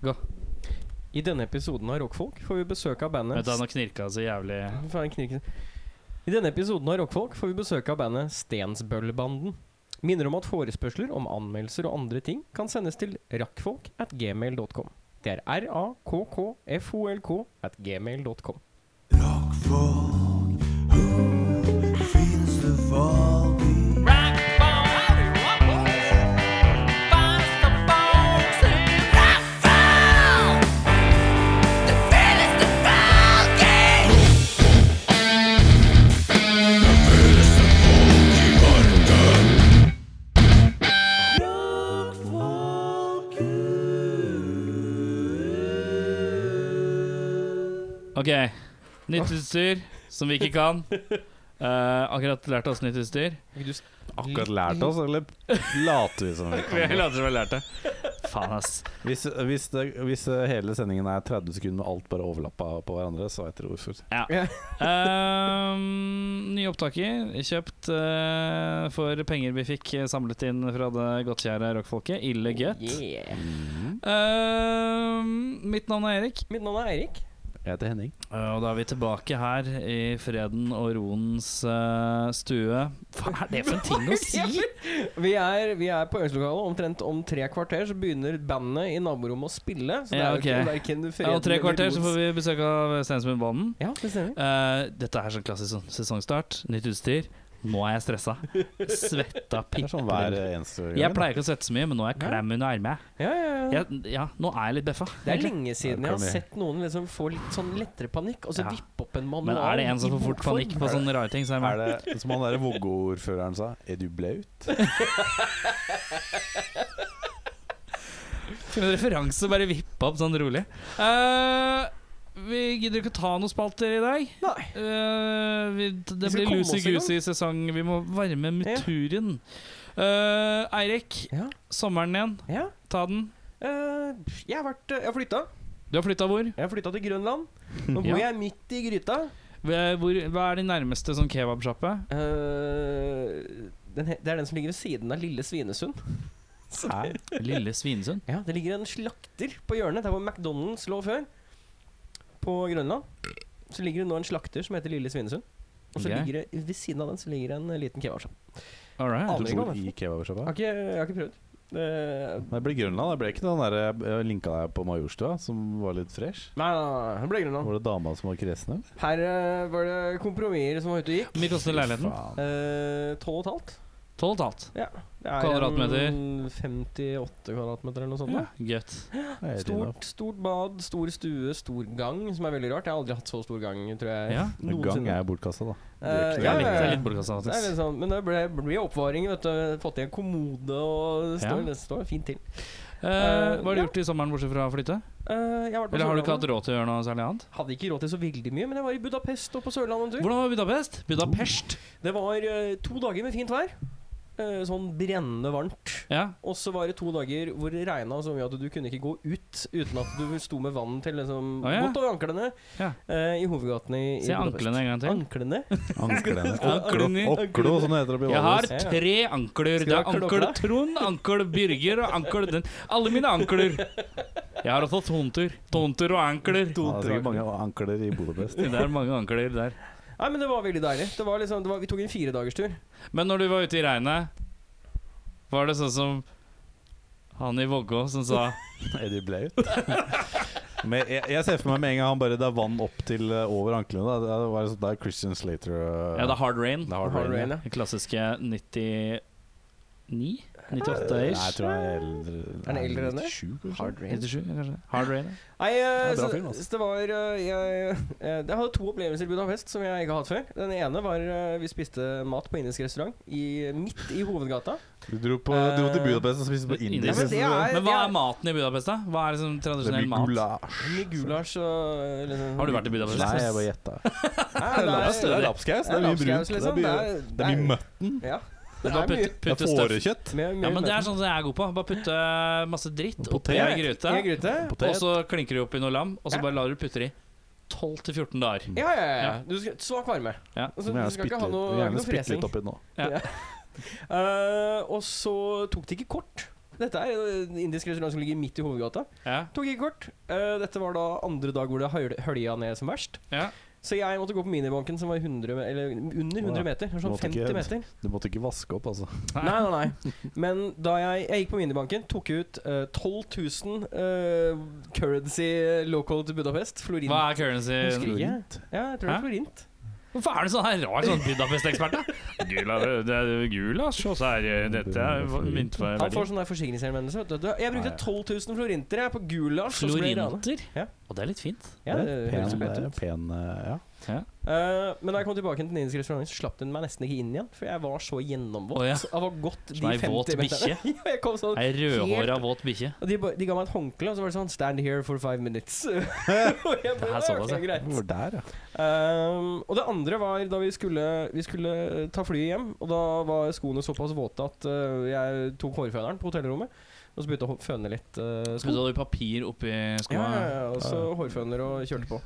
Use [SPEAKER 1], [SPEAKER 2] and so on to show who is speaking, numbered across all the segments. [SPEAKER 1] Gå.
[SPEAKER 2] I denne episoden av Rockfolk får vi besøk av
[SPEAKER 3] Vet
[SPEAKER 2] bandet
[SPEAKER 3] du, han har knirka så jævlig
[SPEAKER 2] Faen, knirken. I denne episoden av Rockfolk får vi besøk av bandet Stensbøllbanden. Minner om at forespørsler om anmeldelser og andre ting kan sendes til rakkfolk at gmail.com. Det er r-a-k-k-f-o-l-k at gmail.com.
[SPEAKER 3] Ok, nytt utstyr som vi ikke kan. Eh, akkurat lært oss nytt utstyr.
[SPEAKER 4] Akkurat lært oss, eller later vi som vi
[SPEAKER 3] Vi
[SPEAKER 4] kan?
[SPEAKER 3] later som vi har lært det. Faen, ass.
[SPEAKER 4] Hvis, hvis, det, hvis hele sendingen er 30 sekunder med alt bare overlappa på hverandre, så vet dere hvorfor.
[SPEAKER 3] Ja. Ehm, ny opptaker. Kjøpt eh, for penger vi fikk samlet inn fra det godtkjære rockfolket. Ille gøtt.
[SPEAKER 2] Yeah.
[SPEAKER 3] Ehm, mitt navn er Erik.
[SPEAKER 2] Mitt navn er Eirik.
[SPEAKER 4] Jeg heter Henning.
[SPEAKER 3] Eh, Og da er vi tilbake her i freden og roens eh, stue. Hva er det for en ting å si?
[SPEAKER 2] Vi er, vi er på øvingslokalet. Omtrent om tre kvarter så begynner bandet i naborommet å spille. Så det
[SPEAKER 3] Ja,
[SPEAKER 2] er jo ikke
[SPEAKER 3] ok.
[SPEAKER 2] hverken
[SPEAKER 3] Ja,
[SPEAKER 2] fred
[SPEAKER 3] og tre
[SPEAKER 2] eller
[SPEAKER 3] kvarter
[SPEAKER 2] ros.
[SPEAKER 3] så får vi besøk av Stensmundbanen.
[SPEAKER 2] Ja, det stemmer.
[SPEAKER 3] Eh, dette er sånn klassisk sånn sesongstart. Nytt utstyr. Nå er jeg stressa. Svetta
[SPEAKER 4] Det er sånn hver
[SPEAKER 3] pikkelen.
[SPEAKER 4] eneste gang.
[SPEAKER 3] Jeg pleier ikke å svette så mye, men nå er jeg
[SPEAKER 2] Ja.
[SPEAKER 3] klem under ermet.
[SPEAKER 2] Ja, ja, ja.
[SPEAKER 3] Jeg, ja, nå er jeg litt beffa.
[SPEAKER 2] Det er
[SPEAKER 3] egentlig.
[SPEAKER 2] lenge siden jeg
[SPEAKER 4] Ja, det
[SPEAKER 2] har
[SPEAKER 4] kan vi.
[SPEAKER 2] sett noen liksom få litt sånn lettere panikk, og så
[SPEAKER 3] Ja.
[SPEAKER 2] vippe opp en manual.
[SPEAKER 3] Men er det en som
[SPEAKER 2] i
[SPEAKER 3] får fort
[SPEAKER 2] bokform?
[SPEAKER 3] panikk på sånn- sånne rare ting, så er det
[SPEAKER 4] Er det som han derre Vågå-ordføreren sa? Er du blaut?
[SPEAKER 3] Til en referanse bare vippe opp sånn rolig. Eh, vi gidder ikke å ta noen spalter i dag.
[SPEAKER 2] Nei.
[SPEAKER 3] Eh, vi, det
[SPEAKER 2] skal
[SPEAKER 3] blir
[SPEAKER 2] komme oss i gang.
[SPEAKER 3] loosey-goosey sesong. Vi må varme
[SPEAKER 2] Ja.
[SPEAKER 3] muturen. Eh, Eirik,
[SPEAKER 2] Ja.
[SPEAKER 3] sommeren igjen.
[SPEAKER 2] Ja.
[SPEAKER 3] Ta den.
[SPEAKER 2] Eh, jeg har vært Jeg har flytta.
[SPEAKER 3] Du har flytta hvor?
[SPEAKER 2] Jeg har flytta til Grønland. Nå bor
[SPEAKER 3] Ja.
[SPEAKER 2] jeg midt i gryta.
[SPEAKER 3] Hva- Hvor, hva er din nærmeste sånn kebabsjappe?
[SPEAKER 2] Eh, den, he- det er den som ligger ved siden av Lille Svinesund.
[SPEAKER 4] Hæ?
[SPEAKER 3] Lille Svinesund.
[SPEAKER 2] Ja, Det ligger en slakter på hjørnet, der hvor McDonald's lå før. På Grønland. Så ligger det nå en slakter som heter Lille Svinesund. Og så
[SPEAKER 3] Ok.
[SPEAKER 2] ligger det ved siden av den så ligger det en eh, liten kebabshop.
[SPEAKER 3] All right.
[SPEAKER 4] Du
[SPEAKER 2] Aner ikke hva
[SPEAKER 4] bor
[SPEAKER 2] det
[SPEAKER 4] i
[SPEAKER 2] Jeg,
[SPEAKER 4] kebabsjappa?
[SPEAKER 2] har ikke- jeg har ikke prøvd. Eh,
[SPEAKER 4] Det ble Grønland. Det ble ikke den der jeg linka deg på Majorstua, som var litt fresh?
[SPEAKER 2] nei, nei, nei, det ble Grønland.
[SPEAKER 4] Var det dama som var kresen, eller?
[SPEAKER 2] Her eh, var det kompromisser som var ute og gikk.
[SPEAKER 3] Hvor mye koster leiligheten?
[SPEAKER 4] Faen.
[SPEAKER 2] Eh, 12 og et halvt.
[SPEAKER 3] Tolv og et halvt.
[SPEAKER 2] Ja. Det er
[SPEAKER 3] Kvadratmeter?
[SPEAKER 2] en 58 kvadratmeter eller noe sånt.
[SPEAKER 3] Sånn, Ja,
[SPEAKER 2] da.
[SPEAKER 3] Gøtt.
[SPEAKER 4] Det er din opp.
[SPEAKER 2] Stort, stort bad, stor stue, stor gang, som er veldig rart. Jeg har aldri hatt så stor gang, tror jeg.
[SPEAKER 3] Ja.
[SPEAKER 4] Gang er
[SPEAKER 2] Noensinne.
[SPEAKER 4] jo bortkasta, da.
[SPEAKER 2] Eh,
[SPEAKER 3] Det er litt,
[SPEAKER 2] ja,
[SPEAKER 3] det
[SPEAKER 2] ja.
[SPEAKER 3] er litt bortkastet,
[SPEAKER 2] Det er
[SPEAKER 3] faktisk.
[SPEAKER 2] litt sånn, men det ble, blir oppvaring. vet du Fått i en kommode, og det står,
[SPEAKER 3] Ja.
[SPEAKER 2] det står fint til.
[SPEAKER 3] Eh, hva har du
[SPEAKER 2] ja.
[SPEAKER 3] gjort i sommeren bortsett fra å flytte?
[SPEAKER 2] Eh, jeg har vært på
[SPEAKER 3] Eller har du ikke hatt
[SPEAKER 2] Sørlandet.
[SPEAKER 3] råd til å gjøre noe særlig annet?
[SPEAKER 2] Hadde ikke råd til så veldig mye, men jeg var i Budapest og på Sørlandet en tur.
[SPEAKER 3] Hvordan var Budapest?
[SPEAKER 2] Oh.
[SPEAKER 3] Budapest?
[SPEAKER 2] Det var eh, to dager med fint vær. Eh, sånn brennende varmt.
[SPEAKER 3] Ja.
[SPEAKER 2] Og så var det to dager hvor det regna så mye at du kunne ikke gå ut uten at du sto med vann til liksom
[SPEAKER 3] Å, ja.
[SPEAKER 2] godt over anklene
[SPEAKER 3] Ja.
[SPEAKER 2] eh, i hovedgatene i, i
[SPEAKER 3] Se anklene en gang til.
[SPEAKER 2] Anklene?
[SPEAKER 4] Anklene.
[SPEAKER 3] Anklene.
[SPEAKER 4] Oklo, som det heter oppe i
[SPEAKER 3] Jeg har
[SPEAKER 4] Valdres.
[SPEAKER 2] Ja, ja.
[SPEAKER 3] tre
[SPEAKER 2] Skal
[SPEAKER 3] ankler. Det
[SPEAKER 2] du
[SPEAKER 3] er
[SPEAKER 2] ha
[SPEAKER 3] ankel
[SPEAKER 2] klokka?
[SPEAKER 3] Trond, ankel Birger og ankel den. Alle mine ankler. Jeg har også tonter. Tonter og ankler.
[SPEAKER 4] Ja, det er sikkert mange ankler i Budapest.
[SPEAKER 3] Det er mange ankler der.
[SPEAKER 2] Nei, men det var veldig deilig. Det var liksom, det var, vi tok en firedagerstur.
[SPEAKER 3] Men når du var ute i regnet, var det sånn som han i Vågå som sa
[SPEAKER 4] Er de blaut? Men jeg, jeg ser for meg med en gang han bare Det er vann opp til eh, over anklene. Da. Det, er- det, var sånn- det er Christian Slater eh,
[SPEAKER 3] Ja, det er hard rain.
[SPEAKER 4] det er hard
[SPEAKER 2] Hard
[SPEAKER 4] rain.
[SPEAKER 2] rain, ja.
[SPEAKER 4] ja.
[SPEAKER 3] Den klassiske 99
[SPEAKER 4] Nei,
[SPEAKER 3] 98-ish?
[SPEAKER 4] jeg tror jeg er eldre.
[SPEAKER 2] den eldre enn det?
[SPEAKER 4] 97, kanskje?
[SPEAKER 2] Hard rain.
[SPEAKER 3] 97, kanskje? Hard rain. ja.
[SPEAKER 2] Nei, eh,
[SPEAKER 4] Det er bra
[SPEAKER 2] så,
[SPEAKER 4] film, altså.
[SPEAKER 2] så det var eh, jeg, eh, jeg hadde to opplevelser i Budapest som jeg ikke har hatt før. Den ene var eh, vi spiste mat på indisk restaurant i, midt i hovedgata.
[SPEAKER 4] Du dro, på, dro til
[SPEAKER 2] Eh,
[SPEAKER 4] Budapest og spiste på
[SPEAKER 3] Indisk.
[SPEAKER 2] Ja,
[SPEAKER 4] indisk.
[SPEAKER 2] men det er-
[SPEAKER 3] Men hva
[SPEAKER 2] det er-
[SPEAKER 3] er maten i Budapest, da? Hva er liksom
[SPEAKER 4] Det blir
[SPEAKER 3] tradisjonell mat?
[SPEAKER 4] gulasj.
[SPEAKER 2] Mye gulasj og eh, liksom
[SPEAKER 3] Har du vært i Budapest?
[SPEAKER 4] Nei, jeg bare gjetta.
[SPEAKER 2] Nei,
[SPEAKER 4] Det er lapskaus. Det er
[SPEAKER 2] det er-
[SPEAKER 4] lapskaus,
[SPEAKER 2] det er
[SPEAKER 4] mye
[SPEAKER 2] lapskaus,
[SPEAKER 4] brunt. Det
[SPEAKER 2] liksom.
[SPEAKER 4] er mye, det er mye møtt.
[SPEAKER 2] Ja.
[SPEAKER 3] Du
[SPEAKER 2] Det
[SPEAKER 3] bare
[SPEAKER 2] er mye.
[SPEAKER 3] putte-
[SPEAKER 4] Det
[SPEAKER 3] putte
[SPEAKER 4] er sånn
[SPEAKER 3] støv-
[SPEAKER 4] fårekjøtt.
[SPEAKER 2] Med- med-
[SPEAKER 3] Ja, men det
[SPEAKER 2] med-
[SPEAKER 3] er sånn som jeg er god på. Bare putte eh, masse dritt oppi ei
[SPEAKER 4] Potet.
[SPEAKER 3] gryte,
[SPEAKER 2] I gryte.
[SPEAKER 3] og
[SPEAKER 4] Potet.
[SPEAKER 3] så klinker du oppi noe lam, og så
[SPEAKER 2] Ja.
[SPEAKER 3] bare lar du putte det i 12-14 dager.
[SPEAKER 2] Ja, ja, ja.
[SPEAKER 3] Ja.
[SPEAKER 2] Du skal, svak varme.
[SPEAKER 3] Ja.
[SPEAKER 2] Altså,
[SPEAKER 4] Så
[SPEAKER 2] du
[SPEAKER 4] må jeg
[SPEAKER 2] skal
[SPEAKER 4] spytte
[SPEAKER 2] ikke ha
[SPEAKER 4] litt-
[SPEAKER 2] noe,
[SPEAKER 4] gjerne
[SPEAKER 2] noe
[SPEAKER 4] spytte
[SPEAKER 2] fresing.
[SPEAKER 4] litt oppi den nå.
[SPEAKER 2] Eh, og så tok det ikke kort Dette er en indisk restaurant som ligger midt i hovedgata.
[SPEAKER 3] Ja,
[SPEAKER 2] Tok ikke kort. Eh, dette var da andre dag hvor det høl- hølja ned som verst.
[SPEAKER 3] ja.
[SPEAKER 2] Så jeg måtte gå på minibanken som var 100, me- eller under 100
[SPEAKER 4] Å ja.
[SPEAKER 2] meter. det var Sånn
[SPEAKER 4] Måtte
[SPEAKER 2] 50
[SPEAKER 4] ikke-
[SPEAKER 2] meter.
[SPEAKER 4] Du måtte ikke vaske opp, altså.
[SPEAKER 3] Nei.
[SPEAKER 2] Nei, nei, nei. Men da jeg, jeg gikk på minibanken, tok ut eh, 12 000 eh, currency local til Budapest. Florint.
[SPEAKER 3] Hva er currency?
[SPEAKER 2] Husker ikke. Ja, jeg tror det
[SPEAKER 3] Hæ?
[SPEAKER 2] er florint.
[SPEAKER 3] Hvorfor er du sånn her rar sånn Budapest-ekspert? da? Gula- Det er gulasj, og så er dette er mynt for
[SPEAKER 2] Han
[SPEAKER 3] verdi.
[SPEAKER 2] får sånn der forsikringshenvendelse. vet du. Jeg brukte
[SPEAKER 4] Nei.
[SPEAKER 2] 12 000 florinter jeg, på gulasj. og så ble jeg ranet.
[SPEAKER 3] Florinter?
[SPEAKER 2] Ja.
[SPEAKER 3] Og det er litt fint.
[SPEAKER 2] Ja, det
[SPEAKER 4] er
[SPEAKER 2] høres jo
[SPEAKER 4] pen,
[SPEAKER 2] pent
[SPEAKER 4] det
[SPEAKER 2] ut.
[SPEAKER 4] er pen eh, ja.
[SPEAKER 2] Eh, men da jeg kom tilbake til den indiske restauranten, så slapp den meg nesten ikke inn igjen. For jeg var så gjennomvåt.
[SPEAKER 3] Å, ja.
[SPEAKER 2] Jeg var godt de
[SPEAKER 3] Som ei
[SPEAKER 2] 50
[SPEAKER 3] våt
[SPEAKER 2] meterne. ja, jeg kom sånn
[SPEAKER 3] Ei rødhåra, våt bikkje.
[SPEAKER 2] Og de, ba- de ga meg et håndkle, og så var det sånn 'Stand here for five minutes'. og jeg
[SPEAKER 3] Det er
[SPEAKER 2] bare,
[SPEAKER 3] såpass,
[SPEAKER 2] «Ok, greit.
[SPEAKER 4] Hvor der, ja.
[SPEAKER 2] Ehm, og det andre var da vi skulle, vi skulle ta flyet hjem. Og da var skoene såpass våte at eh, jeg tok hårføneren på hotellrommet. Og så begynte jeg å hå- føne litt eh,
[SPEAKER 3] Så
[SPEAKER 2] sko.
[SPEAKER 3] du hadde papir oppi
[SPEAKER 2] Ja,
[SPEAKER 3] skoa?
[SPEAKER 2] ja, ja, og så hårføner og kjørte på.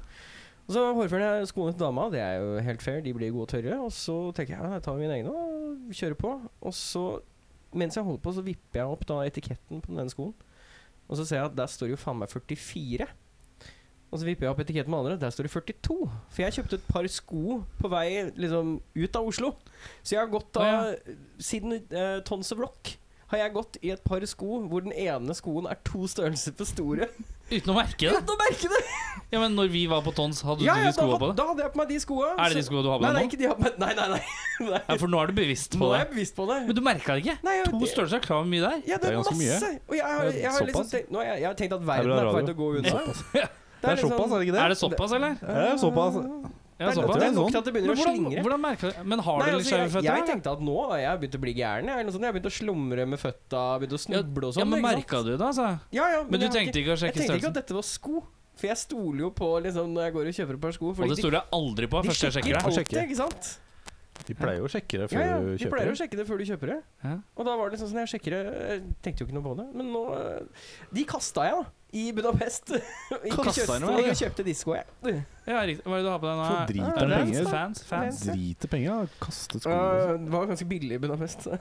[SPEAKER 2] Og så hårføner jeg skoene til dama, det er jo helt fair, de blir gode og tørre. Og så tenker jeg ja, jeg tar mine egne og kjører på. Og så, mens jeg holder på, så vipper jeg opp da etiketten på den skoen. Og så ser jeg at der står jo faen meg 44. Og så vipper jeg opp etiketten med andre, der står det 42. For jeg kjøpte et par sko på vei liksom ut av Oslo. Så jeg har gått da Siden eh, Tons of Rock har jeg gått i et par sko hvor den ene skoen er to størrelser for store.
[SPEAKER 3] Uten å merke det?
[SPEAKER 2] Uten å merke det!
[SPEAKER 3] Ja, men når vi var på Tons, hadde
[SPEAKER 2] Ja,
[SPEAKER 3] du
[SPEAKER 2] ja,
[SPEAKER 3] de skoa
[SPEAKER 2] da,
[SPEAKER 3] på deg?
[SPEAKER 2] da hadde jeg på meg de skoa.
[SPEAKER 3] Er det de
[SPEAKER 2] så-
[SPEAKER 3] skoa du har på
[SPEAKER 2] Nei, nei,
[SPEAKER 3] deg nå?
[SPEAKER 2] ikke de har på meg Nei, nei, nei. nei.
[SPEAKER 3] Ja, for nå er du bevisst på
[SPEAKER 2] Nå er
[SPEAKER 3] det.
[SPEAKER 2] jeg bevisst på det.
[SPEAKER 3] Men du merka det ikke?
[SPEAKER 2] Nei, jeg,
[SPEAKER 3] To størrelser er klar hvor mye det er.
[SPEAKER 2] Ja, det
[SPEAKER 4] Det
[SPEAKER 2] er
[SPEAKER 4] er ganske mye.
[SPEAKER 2] masse. Og jeg har, jeg har liksom
[SPEAKER 4] Såpass?
[SPEAKER 2] tenkt, nå har jeg, jeg har tenkt at
[SPEAKER 4] Det er
[SPEAKER 2] verden
[SPEAKER 4] bra
[SPEAKER 2] er på vei
[SPEAKER 4] radio.
[SPEAKER 2] til å gå unna. liksom-
[SPEAKER 4] Det er såpass, er det ikke det?
[SPEAKER 3] Er det såpass, eller?
[SPEAKER 4] Ja, det er såpass.
[SPEAKER 3] Ja,
[SPEAKER 2] det, er,
[SPEAKER 3] såpass.
[SPEAKER 2] det er nok
[SPEAKER 4] Sånn.
[SPEAKER 2] til at det begynner å
[SPEAKER 3] Men hvordan,
[SPEAKER 2] slingre.
[SPEAKER 3] hvordan merka du Men har
[SPEAKER 2] Nei,
[SPEAKER 3] du litt
[SPEAKER 2] altså,
[SPEAKER 3] skeive
[SPEAKER 2] jeg,
[SPEAKER 3] føtter?
[SPEAKER 2] jeg
[SPEAKER 3] eller?
[SPEAKER 2] tenkte at nå har jeg begynt å bli gæren. Jeg, eller noe sånt. jeg har begynt å slumre med føtta, begynt å
[SPEAKER 3] Ja,
[SPEAKER 2] snuble og sånn.
[SPEAKER 3] ja, men
[SPEAKER 2] ikke sant?
[SPEAKER 3] merka du det, altså?
[SPEAKER 2] Ja, ja, men
[SPEAKER 3] Men du
[SPEAKER 2] jeg har
[SPEAKER 3] tenkte liksom- ikke å
[SPEAKER 2] Jeg
[SPEAKER 3] sjekke
[SPEAKER 2] tenkte ikke at
[SPEAKER 3] størrelsen?
[SPEAKER 2] dette var sko. For jeg stoler jo på liksom, når jeg går og kjøper et par sko.
[SPEAKER 3] Og
[SPEAKER 2] Fordi
[SPEAKER 3] det stoler jeg aldri på
[SPEAKER 2] de, de
[SPEAKER 3] første jeg
[SPEAKER 2] sjekker
[SPEAKER 3] sjekker det.
[SPEAKER 2] alltid,
[SPEAKER 4] sjekker.
[SPEAKER 2] ikke sant?
[SPEAKER 4] De pleier jo å sjekke det før
[SPEAKER 2] Ja, ja,
[SPEAKER 4] du
[SPEAKER 2] de
[SPEAKER 4] kjøper.
[SPEAKER 2] pleier å
[SPEAKER 4] det.
[SPEAKER 2] sjekke det før du kjøper det.
[SPEAKER 3] Ja.
[SPEAKER 2] Og da var det sånn som jeg sjekker det Jeg tenkte jo ikke noe på det, men nå eh, De kasta jeg, da. I Budapest. ikke
[SPEAKER 4] Kasta
[SPEAKER 2] kjøpte,
[SPEAKER 4] den, ja.
[SPEAKER 2] ikke kjøpte disko, jeg.
[SPEAKER 3] Ja, riktig. Hva er det du har på deg nå?
[SPEAKER 4] Så drit
[SPEAKER 3] Er
[SPEAKER 4] av
[SPEAKER 3] det
[SPEAKER 4] penger.
[SPEAKER 3] Fans, fans, fans.
[SPEAKER 4] Driter penger, da. liksom. Kastet
[SPEAKER 2] Eh,
[SPEAKER 4] skoene.
[SPEAKER 2] det var ganske billig i Budapest. Så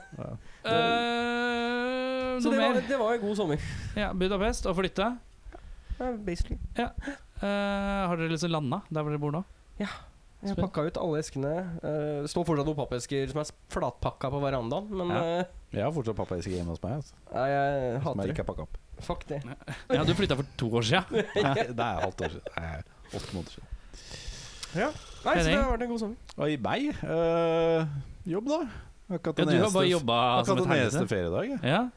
[SPEAKER 3] Eh, noe
[SPEAKER 2] det var,
[SPEAKER 3] mer?
[SPEAKER 2] det var en god sommer.
[SPEAKER 3] Ja, Budapest og flytte.
[SPEAKER 2] Ja, basically.
[SPEAKER 3] Eh, har dere liksom landa der hvor dere bor nå?
[SPEAKER 2] Jeg
[SPEAKER 3] Spennende.
[SPEAKER 2] pakka ut alle eskene. eh, står fortsatt noen pappesker som er flatpakka på verandaen, men
[SPEAKER 3] Ja.
[SPEAKER 2] eh,
[SPEAKER 4] Jeg har fortsatt pappeske hjemme hos meg. Altså.
[SPEAKER 2] nei, jeg
[SPEAKER 4] Som
[SPEAKER 2] hater
[SPEAKER 4] jeg
[SPEAKER 2] det.
[SPEAKER 4] ikke har pakka opp.
[SPEAKER 2] Fuck det.
[SPEAKER 3] Ja, du flytta for to år siden.
[SPEAKER 4] Nei, det er halvt år siden. Nei, Åtte måneder siden.
[SPEAKER 2] Nei, så det
[SPEAKER 3] Henning?
[SPEAKER 2] har vært en god sommer.
[SPEAKER 4] Og i meg øh, jobb, da. Jeg har ikke hatt
[SPEAKER 3] Ja,
[SPEAKER 4] en
[SPEAKER 3] du har
[SPEAKER 4] eneste-
[SPEAKER 3] bare jobba
[SPEAKER 4] jeg har ikke
[SPEAKER 3] som
[SPEAKER 4] hatt
[SPEAKER 3] et
[SPEAKER 4] en eneste
[SPEAKER 3] helvete.
[SPEAKER 4] feriedag. Jeg.
[SPEAKER 3] Ja.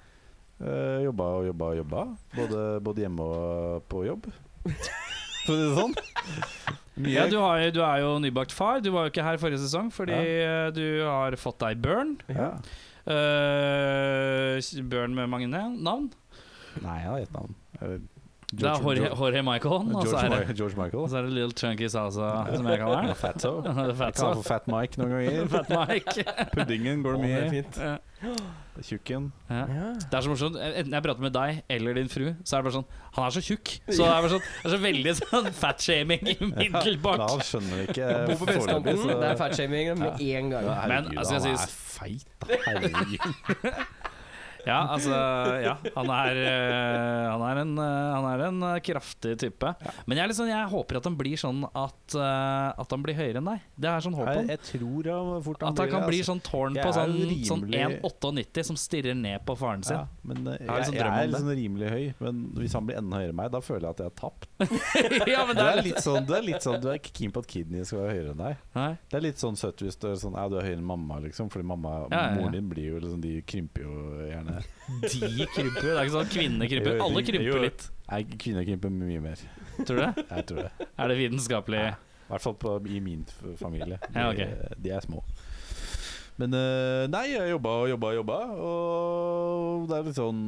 [SPEAKER 4] Eh, jobba og jobba og jobba. Både, både hjemme og på jobb. For å si det sånn. Mye
[SPEAKER 3] Ja, du, har, jo- du er jo nybakt far. Du var jo ikke her forrige sesong fordi eh, du har fått deg børn.
[SPEAKER 4] ja.
[SPEAKER 3] Uh, børn med mange na- navn.
[SPEAKER 4] Nei, jeg har ett navn. Eller
[SPEAKER 3] Det er Jorge, Jorge Michael, og så
[SPEAKER 4] George,
[SPEAKER 3] er det,
[SPEAKER 4] Mi- George Michael.
[SPEAKER 3] og så er det Little Chunky Salsa, som jeg kaller den.
[SPEAKER 4] Fatso. Jeg
[SPEAKER 3] Det er Fat
[SPEAKER 4] kaller han
[SPEAKER 3] Salsa.
[SPEAKER 4] for Fat Mike noen ganger.
[SPEAKER 3] Fat Mike.
[SPEAKER 4] Puddingen går det mye i.
[SPEAKER 2] fint.
[SPEAKER 3] Ja.
[SPEAKER 4] Tjukken.
[SPEAKER 3] Ja.
[SPEAKER 2] Ja.
[SPEAKER 3] Det er så morsomt. Enten jeg prater med deg eller din fru, så er det bare sånn Han er så tjukk. Så det er, bare sånn, det er så veldig sånn fatshaming umiddelbart.
[SPEAKER 4] Ja, han skjønner ikke
[SPEAKER 2] Bor på
[SPEAKER 4] foreløpig,
[SPEAKER 2] vestkanten.
[SPEAKER 4] så-
[SPEAKER 2] Det er fatshaming med én gang.
[SPEAKER 4] Ja,
[SPEAKER 3] Men,
[SPEAKER 4] herregud,
[SPEAKER 3] altså, jeg
[SPEAKER 4] han
[SPEAKER 3] sier-
[SPEAKER 4] er feit, da. Herregud.
[SPEAKER 3] Ja, altså Ja, han er, eh, han er, en, eh, han er en eh, kraftig type. Men jeg, er litt sånn- jeg håper at han blir sånn at, eh, at han blir høyere enn deg. Det er sånn håp
[SPEAKER 4] Jeg,
[SPEAKER 3] om.
[SPEAKER 4] jeg tror han altså- fort
[SPEAKER 3] At han kan bli sånn tårn
[SPEAKER 4] Jeg
[SPEAKER 3] på
[SPEAKER 4] er
[SPEAKER 3] sånn,
[SPEAKER 4] rimelig-
[SPEAKER 3] sånn 1,98 som stirrer ned på faren sin.
[SPEAKER 4] Ja, men eh, jeg,
[SPEAKER 3] har liksom
[SPEAKER 4] jeg,
[SPEAKER 3] drøm om
[SPEAKER 4] er
[SPEAKER 3] det.
[SPEAKER 4] liksom rimelig høy, men hvis han blir enda høyere enn meg, da føler jeg at jeg har tapt.
[SPEAKER 3] ja, men
[SPEAKER 4] Det
[SPEAKER 3] det
[SPEAKER 4] er
[SPEAKER 3] er litt
[SPEAKER 4] litt sånn, det er litt sånn Du er ikke keen på at kiden din skal være høyere enn deg.
[SPEAKER 3] Nei.
[SPEAKER 4] Det er litt sånn søtt hvis du er sånn Ja, du er høyere enn mamma, liksom. Fordi mamma,
[SPEAKER 3] Ja, ja, ja.
[SPEAKER 4] moren din blir jo liksom De krymper jo gjerne.
[SPEAKER 3] De krymper jo. Det er ikke sånn at kvinnene krymper.
[SPEAKER 4] Jo,
[SPEAKER 3] Alle
[SPEAKER 4] jo.
[SPEAKER 3] krymper litt,
[SPEAKER 4] Nei, kvinner krymper mye mer.
[SPEAKER 3] tror du det?
[SPEAKER 4] Jeg tror det.
[SPEAKER 3] Er det vitenskapelig?
[SPEAKER 4] I hvert fall på, i min f- familie. De,
[SPEAKER 3] Ja, ok.
[SPEAKER 4] de er små. Men eh, nei, jeg jobba og jobba og jobba. Og det er litt sånn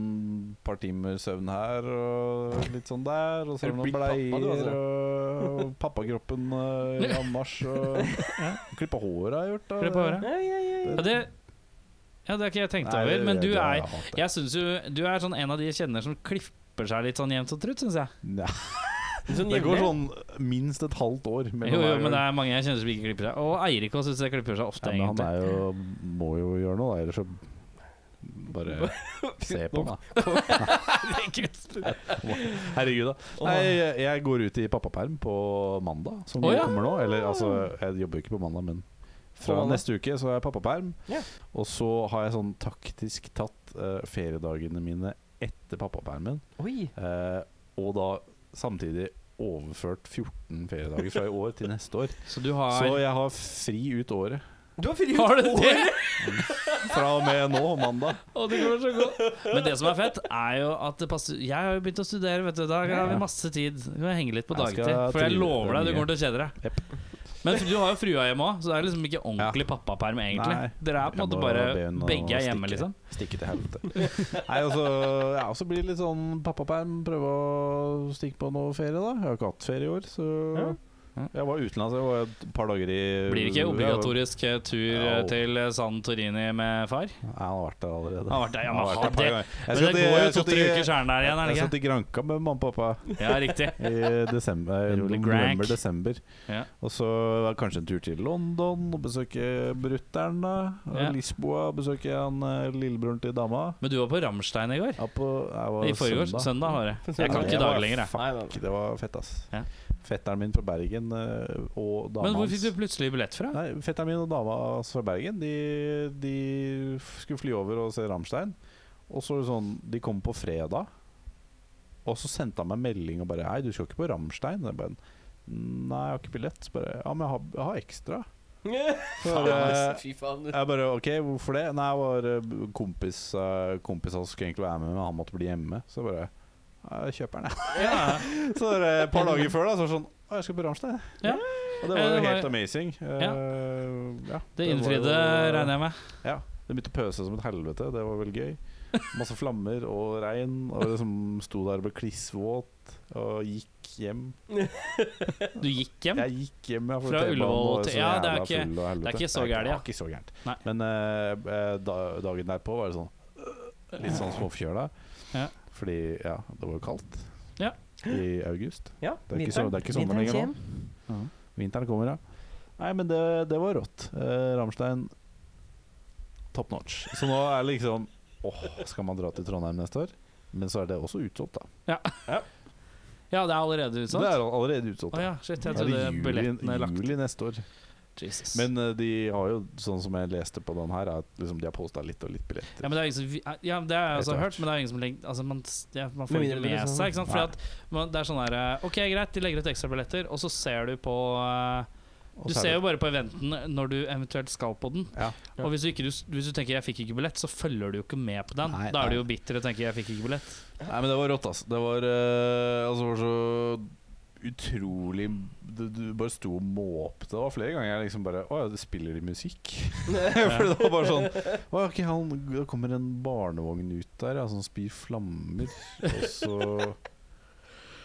[SPEAKER 4] par timer søvn her og litt sånn der. Og så
[SPEAKER 2] Er
[SPEAKER 4] er
[SPEAKER 2] du
[SPEAKER 4] det noen
[SPEAKER 2] blitt pappa, du,
[SPEAKER 4] bleier
[SPEAKER 2] altså?
[SPEAKER 4] og, og pappakroppen eh, i anmarsj. Og klippe håret har jeg gjort. da.
[SPEAKER 3] Klippe håret.
[SPEAKER 2] Ja, ja, ja, ja.
[SPEAKER 3] Ja, det, ja, det har ikke jeg tenkt
[SPEAKER 4] Nei,
[SPEAKER 3] over.
[SPEAKER 4] det-
[SPEAKER 3] Men du
[SPEAKER 4] det-
[SPEAKER 3] er
[SPEAKER 4] jeg hater det.
[SPEAKER 3] Jeg synes jo Du er sånn en av de jeg kjenner som klipper seg litt sånn jevnt og trutt, syns jeg.
[SPEAKER 4] Nei,
[SPEAKER 2] Sånn
[SPEAKER 4] det går
[SPEAKER 2] jevnlig.
[SPEAKER 4] sånn minst et halvt år
[SPEAKER 3] Jo, jo, men det
[SPEAKER 4] gang.
[SPEAKER 3] er mange jeg kjenner som ikke klipper seg. Og Eirik òg syns jeg klipper seg
[SPEAKER 4] ja,
[SPEAKER 3] ofte,
[SPEAKER 4] men han
[SPEAKER 3] egentlig.
[SPEAKER 4] er jo, må jo gjøre noe, da, ellers så Bare se på, da.
[SPEAKER 3] Herregud.
[SPEAKER 4] Herregud, da. Nei, jeg- jeg går ut i pappaperm på mandag, som
[SPEAKER 3] Å, ja.
[SPEAKER 4] kommer nå. Eller altså, jeg jobber jo ikke på mandag, men fra
[SPEAKER 2] På mandag.
[SPEAKER 4] neste uke så er jeg pappaperm.
[SPEAKER 2] Ja.
[SPEAKER 4] Og så har jeg sånn taktisk tatt eh, feriedagene mine etter pappapermen.
[SPEAKER 2] Oi!
[SPEAKER 4] eh, og da samtidig overført 14 feriedager fra i år til neste år.
[SPEAKER 3] Så du
[SPEAKER 4] Så
[SPEAKER 3] har
[SPEAKER 4] jeg har fri ut året.
[SPEAKER 2] Du har fri
[SPEAKER 3] Har du det?
[SPEAKER 4] Fra og med nå, mandag.
[SPEAKER 3] Å, det går så godt. Men det som er fett, er jo at det passer Jeg har jo begynt å studere, vet du. Da har vi masse tid. Du kan henge litt på
[SPEAKER 4] Jeg skal
[SPEAKER 3] dagtid. For jeg
[SPEAKER 4] trive
[SPEAKER 3] lover deg,
[SPEAKER 4] det
[SPEAKER 3] du
[SPEAKER 4] mye.
[SPEAKER 3] kommer til å kjede deg. Men du har jo frua hjemme òg, så det er liksom ikke ordentlig pappaperm, egentlig.
[SPEAKER 4] Nei.
[SPEAKER 3] Dere er på en
[SPEAKER 4] Jeg
[SPEAKER 3] måte
[SPEAKER 4] må
[SPEAKER 3] bare
[SPEAKER 4] be henne å
[SPEAKER 3] Begge er hjemme,
[SPEAKER 4] stikke.
[SPEAKER 3] liksom.
[SPEAKER 4] Stikke til helvete. Nei, altså, ja, og så blir det litt sånn pappaperm. Prøve å stikke på noe ferie, da. Jeg har ikke hatt ferie i år, så
[SPEAKER 3] Ja.
[SPEAKER 4] Jeg var utenlands jeg var et par dager i
[SPEAKER 3] Blir det ikke obligatorisk eh, tur eh,
[SPEAKER 4] Jo.
[SPEAKER 3] til eh, San Torini med far?
[SPEAKER 4] Ja, han har vært der allerede.
[SPEAKER 3] Han har vært der, ja,
[SPEAKER 4] Han har
[SPEAKER 3] men
[SPEAKER 4] vært
[SPEAKER 3] ha
[SPEAKER 4] et par
[SPEAKER 3] det.
[SPEAKER 4] ganger. Jeg
[SPEAKER 3] Men
[SPEAKER 4] skal
[SPEAKER 3] det
[SPEAKER 4] til-
[SPEAKER 3] går jo
[SPEAKER 4] jeg skal
[SPEAKER 3] to-tre
[SPEAKER 4] til-
[SPEAKER 3] uker skjær'n der igjen, er
[SPEAKER 4] Jeg
[SPEAKER 3] det
[SPEAKER 4] satt
[SPEAKER 3] ikke?
[SPEAKER 4] i Granca med mamma og pappa
[SPEAKER 3] Ja, riktig.
[SPEAKER 4] i desember,
[SPEAKER 3] Rolig Grank.
[SPEAKER 4] november-desember.
[SPEAKER 3] Ja.
[SPEAKER 4] Og så var det kanskje en tur til London og besøke brutter'n. da. Og
[SPEAKER 3] Ja.
[SPEAKER 4] Lisboa besøke han eh, lillebroren til dama.
[SPEAKER 3] Men du var på Ramstein i går?
[SPEAKER 4] Ja, på, jeg var
[SPEAKER 3] I forgårs? Søndag. var det. Jeg
[SPEAKER 4] Ja,
[SPEAKER 3] kan ikke
[SPEAKER 4] jeg
[SPEAKER 3] dag
[SPEAKER 4] var
[SPEAKER 3] lenger, jeg.
[SPEAKER 4] Fuck,
[SPEAKER 2] Nei, nei, nei.
[SPEAKER 4] det var fett, ass.
[SPEAKER 3] Ja.
[SPEAKER 4] Fetteren min fra Bergen eh, og dama
[SPEAKER 3] Men hvor
[SPEAKER 4] hans-
[SPEAKER 3] fikk du plutselig billett fra?
[SPEAKER 4] Nei, Fetteren min og dama hans fra Bergen De, de f- skulle fly over og se Rammstein. Og så var det sånn De kom på fredag, og så sendte han meg melding og bare 'Hei, du skal ikke på Rammstein?' Jeg bare, Nei, jeg har ikke billett. Så bare, ja, men jeg har, jeg har ekstra. Så,
[SPEAKER 2] Faen,
[SPEAKER 4] eh,
[SPEAKER 2] ass. Fy faen.
[SPEAKER 4] jeg bare OK, hvorfor det? Nei, jeg var eh, b- kompis eh, Kompis av oss skulle egentlig være med, men han måtte bli hjemme. Så jeg bare «Ja, Jeg kjøper den, jeg.
[SPEAKER 3] Ja.
[SPEAKER 4] Så bare et par dager før da Så var det sånn Å, jeg skal på Rammstein.
[SPEAKER 3] Ja.
[SPEAKER 4] Og det var
[SPEAKER 3] Eh, det
[SPEAKER 4] jo
[SPEAKER 3] var-
[SPEAKER 4] helt amazing. Eh, ja,
[SPEAKER 3] Det
[SPEAKER 4] var jo-
[SPEAKER 3] innfridde, regner jeg med.
[SPEAKER 4] Ja. Det begynte å pøse som et helvete. Det var veldig gøy. Masse flammer og regn. Og liksom sto der og ble klissvåt og gikk hjem.
[SPEAKER 3] Du gikk hjem?
[SPEAKER 4] Jeg gikk hjem ja, for
[SPEAKER 3] Fra
[SPEAKER 4] T-banen
[SPEAKER 3] Ullevål
[SPEAKER 4] var
[SPEAKER 3] til-
[SPEAKER 4] så
[SPEAKER 3] ja, det er
[SPEAKER 4] jævla
[SPEAKER 3] ikke-
[SPEAKER 4] full og
[SPEAKER 3] det
[SPEAKER 4] helvete.
[SPEAKER 3] er ikke så
[SPEAKER 4] Det
[SPEAKER 3] gærent, ja.
[SPEAKER 4] det var ikke så gærent.
[SPEAKER 3] Nei.
[SPEAKER 4] Men eh, eh, da, dagen derpå var det sånn øh, Litt sånn småforkjøla.
[SPEAKER 3] Ja.
[SPEAKER 4] Fordi ja, det var jo kaldt
[SPEAKER 3] Ja.
[SPEAKER 4] i august.
[SPEAKER 2] Ja,
[SPEAKER 4] Det er ikke så- det er ikke sommer lenger nå. Vinteren kommer, ja. Nei, men det, det var rått. Eh, Rammstein top notch. Så nå er det liksom Åh, skal man dra til Trondheim neste år? Men så er det også utsolgt, da.
[SPEAKER 3] Ja, det er allerede
[SPEAKER 4] Det
[SPEAKER 3] utsolgt?
[SPEAKER 4] er all- allerede utsolgt.
[SPEAKER 3] Å
[SPEAKER 4] da.
[SPEAKER 3] ja, shit. Jeg
[SPEAKER 4] Da er det
[SPEAKER 3] trodde billettene
[SPEAKER 4] juli,
[SPEAKER 3] er lagt
[SPEAKER 4] juli neste år.
[SPEAKER 3] Jesus.
[SPEAKER 4] Men eh, de har jo, sånn som jeg leste på den her, er at liksom, de har posta litt og litt billetter.
[SPEAKER 3] ja, men det er ingen som vi- eh, ja, det har jeg også
[SPEAKER 4] Etter
[SPEAKER 3] hørt, men det er ingen som legger altså man, ja, man får
[SPEAKER 2] Med
[SPEAKER 3] ikke
[SPEAKER 2] mindre
[SPEAKER 3] med
[SPEAKER 2] det liksom-
[SPEAKER 4] sånn,
[SPEAKER 3] seg, ikke sant. Fordi at man, det er sånn her eh, OK, greit, de legger ut ekstrabilletter, og så ser du på eh,
[SPEAKER 4] Og
[SPEAKER 3] Du
[SPEAKER 4] så er
[SPEAKER 3] ser jo bare
[SPEAKER 4] det-
[SPEAKER 3] på eventen når du eventuelt skal på den.
[SPEAKER 4] Ja.
[SPEAKER 3] Og hvis du, ikke, du, hvis du tenker 'jeg fikk ikke billett', så følger du jo ikke med på den.
[SPEAKER 4] Nei,
[SPEAKER 3] da er du
[SPEAKER 4] nei.
[SPEAKER 3] jo bitter og tenker 'jeg fikk ikke billett'.
[SPEAKER 4] Nei, men det var rått, altså. Det var, eh, altså, det var så utrolig Du, du bare sto og måpte. Det var flere ganger jeg liksom bare Å ja, det spiller de musikk? For det var bare sånn Å ja, ok, han, da kommer en barnevogn ut der ja, som spyr flammer, og så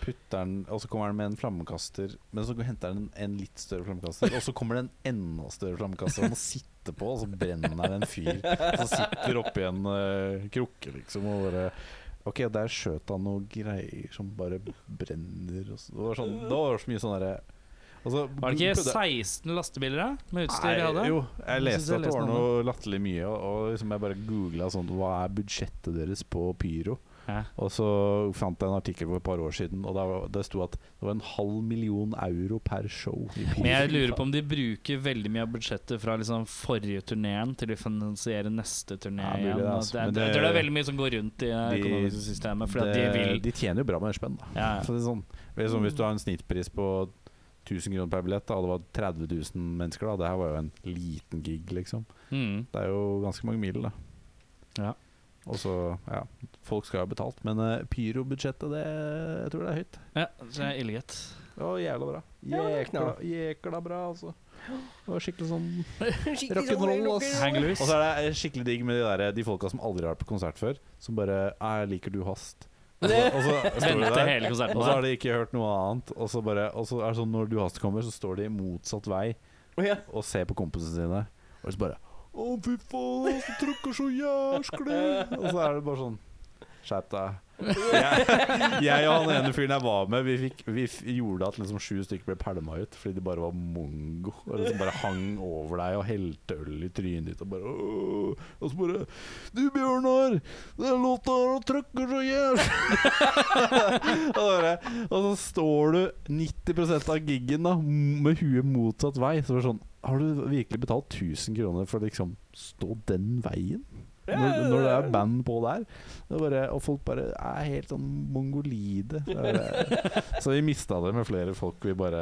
[SPEAKER 4] putter han Og så kommer han med en flammekaster, men så henter han en, en litt større flammekaster, og så kommer det en enda større flammekaster han må sitte på, og så brenner det en fyr som sitter oppi en eh, krukke, liksom, og bare Ok, der skjøt han noen greier som bare brenner og så. Det var sånn, da var det så mye sånn derre altså,
[SPEAKER 3] Var det ikke
[SPEAKER 4] prøvde-
[SPEAKER 3] 16 lastebiler da, med utstyr de
[SPEAKER 4] Nei,
[SPEAKER 3] hadde?
[SPEAKER 4] Jo, jeg
[SPEAKER 3] Jeg synes
[SPEAKER 4] leste
[SPEAKER 3] jeg
[SPEAKER 4] at det
[SPEAKER 3] leste
[SPEAKER 4] var
[SPEAKER 3] noe om
[SPEAKER 4] noe latterlig mye, og, og liksom jeg bare googla sånn Hva er budsjettet deres på pyro?
[SPEAKER 3] Ja.
[SPEAKER 4] Og så fant jeg en artikkel for et par år siden, og der, var- det sto at det var en halv million euro per show. i pyro.
[SPEAKER 3] Men jeg lurer på om de bruker veldig mye av budsjettet fra liksom forrige turneen til å finansiere neste turné
[SPEAKER 4] Ja, mulig
[SPEAKER 3] igjen.
[SPEAKER 4] det,
[SPEAKER 3] Det,
[SPEAKER 4] altså.
[SPEAKER 3] det,
[SPEAKER 4] Men
[SPEAKER 3] det, jeg
[SPEAKER 4] det-
[SPEAKER 3] tror det er veldig mye som går rundt i det
[SPEAKER 4] De-
[SPEAKER 3] økonomiske systemet. Fordi at
[SPEAKER 4] det,
[SPEAKER 3] de vil
[SPEAKER 4] de tjener jo bra med en spenn, da.
[SPEAKER 3] ja, ja.
[SPEAKER 4] Så det er sånn, det er sånn, hvis du har en snittpris på 1000 kroner per billett, da, og det var 30 000 mennesker, da Det her var jo en liten gig, liksom.
[SPEAKER 3] Mm.
[SPEAKER 4] Det er jo ganske mange mil, da.
[SPEAKER 3] Ja.
[SPEAKER 4] Og så, ja Folk skal jo ha betalt, men eh, pyrobudsjettet, det Jeg tror det er høyt.
[SPEAKER 3] ja, så det er ille, gitt.
[SPEAKER 4] Det var jævla bra.
[SPEAKER 2] Ja, det er knall.
[SPEAKER 4] Jækla- Jækla bra, altså. Det var skikkelig sånn
[SPEAKER 2] Rock'n'roll, ass.
[SPEAKER 3] Hang
[SPEAKER 4] Og
[SPEAKER 3] loose.
[SPEAKER 4] så er det eh, skikkelig digg med de, der, de folka som aldri har vært på konsert før, som bare «Nei, 'Jeg liker du hast'. Og så, og så står de
[SPEAKER 3] Vente
[SPEAKER 4] der,
[SPEAKER 3] hele konserten
[SPEAKER 4] og så har
[SPEAKER 3] der.
[SPEAKER 4] de ikke hørt noe annet. Og så, bare, og så er det sånn når du hast kommer, så står de motsatt vei
[SPEAKER 2] Å, ja.
[SPEAKER 4] og ser på kompisene sine, og så bare 'Å, fy faen, han tråkker så jæsklig'. Og så er det bare sånn Skjerp deg. Jeg, jeg og han ene fyren jeg var med, vi, fikk, vi f gjorde at liksom sju stykker ble pælma ut fordi de bare var mongo. Og liksom bare hang over deg og helte øl i trynet ditt og bare «Åh!» Og så bare Du, Bjørnar, den låta her trøkker så jævlig! og, bare, og så står du 90 av giggen da med huet motsatt vei. Så det var sånn Har du virkelig betalt 1000 kroner for å liksom stå den veien? Når, når det er band på der. Det er bare, og folk bare er helt sånn mongolide. Det er bare- Så vi mista det med flere folk. Vi bare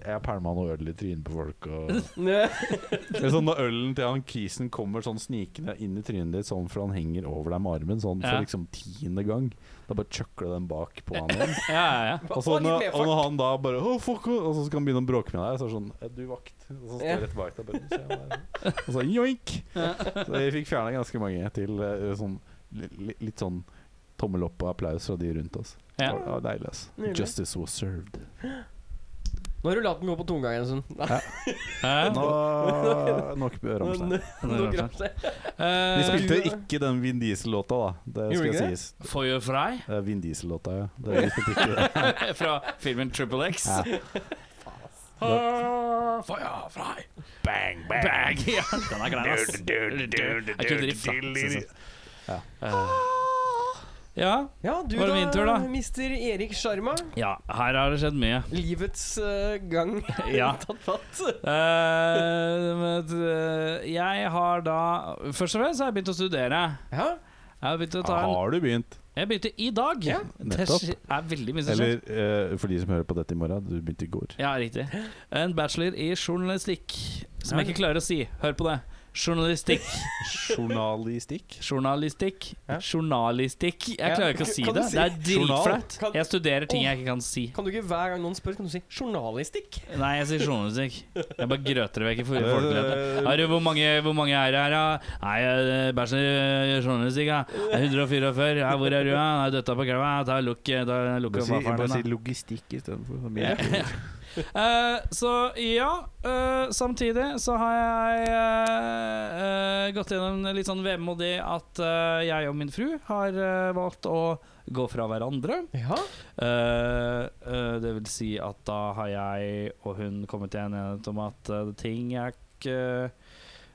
[SPEAKER 4] Jeg pælma noe øl i trynet på folk. Og, Eller sånn Når ølen til han kisen kommer sånn snikende inn i trynet ditt, sånn for han henger over deg med armen, sånn
[SPEAKER 3] Ja.
[SPEAKER 4] for liksom tiende gang, da bare chuckler den bak på han igjen.
[SPEAKER 3] Ja, ja, ja.
[SPEAKER 4] Og, så når, Altså, og når han da bare oh, fuck, oh», Og så skal han begynne å bråke med deg, så er det sånn «Eh, Du vakt. Og så står jeg rett bak deg bare, «Nå ser jeg deg». Og så joink! Så vi fikk fjerna ganske mange til eh, sånn li- li- litt sånn tommel opp og applaus fra de rundt oss.
[SPEAKER 3] Ja.
[SPEAKER 4] Det var deilig, ass.
[SPEAKER 2] Nydelig.
[SPEAKER 4] Justice was served.
[SPEAKER 2] Nå har du latt den gå på tunga igjen, Sund.
[SPEAKER 3] Ja.
[SPEAKER 4] Nå Nok Ramstein.
[SPEAKER 2] eh,
[SPEAKER 4] Vi
[SPEAKER 3] Eh,
[SPEAKER 4] spilte ikke den Vin Diesel-låta, da. Det
[SPEAKER 2] Gjorde
[SPEAKER 4] skal
[SPEAKER 2] ikke det?
[SPEAKER 4] sies.
[SPEAKER 3] For you fry
[SPEAKER 4] Det er Vin Diesel-låta, ja. Det, vi spilte ikke det.
[SPEAKER 3] fra filmen Triple X.
[SPEAKER 4] Ja.
[SPEAKER 3] Ah, For you fry
[SPEAKER 1] Bang, bang.
[SPEAKER 3] Bang! Ja, den er grei, ass.
[SPEAKER 1] Du, du, du, du,
[SPEAKER 3] Jeg kunne riff, da.
[SPEAKER 1] du, du,
[SPEAKER 3] synes jeg.
[SPEAKER 1] du.
[SPEAKER 3] altså.
[SPEAKER 2] Ah.
[SPEAKER 3] Ja.
[SPEAKER 2] Ja, du
[SPEAKER 3] Var det
[SPEAKER 2] da,
[SPEAKER 3] min tur, da?
[SPEAKER 2] mister Erik Sjarma.
[SPEAKER 3] ja, her har det skjedd mye.
[SPEAKER 2] Livets eh, gang
[SPEAKER 3] Ja.
[SPEAKER 2] tatt fatt.
[SPEAKER 3] Eh, men, eh, jeg har da Først og fremst har jeg begynt å studere.
[SPEAKER 2] Ja,
[SPEAKER 3] Jeg har begynt å ta en
[SPEAKER 4] Har du begynt?
[SPEAKER 3] Jeg begynte i dag.
[SPEAKER 2] Ja,
[SPEAKER 3] det
[SPEAKER 4] nettopp.
[SPEAKER 3] skje- er veldig mye som skjer.
[SPEAKER 4] Eller eh, for de som hører på dette i morgen, du begynte i går.
[SPEAKER 3] Ja, riktig. En bachelor i journalistikk. Som jeg ikke klarer å si. Hør på det. Journalistikk.
[SPEAKER 4] Journalistikk?
[SPEAKER 3] Journalistikk.
[SPEAKER 2] Ja.
[SPEAKER 3] Journalistikk.
[SPEAKER 2] Ja.
[SPEAKER 3] Jeg klarer ikke å si
[SPEAKER 2] Kan du
[SPEAKER 3] det.
[SPEAKER 2] si-
[SPEAKER 3] Det er
[SPEAKER 4] Journal?
[SPEAKER 3] dritflaut.
[SPEAKER 2] Kan-
[SPEAKER 3] Jeg studerer ting jeg ikke kan si.
[SPEAKER 2] Kan du ikke hver gang noen spør, kan du si 'journalistikk'?
[SPEAKER 3] Nei, jeg sier journalistikk. Jeg bare grøter det vekk i for- folkelighet.
[SPEAKER 4] Eh,
[SPEAKER 3] Er det, hvor, mange, hvor mange er det her, da? Nei, eh, bachelor i journalistikk, ja. Det er 144. Ja, hvor er du, ja? Nei, døtta på kræva. Ta lukk ta lukk
[SPEAKER 4] Bare
[SPEAKER 3] opp
[SPEAKER 4] si, bare
[SPEAKER 3] vaffelen,
[SPEAKER 4] si
[SPEAKER 3] da.
[SPEAKER 4] logistikk istedenfor.
[SPEAKER 3] Eh, så ja, eh, samtidig så har jeg eh, eh, gått gjennom litt sånn vemodig at eh, jeg og min fru har eh, valgt å gå fra hverandre.
[SPEAKER 2] Ja.
[SPEAKER 3] Eh, eh, det vil si at da har jeg og hun kommet til en enighet om at eh, ting er, ikke-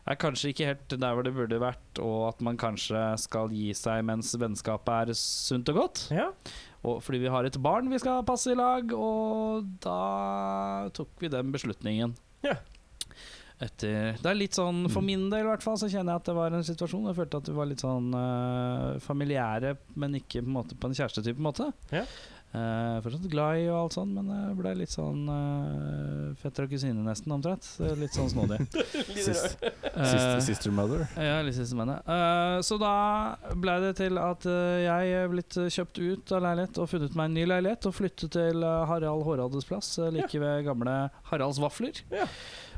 [SPEAKER 3] er kanskje ikke helt der hvor det burde vært, og at man kanskje skal gi seg mens vennskapet er sunt og godt.
[SPEAKER 2] ja.
[SPEAKER 3] Og fordi vi har et barn vi skal passe i lag, og da tok vi den beslutningen.
[SPEAKER 2] Ja. Mm.
[SPEAKER 3] Etter, det er litt sånn, For min del i hvert fall, så kjenner jeg at det var en situasjon. Jeg følte at vi var litt sånn eh, familiære, men ikke på en, måte, på en kjærestetype måte.
[SPEAKER 2] Ja.
[SPEAKER 3] Eh, fortsatt glad i og alt sånn, men det ble litt sånn eh, fetter og kusine nesten, omtrent. Det er Litt sånn snodig. Eh,
[SPEAKER 4] Sister Mother.
[SPEAKER 3] ja, litt siste med det. Eh, så da ble det til at eh, jeg er blitt eh, kjøpt ut av leilighet og funnet meg en ny leilighet og flyttet til eh, Harald Hårades plass, eh, like ved gamle Haralds Vafler.
[SPEAKER 2] Ja.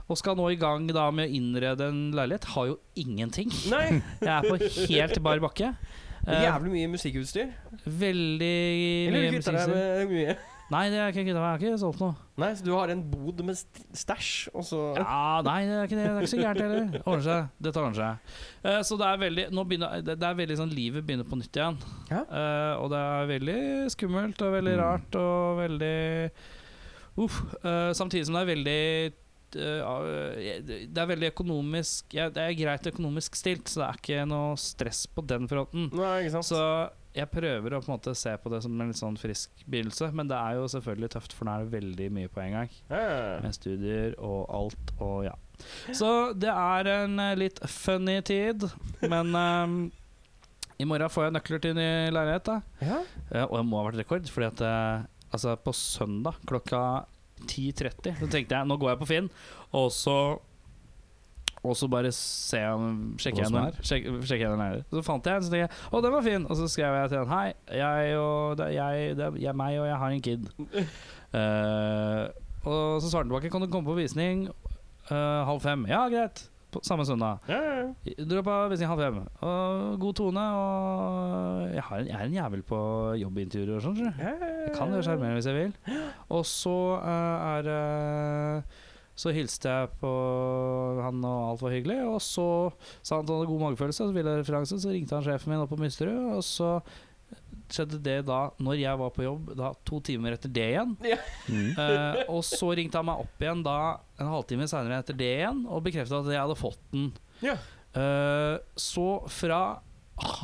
[SPEAKER 3] Og skal nå i gang da med å innrede en leilighet. Har jo ingenting.
[SPEAKER 2] Nei,
[SPEAKER 3] Jeg er på helt bar bakke. Eh,
[SPEAKER 2] jævlig mye musikkutstyr.
[SPEAKER 3] veldig
[SPEAKER 2] Eller
[SPEAKER 3] mye
[SPEAKER 2] du kvitter deg
[SPEAKER 3] musikkstyr.
[SPEAKER 2] med mye?
[SPEAKER 3] Nei, det er ikke jeg har ikke solgt noe.
[SPEAKER 2] Nei, så du har en bod med st- stæsj, og så
[SPEAKER 3] Ja, nei, det er ikke, det. Det er ikke så gærent heller. Ordner seg. Dette ordner seg. Eh, så det er veldig Nå begynner det det er veldig sånn livet begynner på nytt igjen.
[SPEAKER 2] Ja.
[SPEAKER 3] Eh, og det er veldig skummelt og veldig
[SPEAKER 4] Mm.
[SPEAKER 3] rart og veldig Uff. eh, samtidig som det er veldig eh, ja, eh, det er veldig økonomisk ja, Det er greit økonomisk stilt, så det er ikke noe stress på den fronten.
[SPEAKER 2] Nei, ikke sant?
[SPEAKER 3] Så jeg prøver å på en måte se på det som en litt sånn frisk begynnelse, men det er jo selvfølgelig tøft, for nå er det veldig mye på en gang
[SPEAKER 2] Ja, ja, ja.
[SPEAKER 3] med studier og alt og ja. Så det er en eh, litt funny tid, men ehm, i morgen får jeg nøkler til ny leilighet, da.
[SPEAKER 2] ja.
[SPEAKER 3] Eh, og jeg må ha vært rekord, fordi at eh, altså på søndag klokka 10.30 så tenkte jeg nå går jeg på Finn, og så og så bare se om, sjekke
[SPEAKER 4] Hva som
[SPEAKER 3] henne. Sjekke, sjekke henne nærmere. Så fant jeg en, så tenkte jeg å, den var fin. Og så skrev jeg til henne hei, jeg og det er jeg, det er jeg, meg og jeg har en kid. Eh, og så svarte han tilbake kan du komme på visning eh, halv fem. Ja, greit. På samme søndag.
[SPEAKER 2] ja, ja.
[SPEAKER 3] Dra på visning halv fem. Og god tone. Og jeg, har en, jeg er en jævel på jobbintervjuer og sånn. skjønner du.
[SPEAKER 2] ja.
[SPEAKER 3] Jeg kan være sjarmerende hvis jeg vil. Og så eh, er det Så hilste jeg på han, og alt var hyggelig. Og så sa han at han hadde god magefølelse, og så ville jeg referanse, så ringte han sjefen min opp på Mysterud, og så skjedde det da når jeg var på jobb, da to timer etter det igjen.
[SPEAKER 2] Ja.
[SPEAKER 3] Eh, og så ringte han meg opp igjen da en halvtime seinere etter det igjen og bekrefta at jeg hadde fått den.
[SPEAKER 2] Ja.
[SPEAKER 3] Eh, så fra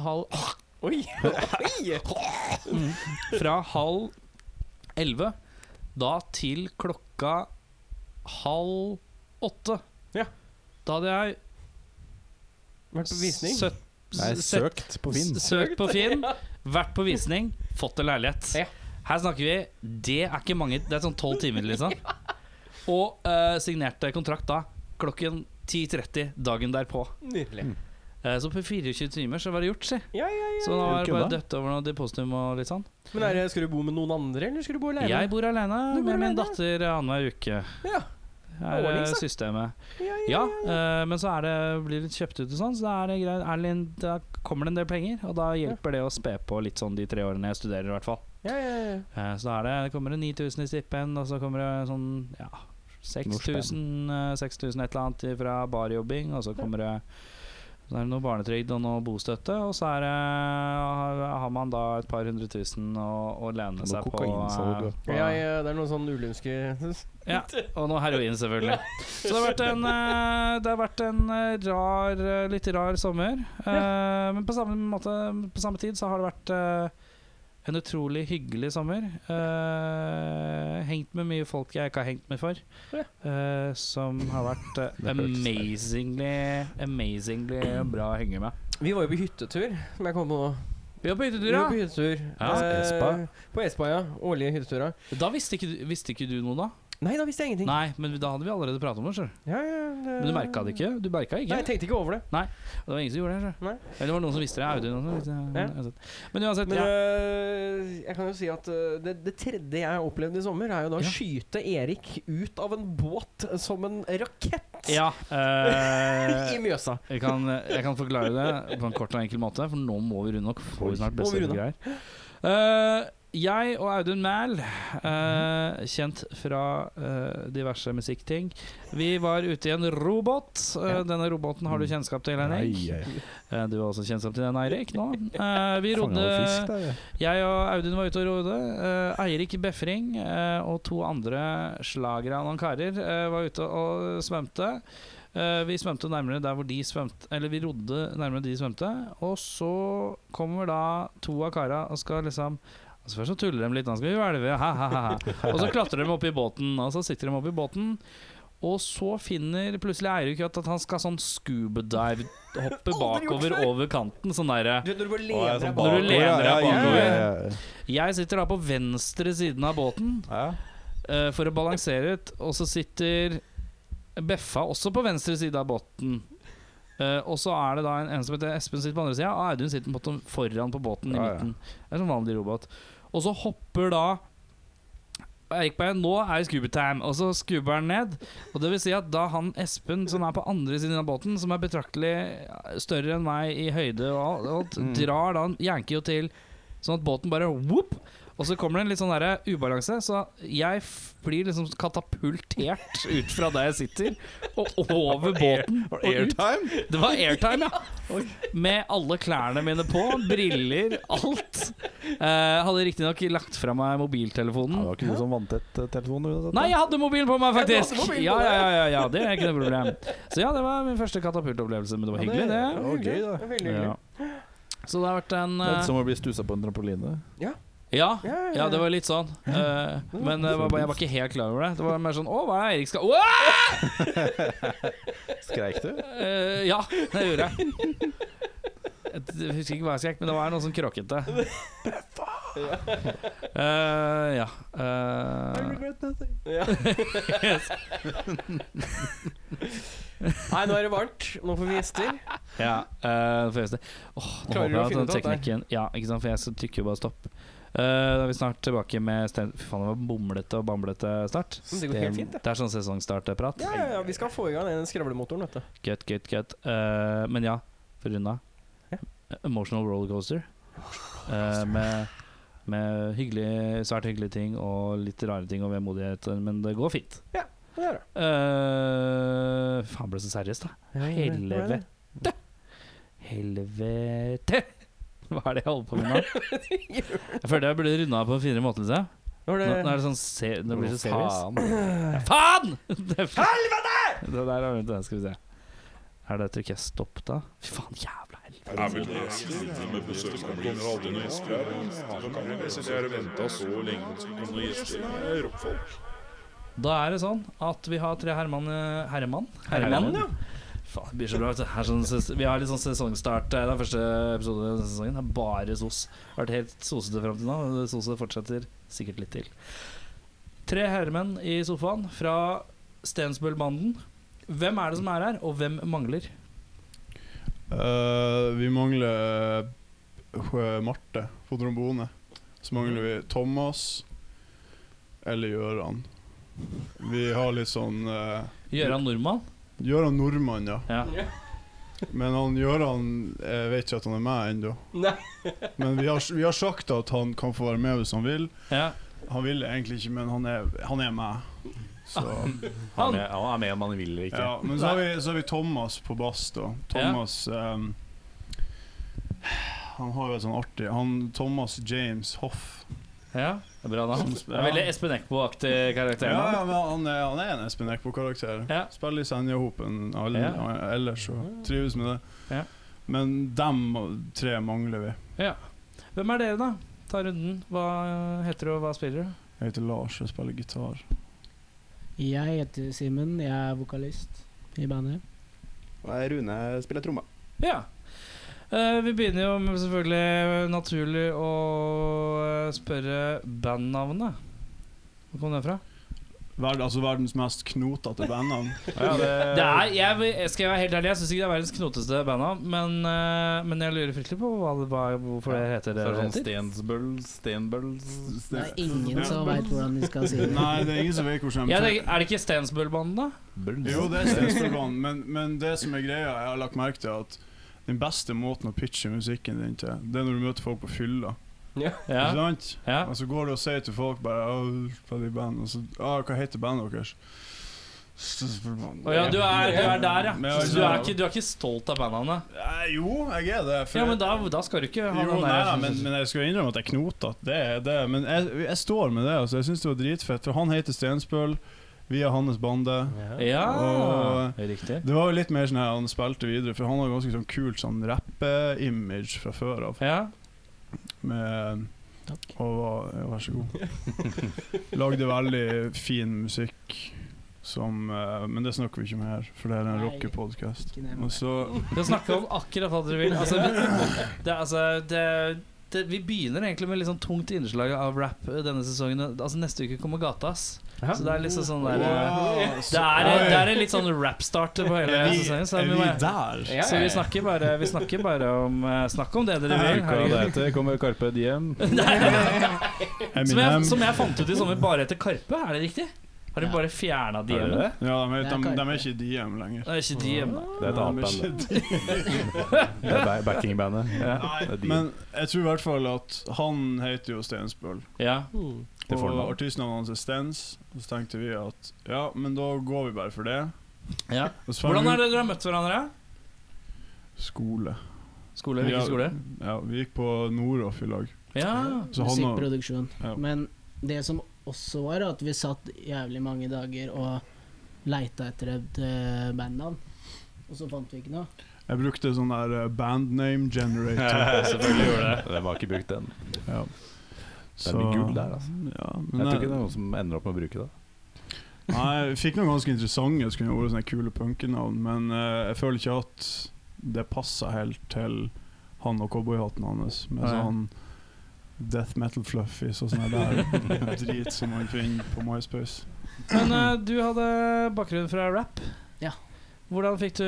[SPEAKER 3] halv,
[SPEAKER 2] Oi! Oi!
[SPEAKER 3] fra halv elleve da til klokka halv åtte
[SPEAKER 2] Ja.
[SPEAKER 3] Da hadde jeg
[SPEAKER 2] Vært på visning.
[SPEAKER 3] sø-
[SPEAKER 4] Nei,
[SPEAKER 3] sett-
[SPEAKER 4] søkt på Finn.
[SPEAKER 3] S- Søkt på Finn, vært på visning, fått en leilighet.
[SPEAKER 2] Ja.
[SPEAKER 3] Her snakker vi Det er ikke mange Det er sånn tolv timer, liksom. Og eh, signerte kontrakt da klokken 10.30 dagen derpå.
[SPEAKER 2] Nydelig.
[SPEAKER 3] Eh, så på 24 timer så var det gjort, si.
[SPEAKER 2] Ja, ja, ja.
[SPEAKER 3] Så nå er det bare
[SPEAKER 4] Kødda.
[SPEAKER 3] dødt over noe depositum og litt sånn.
[SPEAKER 2] Men er det, skal du bo med noen andre, eller skal du bo alene?
[SPEAKER 3] Jeg bor aleine
[SPEAKER 2] Du bor
[SPEAKER 3] med min
[SPEAKER 2] alene?
[SPEAKER 3] datter annenhver uke.
[SPEAKER 2] Ja.
[SPEAKER 3] Det er
[SPEAKER 2] Ordning,
[SPEAKER 3] eh,
[SPEAKER 2] så.
[SPEAKER 3] systemet.
[SPEAKER 2] Ja, ja.
[SPEAKER 3] Ja, eh, men så er det, blir det litt kjøpt ut og sånn, så da, er det greit. Er det, en- da kommer det en del penger. Og da hjelper det å spe på litt sånn de tre årene jeg studerer, i hvert fall.
[SPEAKER 2] ja, ja, ja.
[SPEAKER 3] Eh, Så da er det, det kommer det 9000 i stipend, og så kommer det sånn ja, 6000 eh, 6000 et eller annet fra barjobbing, og så kommer det så er det noe barnetrygd og noe bostøtte, og så er det, har har man da et par hundre tusen å, å lene
[SPEAKER 4] Noe
[SPEAKER 3] seg på.
[SPEAKER 4] kokainsalg,
[SPEAKER 3] eh,
[SPEAKER 4] ja.
[SPEAKER 3] på-
[SPEAKER 2] Ja, ja, det er noen sånn ulønske
[SPEAKER 3] ja, og noe heroin, selvfølgelig. Så det har vært en, eh, det har vært en eh, rar, eh, litt rar sommer. Eh, Men på samme, måte, på samme tid så har det vært eh, en utrolig hyggelig sommer. Eh, Hengt med mye folk jeg ikke har hengt med for.
[SPEAKER 2] Ja.
[SPEAKER 3] eh, Som har vært eh,
[SPEAKER 4] Det hørtes feil.
[SPEAKER 3] amazingly, amazingly bra å henge med.
[SPEAKER 2] Vi var jo på hyttetur, som jeg kom på nå.
[SPEAKER 3] Vi var på
[SPEAKER 2] Vi
[SPEAKER 3] hyttetur,
[SPEAKER 2] var på
[SPEAKER 3] ja.
[SPEAKER 2] hyttetur.
[SPEAKER 3] Ja.
[SPEAKER 2] Eh,
[SPEAKER 4] Espa.
[SPEAKER 2] På Espa, ja. Årlige hytteturer.
[SPEAKER 3] Da visste ikke, du- visste ikke du noe, da?
[SPEAKER 2] Nei, da visste jeg ingenting.
[SPEAKER 3] Nei, men da hadde vi allerede pratet om det. skjønner du.
[SPEAKER 2] Ja, ja, det-
[SPEAKER 3] Men du merka det ikke? Du merket ikke?
[SPEAKER 2] Nei, jeg tenkte ikke over det.
[SPEAKER 3] Det var ingen som gjorde det. Så.
[SPEAKER 2] Nei.
[SPEAKER 3] Eller det var noen som visste det. Audun også, visste det, men
[SPEAKER 2] Ja.
[SPEAKER 3] uansett. Men uansett,
[SPEAKER 2] Men
[SPEAKER 3] ja.
[SPEAKER 2] øh, jeg kan jo si at øh, det, det tredje jeg opplevde i sommer, er jo da å
[SPEAKER 3] Ja.
[SPEAKER 2] skyte Erik ut av en båt som en rakett
[SPEAKER 3] ja
[SPEAKER 2] i
[SPEAKER 3] eh,
[SPEAKER 2] Mjøsa.
[SPEAKER 3] jeg, kan, jeg kan forklare det på en kort og enkel måte, for nå må vi runde nok. Får vi snart
[SPEAKER 2] Må vi
[SPEAKER 3] beste
[SPEAKER 2] runde?
[SPEAKER 3] greier. Eh, jeg og Audun Mæhl, eh, kjent fra eh, diverse musikkting, vi var ute i en robåt. Eh,
[SPEAKER 2] Ja.
[SPEAKER 3] Denne robåten har du kjennskap til, Henrik.
[SPEAKER 4] Nei, jeg
[SPEAKER 3] Eh, du har også kjennskap til den, Eirik, nå. Eh, vi
[SPEAKER 4] fanga
[SPEAKER 3] rodde
[SPEAKER 4] noe fisk der. jeg.
[SPEAKER 3] Jeg og Audun var ute og rodde. Eh, Eirik Befring eh, og to andre slagere av noen karer eh, var ute og svømte. Eh, vi svømte nærmere der hvor de svømte Eller vi rodde nærmere de svømte. Og så kommer da to av kara og skal liksom altså Først så tuller de litt, nå skal vi hvelve, ha, ha, ha, ha. Og så klatrer de opp i båten, og så sitter de opp i båten. Og så finner plutselig Eirik ut at han skal sånn scuba-dive-hoppe
[SPEAKER 2] Aldri gjort
[SPEAKER 3] bakover
[SPEAKER 2] før.
[SPEAKER 3] over kanten. Sånn derre
[SPEAKER 2] Du vet når du bare
[SPEAKER 4] Å, jeg
[SPEAKER 2] lener
[SPEAKER 4] er sånn
[SPEAKER 2] deg
[SPEAKER 3] Når
[SPEAKER 2] bak.
[SPEAKER 3] du
[SPEAKER 4] bakover,
[SPEAKER 3] lener deg
[SPEAKER 4] ja, ja,
[SPEAKER 3] bakover.
[SPEAKER 4] ja, ja,
[SPEAKER 3] Jeg sitter da på venstre siden av båten
[SPEAKER 4] ja.
[SPEAKER 3] eh, for å balansere ut, og så sitter Beffa også på venstre side av båten. Eh, og så er det da en, en som heter Espen sitter på andre sida, og Audun sitter på en måte foran på båten i
[SPEAKER 4] Ja, ja.
[SPEAKER 3] midten. Det er som vanlig robot. Og så hopper da Eirik Bein, nå er det scuba time, og så scuber han ned. Og det vil si at da han Espen, som er på andre siden av båten, som er betraktelig eh, større enn meg i høyde og alt, alt,
[SPEAKER 4] Mm.
[SPEAKER 3] drar da Yankee jo til, sånn at båten bare whoop, og så kommer det en litt sånn der ubalanse, så jeg f blir liksom katapultert ut fra der jeg sitter, og over båten og ut.
[SPEAKER 4] Airtime?
[SPEAKER 3] Det var airtime, ja. Med alle klærne mine på, briller, alt. Eh, hadde riktignok lagt fra meg
[SPEAKER 4] Ja, det
[SPEAKER 3] mobiltelefonen.
[SPEAKER 4] var ikke noe som vanntett eh, telefon uansett. da.
[SPEAKER 3] Nei, jeg hadde mobilen på meg, faktisk!
[SPEAKER 2] Ja, du hadde mobilen på
[SPEAKER 3] Ja, ja,
[SPEAKER 2] deg.
[SPEAKER 3] ja, ja, ja, det er ikke noe problem. Så ja, det var min første katapultopplevelse, men det var
[SPEAKER 2] Ja, det
[SPEAKER 3] hyggelig, det.
[SPEAKER 2] var hyggelig.
[SPEAKER 4] Det var gøy, da.
[SPEAKER 2] Det var veldig hyggelig.
[SPEAKER 3] Ja. Så det har vært en
[SPEAKER 4] Det er
[SPEAKER 3] eh,
[SPEAKER 4] Som å bli stussa på en trampoline.
[SPEAKER 3] Ja,
[SPEAKER 2] Ja, ja,
[SPEAKER 3] ja, det var litt sånn. Eh, men det var bare, jeg var ikke helt klar over det. Det var mer sånn Å, hva er det Eirik skal Åh!
[SPEAKER 4] Skreik du?
[SPEAKER 3] Eh, ja, det gjorde jeg. Jeg husker ikke hva jeg skrek, men det var noe sånn kråkete. Eh, ja. eh,
[SPEAKER 2] Ja. Nei, nå er det varmt. Nå får vi gjester.
[SPEAKER 3] ja eh, for jeg- Åh, nå
[SPEAKER 2] Klarer du
[SPEAKER 3] håper
[SPEAKER 2] å
[SPEAKER 3] jeg at
[SPEAKER 2] finne
[SPEAKER 3] den
[SPEAKER 2] ut av det?
[SPEAKER 3] teknikken Ja, ikke sant, for jeg så trykker jo bare stopp. Eh, da er vi snart tilbake med Sten... Fy faen, det var bomlete og bamblete start.
[SPEAKER 2] Men det går helt fint, det.
[SPEAKER 3] Det er sånn sesongstartprat.
[SPEAKER 2] Ja, ja, ja, vi skal få i gang den skravlemotoren, vet du.
[SPEAKER 3] Cut, cut, cut. Eh, men ja, for å runde av.
[SPEAKER 2] Ja.
[SPEAKER 3] Emotional rollercoaster. Eh, med med hyggelige, svært hyggelige ting og litt rare ting og vemodigheter, men det går fint.
[SPEAKER 2] Det er det.
[SPEAKER 3] Eh, faen, ble det så seriøst, da. Helvete. Helvete! Hva er det jeg holder på med nå? Jeg følte jeg burde runda av på en finere måte. Liksom.
[SPEAKER 2] Nå
[SPEAKER 3] Nå,
[SPEAKER 2] er
[SPEAKER 3] nå
[SPEAKER 2] det
[SPEAKER 3] er det sånn se, Det blir så seriøst.
[SPEAKER 4] Faen.
[SPEAKER 3] Faen! Helvete! Det der er vent, da, Skal vi se. Her det trykker jeg stopp, da. Fy faen, jævla helvete.
[SPEAKER 5] Er vel det siste med besøksmålet. Kommer aldri noen gjester her. Da kan vi sitte vente så lenge på at det skal komme noen gjester. Det er rockfolk.
[SPEAKER 3] Da er det sånn at vi har tre Herman eh, Herman?
[SPEAKER 2] Herman, ja.
[SPEAKER 3] Faen, det blir så bra. vet du. Her sånn, ses- vi har litt sånn sesongstart. eh, Den første episoden av sesongen er bare sos. Vært helt sosete fram til nå. og Sose fortsetter sikkert litt til. Tre herremenn i sofaen fra Stensbøl-banden. Hvem er det som er her, og hvem mangler?
[SPEAKER 6] Eh, vi mangler eh, Marte på trombone. Så mangler vi Thomas eller Gøran. Vi har litt sånn eh,
[SPEAKER 3] Gøran Nordmann.
[SPEAKER 6] Gøran nordmann, ja.
[SPEAKER 3] Ja.
[SPEAKER 6] Men han Gøran eh, vet ikke at han er med ennå.
[SPEAKER 2] Nei.
[SPEAKER 6] Men vi har, vi har sagt at han kan få være med hvis han vil.
[SPEAKER 3] ja.
[SPEAKER 6] Han vil egentlig ikke, men han er, han er med. Så,
[SPEAKER 3] Han.
[SPEAKER 4] Han er, han er med om han vil eller ikke.
[SPEAKER 6] ja. Men så har, vi, så har vi Thomas på bass, da. Thomas ehm, Han har jo et sånn artig Han Thomas James Hoff.
[SPEAKER 3] ja. Det er bra navn. Det er Veldig Espen Eckbo-aktig
[SPEAKER 6] Ja,
[SPEAKER 3] karakter. nå.
[SPEAKER 6] ja, men han er, han er en Espen Eckbo-karakter.
[SPEAKER 3] Ja.
[SPEAKER 6] Spiller i Senjahopen alle-
[SPEAKER 3] Ja.
[SPEAKER 6] ellers og trives med det.
[SPEAKER 3] Ja.
[SPEAKER 6] Men dem tre mangler vi.
[SPEAKER 3] Hvem er dere, da? Ta runden. Hva heter du, og hva spiller du?
[SPEAKER 6] Jeg heter Lars, jeg spiller gitar.
[SPEAKER 7] Jeg heter Simen, jeg er vokalist i bandet.
[SPEAKER 8] Og Rune spiller tromma.
[SPEAKER 3] Ja. Eh, vi begynner jo med selvfølgelig naturlig å eh, spørre bandnavnet. Hvor kom det fra?
[SPEAKER 6] Verd, altså verdens mest knotete bandnavn.
[SPEAKER 3] Det er, jeg, vil- jeg skal være helt ærlig, jeg syns ikke det er verdens knoteste bandnavn, men, eh, men jeg lurer fryktelig på hva, det- hva, hvorfor det heter
[SPEAKER 4] Så
[SPEAKER 3] det
[SPEAKER 4] er det
[SPEAKER 3] det
[SPEAKER 4] sånn
[SPEAKER 3] heter.
[SPEAKER 4] Stensbøl, Stenbøl s-
[SPEAKER 7] Det er ingen som veit hvordan de skal si det.
[SPEAKER 6] Nei, det er ingen som vet hvordan
[SPEAKER 3] Ja,
[SPEAKER 6] de
[SPEAKER 3] det, er det ikke Stensbøl-banden, da?
[SPEAKER 4] Bøl.
[SPEAKER 6] Jo, det er Stenstorbanen, men, men det som er greia, jeg har lagt merke til at den beste måten å pitche musikken din til, det er når du møter folk på fylla. Ikke
[SPEAKER 3] Ja.
[SPEAKER 6] sant?
[SPEAKER 3] ja.
[SPEAKER 6] Og så går du og sier til folk bare «Å, spiller i band, og så «Å, hva heter bandet deres? Stenstorbanen.
[SPEAKER 3] Å ja, du er, du er der, ja.
[SPEAKER 6] Men jeg-
[SPEAKER 3] Så du er ikke, du er ikke stolt av bandnavnet?
[SPEAKER 6] Eh, jo, jeg er det. for
[SPEAKER 3] Ja, men
[SPEAKER 6] jeg-
[SPEAKER 3] da, da skal du ikke ha
[SPEAKER 6] jo,
[SPEAKER 3] den
[SPEAKER 6] nei, nei,
[SPEAKER 3] der.
[SPEAKER 6] men, men jeg skal innrømme at jeg knotet. Det er det. Men jeg, jeg står med det. altså Jeg syns det var dritfett. For han heter Stensbøl. Vi er hans bande.
[SPEAKER 3] Ja,
[SPEAKER 6] Og-
[SPEAKER 3] riktig.
[SPEAKER 6] Det var jo litt mer sånn her han spilte videre, for han har ganske sånn kult sånn rappe-image fra før av.
[SPEAKER 3] Ja.
[SPEAKER 6] Med Og var ja, Vær så god. Lagde veldig fin musikk som eh, Men det snakker vi ikke om her, for det er en
[SPEAKER 7] Nei.
[SPEAKER 6] rockepodkast.
[SPEAKER 7] Ikke nevn
[SPEAKER 6] Og
[SPEAKER 7] det.
[SPEAKER 6] så
[SPEAKER 3] Dere snakker om akkurat hva dere vil. Altså, vi, det, er- altså, det, det, vi begynner egentlig med litt sånn tungt innslag av rap eh, denne sesongen. Altså Neste uke kommer Gatas. Så det er liksom sånn der Det er, det er en litt sånn rap-start på hele
[SPEAKER 6] Er vi,
[SPEAKER 3] sesongen. Så,
[SPEAKER 6] er
[SPEAKER 3] vi,
[SPEAKER 6] vi
[SPEAKER 3] bare,
[SPEAKER 6] der?
[SPEAKER 2] Ja,
[SPEAKER 3] så
[SPEAKER 2] ja,
[SPEAKER 3] vi,
[SPEAKER 2] ja.
[SPEAKER 3] snakker bare, vi snakker bare om eh, Snakk om det dere vil.
[SPEAKER 4] Hva
[SPEAKER 3] herregud.
[SPEAKER 4] det heter? Kommer Carpe Diem?
[SPEAKER 3] Som jeg,
[SPEAKER 6] Eminem.
[SPEAKER 3] som jeg fant ut i sommer, bare heter Karpe. Er det riktig? Har de bare fjerna
[SPEAKER 4] Er det
[SPEAKER 3] DM-en?
[SPEAKER 4] det?
[SPEAKER 6] Ja, de, er-
[SPEAKER 7] Det er
[SPEAKER 6] de, de er
[SPEAKER 7] Karpe.
[SPEAKER 6] ikke DM lenger.
[SPEAKER 3] Det er ikke DM, da.
[SPEAKER 4] Det er et annet
[SPEAKER 6] De er
[SPEAKER 4] band.
[SPEAKER 6] ikke
[SPEAKER 4] det. Det er ba- backing-bandet. Det er
[SPEAKER 6] Nei,
[SPEAKER 4] de.
[SPEAKER 6] men jeg tror i hvert fall at han heter jo Stensbøl.
[SPEAKER 3] Ja.
[SPEAKER 4] Til
[SPEAKER 6] Og
[SPEAKER 4] fornavn.
[SPEAKER 6] artistnavnet hans er Stens. Og så tenkte vi at ja, men da går vi bare for det.
[SPEAKER 3] ja.
[SPEAKER 6] Og så fant
[SPEAKER 3] Hvordan
[SPEAKER 6] vi
[SPEAKER 3] er det dere har møtt hverandre?
[SPEAKER 6] ut- Skole.
[SPEAKER 3] Skole? Hvilken skole?
[SPEAKER 6] Ja, vi gikk på Noroff i lag.
[SPEAKER 3] Ja.
[SPEAKER 6] Så han og-
[SPEAKER 7] Musikkproduksjon.
[SPEAKER 6] Ja.
[SPEAKER 7] Men det som også var, at vi satt jævlig mange dager og leita etter et eh, bandnavn. Og så fant vi ikke noe.
[SPEAKER 6] Jeg brukte sånn der eh, bandname generator.
[SPEAKER 4] Selvfølgelig gjorde det. Det var ikke brukt den.
[SPEAKER 6] ja.
[SPEAKER 4] Det er mye gull der, altså.
[SPEAKER 6] Ja, men
[SPEAKER 4] Jeg tror ikke
[SPEAKER 6] jeg-
[SPEAKER 4] det er noen som ender opp med å bruke det.
[SPEAKER 6] Nei, jeg fikk noen ganske interessante så kunne jeg vært sånne kule punkenavn, men eh, jeg føler ikke at det passer helt til han og cowboyhatten hans, med
[SPEAKER 3] Nei.
[SPEAKER 6] sånn death metal fluffies og sånn der drit som man finner på MySpace.
[SPEAKER 3] Men eh, du hadde bakgrunn fra rap.
[SPEAKER 7] Ja.
[SPEAKER 3] Hvordan fikk du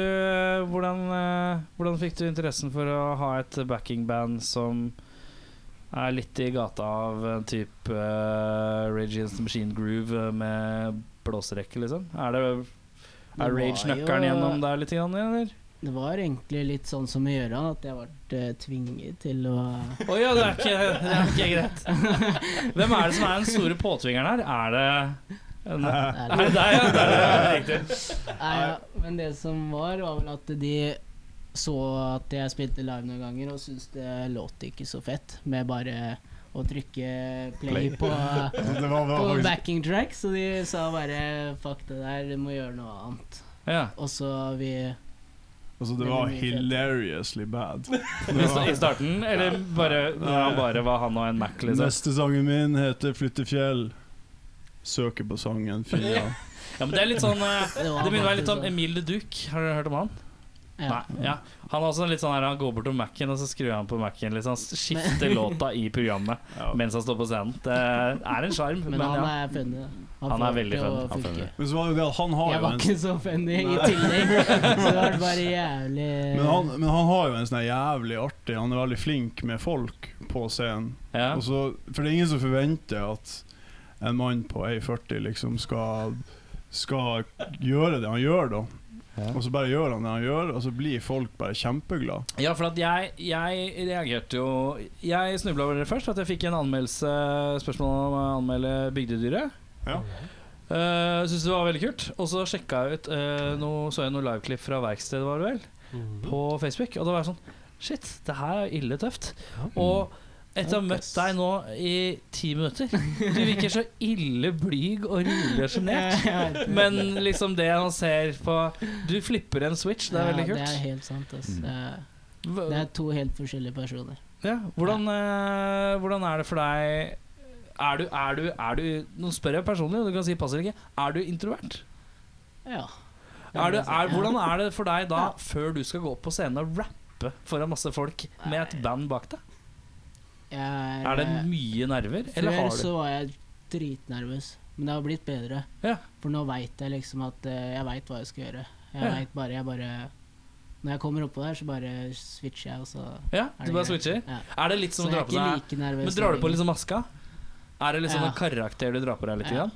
[SPEAKER 3] hvordan, eh, hvordan fikk du interessen for å ha et backingband som er litt i gata av en type eh, Rage Against the Machine Groove eh, med blåserekke, liksom? Er det
[SPEAKER 7] Det
[SPEAKER 3] er
[SPEAKER 7] var
[SPEAKER 3] rage-nøkkelen
[SPEAKER 7] jo-
[SPEAKER 3] gjennom der litt, grann, eller?
[SPEAKER 7] Det var egentlig litt sånn som med Gøran, at jeg ble eh, tvinget til å
[SPEAKER 3] Å ja, det er, ikke, det er ikke greit. Hvem er det som er den store påtvingeren her? Er det en,
[SPEAKER 7] Nei,
[SPEAKER 3] Er det deg, ja? Det er det, det er riktig.
[SPEAKER 7] Nei, ja, men det som var, var vel at de
[SPEAKER 9] så at jeg spilte live noen ganger og syntes det låt ikke så fett med bare å trykke play, på, eh, på
[SPEAKER 6] Det var, var faktisk
[SPEAKER 9] backing track, så de sa bare fuck det der, du må gjøre noe annet.
[SPEAKER 3] Ja.
[SPEAKER 9] Og så vi
[SPEAKER 6] Altså, det var hilariously bad.
[SPEAKER 3] Men så- I starten, eller bare når han bare var han og en Mac, liksom?
[SPEAKER 6] Neste sangen min heter 'Flyttefjell'. Søker på sangen, finner den.
[SPEAKER 3] Ja, men det er litt sånn eh,
[SPEAKER 9] Det var
[SPEAKER 3] Det minner meg
[SPEAKER 9] faktisk
[SPEAKER 3] litt om
[SPEAKER 9] sånn.
[SPEAKER 3] Emil Duc. Har du hørt om han?
[SPEAKER 9] Ja.
[SPEAKER 3] Nei, ja. Han er også litt sånn her, han går bort til Mac-en, og så skrur han på Mac-en. Liksom. Skifter låta i programmet
[SPEAKER 6] Ja.
[SPEAKER 3] mens han står på scenen. Det er en sjarm.
[SPEAKER 9] Men,
[SPEAKER 3] Men,
[SPEAKER 9] han
[SPEAKER 3] ja.
[SPEAKER 9] er funny. da.
[SPEAKER 3] Han er
[SPEAKER 9] får
[SPEAKER 3] veldig
[SPEAKER 9] til å
[SPEAKER 3] funny.
[SPEAKER 4] Han er funny.
[SPEAKER 9] funke.
[SPEAKER 6] Men så var det jo det at han har
[SPEAKER 9] Jeg
[SPEAKER 6] jo
[SPEAKER 9] var
[SPEAKER 6] en
[SPEAKER 9] ikke så funny i tillegg, så det var bare jævlig
[SPEAKER 6] Men han, men han har jo en sånn her jævlig artig Han er veldig flink med folk på scenen.
[SPEAKER 3] Ja.
[SPEAKER 6] Og så, for det er ingen som forventer at en mann på 1,40 liksom skal, skal gjøre det han gjør, da. Og så bare gjør han det han gjør, og så blir folk bare kjempeglad.
[SPEAKER 3] Ja, for at jeg, jeg reagerte jo Jeg snubla over det først, at jeg fikk en anmeldelse spørsmål om å anmelde Bygdedyret.
[SPEAKER 6] Ja.
[SPEAKER 3] Uh, Syns det var veldig kult. Og så sjekka jeg ut eh, noe- Så jeg noen liveklipp fra verkstedet, var det vel?
[SPEAKER 2] Mm.
[SPEAKER 3] På Facebook. Og da var jeg sånn Shit, det her er ille tøft.
[SPEAKER 9] Mm.
[SPEAKER 3] Og etter å ha møtt deg nå i ti minutter Du virker så ille blyg og rolig og sjenert. Men liksom det han ser på Du flipper en switch, det er veldig
[SPEAKER 9] Ja, det er
[SPEAKER 3] kult.
[SPEAKER 9] helt sant. Ass.
[SPEAKER 6] Mm.
[SPEAKER 9] Det er-
[SPEAKER 3] Hva-
[SPEAKER 9] Det er to helt forskjellige personer.
[SPEAKER 3] Ja, hvordan, eh, hvordan er det for deg er du, er du, er du Nå spør jeg personlig, og du kan si passer ikke. Er du introvert?
[SPEAKER 9] Ja. altså,
[SPEAKER 3] Er du, er, hvordan er det for deg da, før du skal gå opp på scenen og rappe foran masse folk med et band bak deg?
[SPEAKER 9] Jeg er,
[SPEAKER 3] Er det mye nerver, eller
[SPEAKER 9] Før
[SPEAKER 3] har du
[SPEAKER 9] så var Eh, jeg dritnervøs, men det har blitt bedre.
[SPEAKER 3] Ja.
[SPEAKER 9] For nå veit jeg liksom at eh, jeg veit hva jeg skal gjøre. Jeg
[SPEAKER 3] Ja.
[SPEAKER 9] vet bare, jeg bare Når jeg kommer oppå der, så bare switcher jeg, og så er
[SPEAKER 3] Ja, du
[SPEAKER 9] det
[SPEAKER 3] bare
[SPEAKER 9] greit.
[SPEAKER 3] switcher?
[SPEAKER 9] Ja.
[SPEAKER 3] Er det litt
[SPEAKER 9] Så
[SPEAKER 3] som å
[SPEAKER 9] jeg
[SPEAKER 3] dra
[SPEAKER 9] er
[SPEAKER 3] på
[SPEAKER 9] ikke
[SPEAKER 3] deg
[SPEAKER 9] like nervøs.
[SPEAKER 3] Men drar du på
[SPEAKER 9] lenger.
[SPEAKER 3] liksom maska? Er det liksom
[SPEAKER 9] Ja.
[SPEAKER 3] en karakter du drar på deg litt?
[SPEAKER 9] Ja.
[SPEAKER 3] Grann?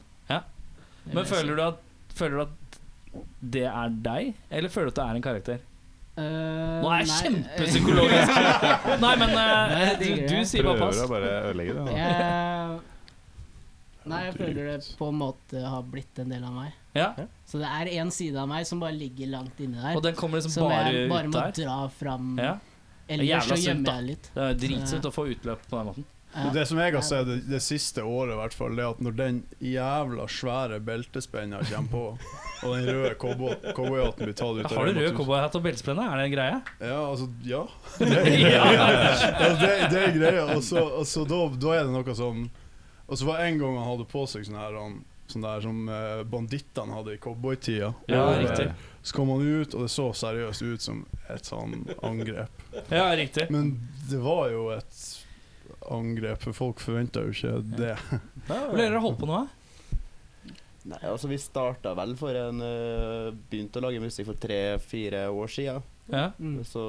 [SPEAKER 3] Men
[SPEAKER 9] Det vil jeg si.
[SPEAKER 3] føler du, at, føler du at det er deg, eller føler du at det er en karakter?
[SPEAKER 9] Eh,
[SPEAKER 3] Nå er jeg
[SPEAKER 9] nei.
[SPEAKER 3] kjempepsykologisk! Nei, men eh,
[SPEAKER 9] Nei,
[SPEAKER 3] du,
[SPEAKER 9] det-
[SPEAKER 3] du sier bare
[SPEAKER 4] Prøver
[SPEAKER 3] pass.
[SPEAKER 4] å bare ødelegge det. Da.
[SPEAKER 9] Jeg- Nei, jeg føler det på en måte har blitt en del av meg.
[SPEAKER 3] Ja.
[SPEAKER 9] Så det er én side av meg som bare ligger langt inni der.
[SPEAKER 3] Og den kommer liksom
[SPEAKER 9] Som
[SPEAKER 3] bare
[SPEAKER 9] jeg bare
[SPEAKER 3] ut
[SPEAKER 9] må
[SPEAKER 3] der.
[SPEAKER 9] dra fram.
[SPEAKER 3] Ja.
[SPEAKER 9] Ellers
[SPEAKER 3] Jævla
[SPEAKER 9] så
[SPEAKER 3] sunt, da.
[SPEAKER 9] gjemmer jeg litt.
[SPEAKER 3] Det er dritsunt å få utløp på den måten.
[SPEAKER 9] Ja.
[SPEAKER 6] Det som jeg har sett det, det siste året, i hvert fall, det er at når den jævla svære beltespenna kommer på, og den røde cowboy- cowboyhatten blir tatt ut av
[SPEAKER 3] Har du rød
[SPEAKER 6] Rema 1000
[SPEAKER 3] cowboyhatt og beltesprenne? Er det en greie?
[SPEAKER 6] Ja, altså Ja. Det er, ja, det, det er greia. Og så, og så da, da er det noe som Og så var det en gang han hadde på seg sånn her han- Sånn der som eh, bandittene hadde i cowboytida.
[SPEAKER 3] Ja,
[SPEAKER 6] Og, eh,
[SPEAKER 3] riktig.
[SPEAKER 6] Så kom han ut, og det så seriøst ut som et sånn angrep.
[SPEAKER 3] Ja, riktig.
[SPEAKER 6] Men det var jo et angrep, for folk forventa jo ikke det.
[SPEAKER 3] Hvor lenge har dere holdt på nå? da?
[SPEAKER 2] Nei, altså Vi starta vel for en øh, Begynte å lage musikk for tre-fire år sia.
[SPEAKER 3] Ja.
[SPEAKER 9] Mm.
[SPEAKER 2] Så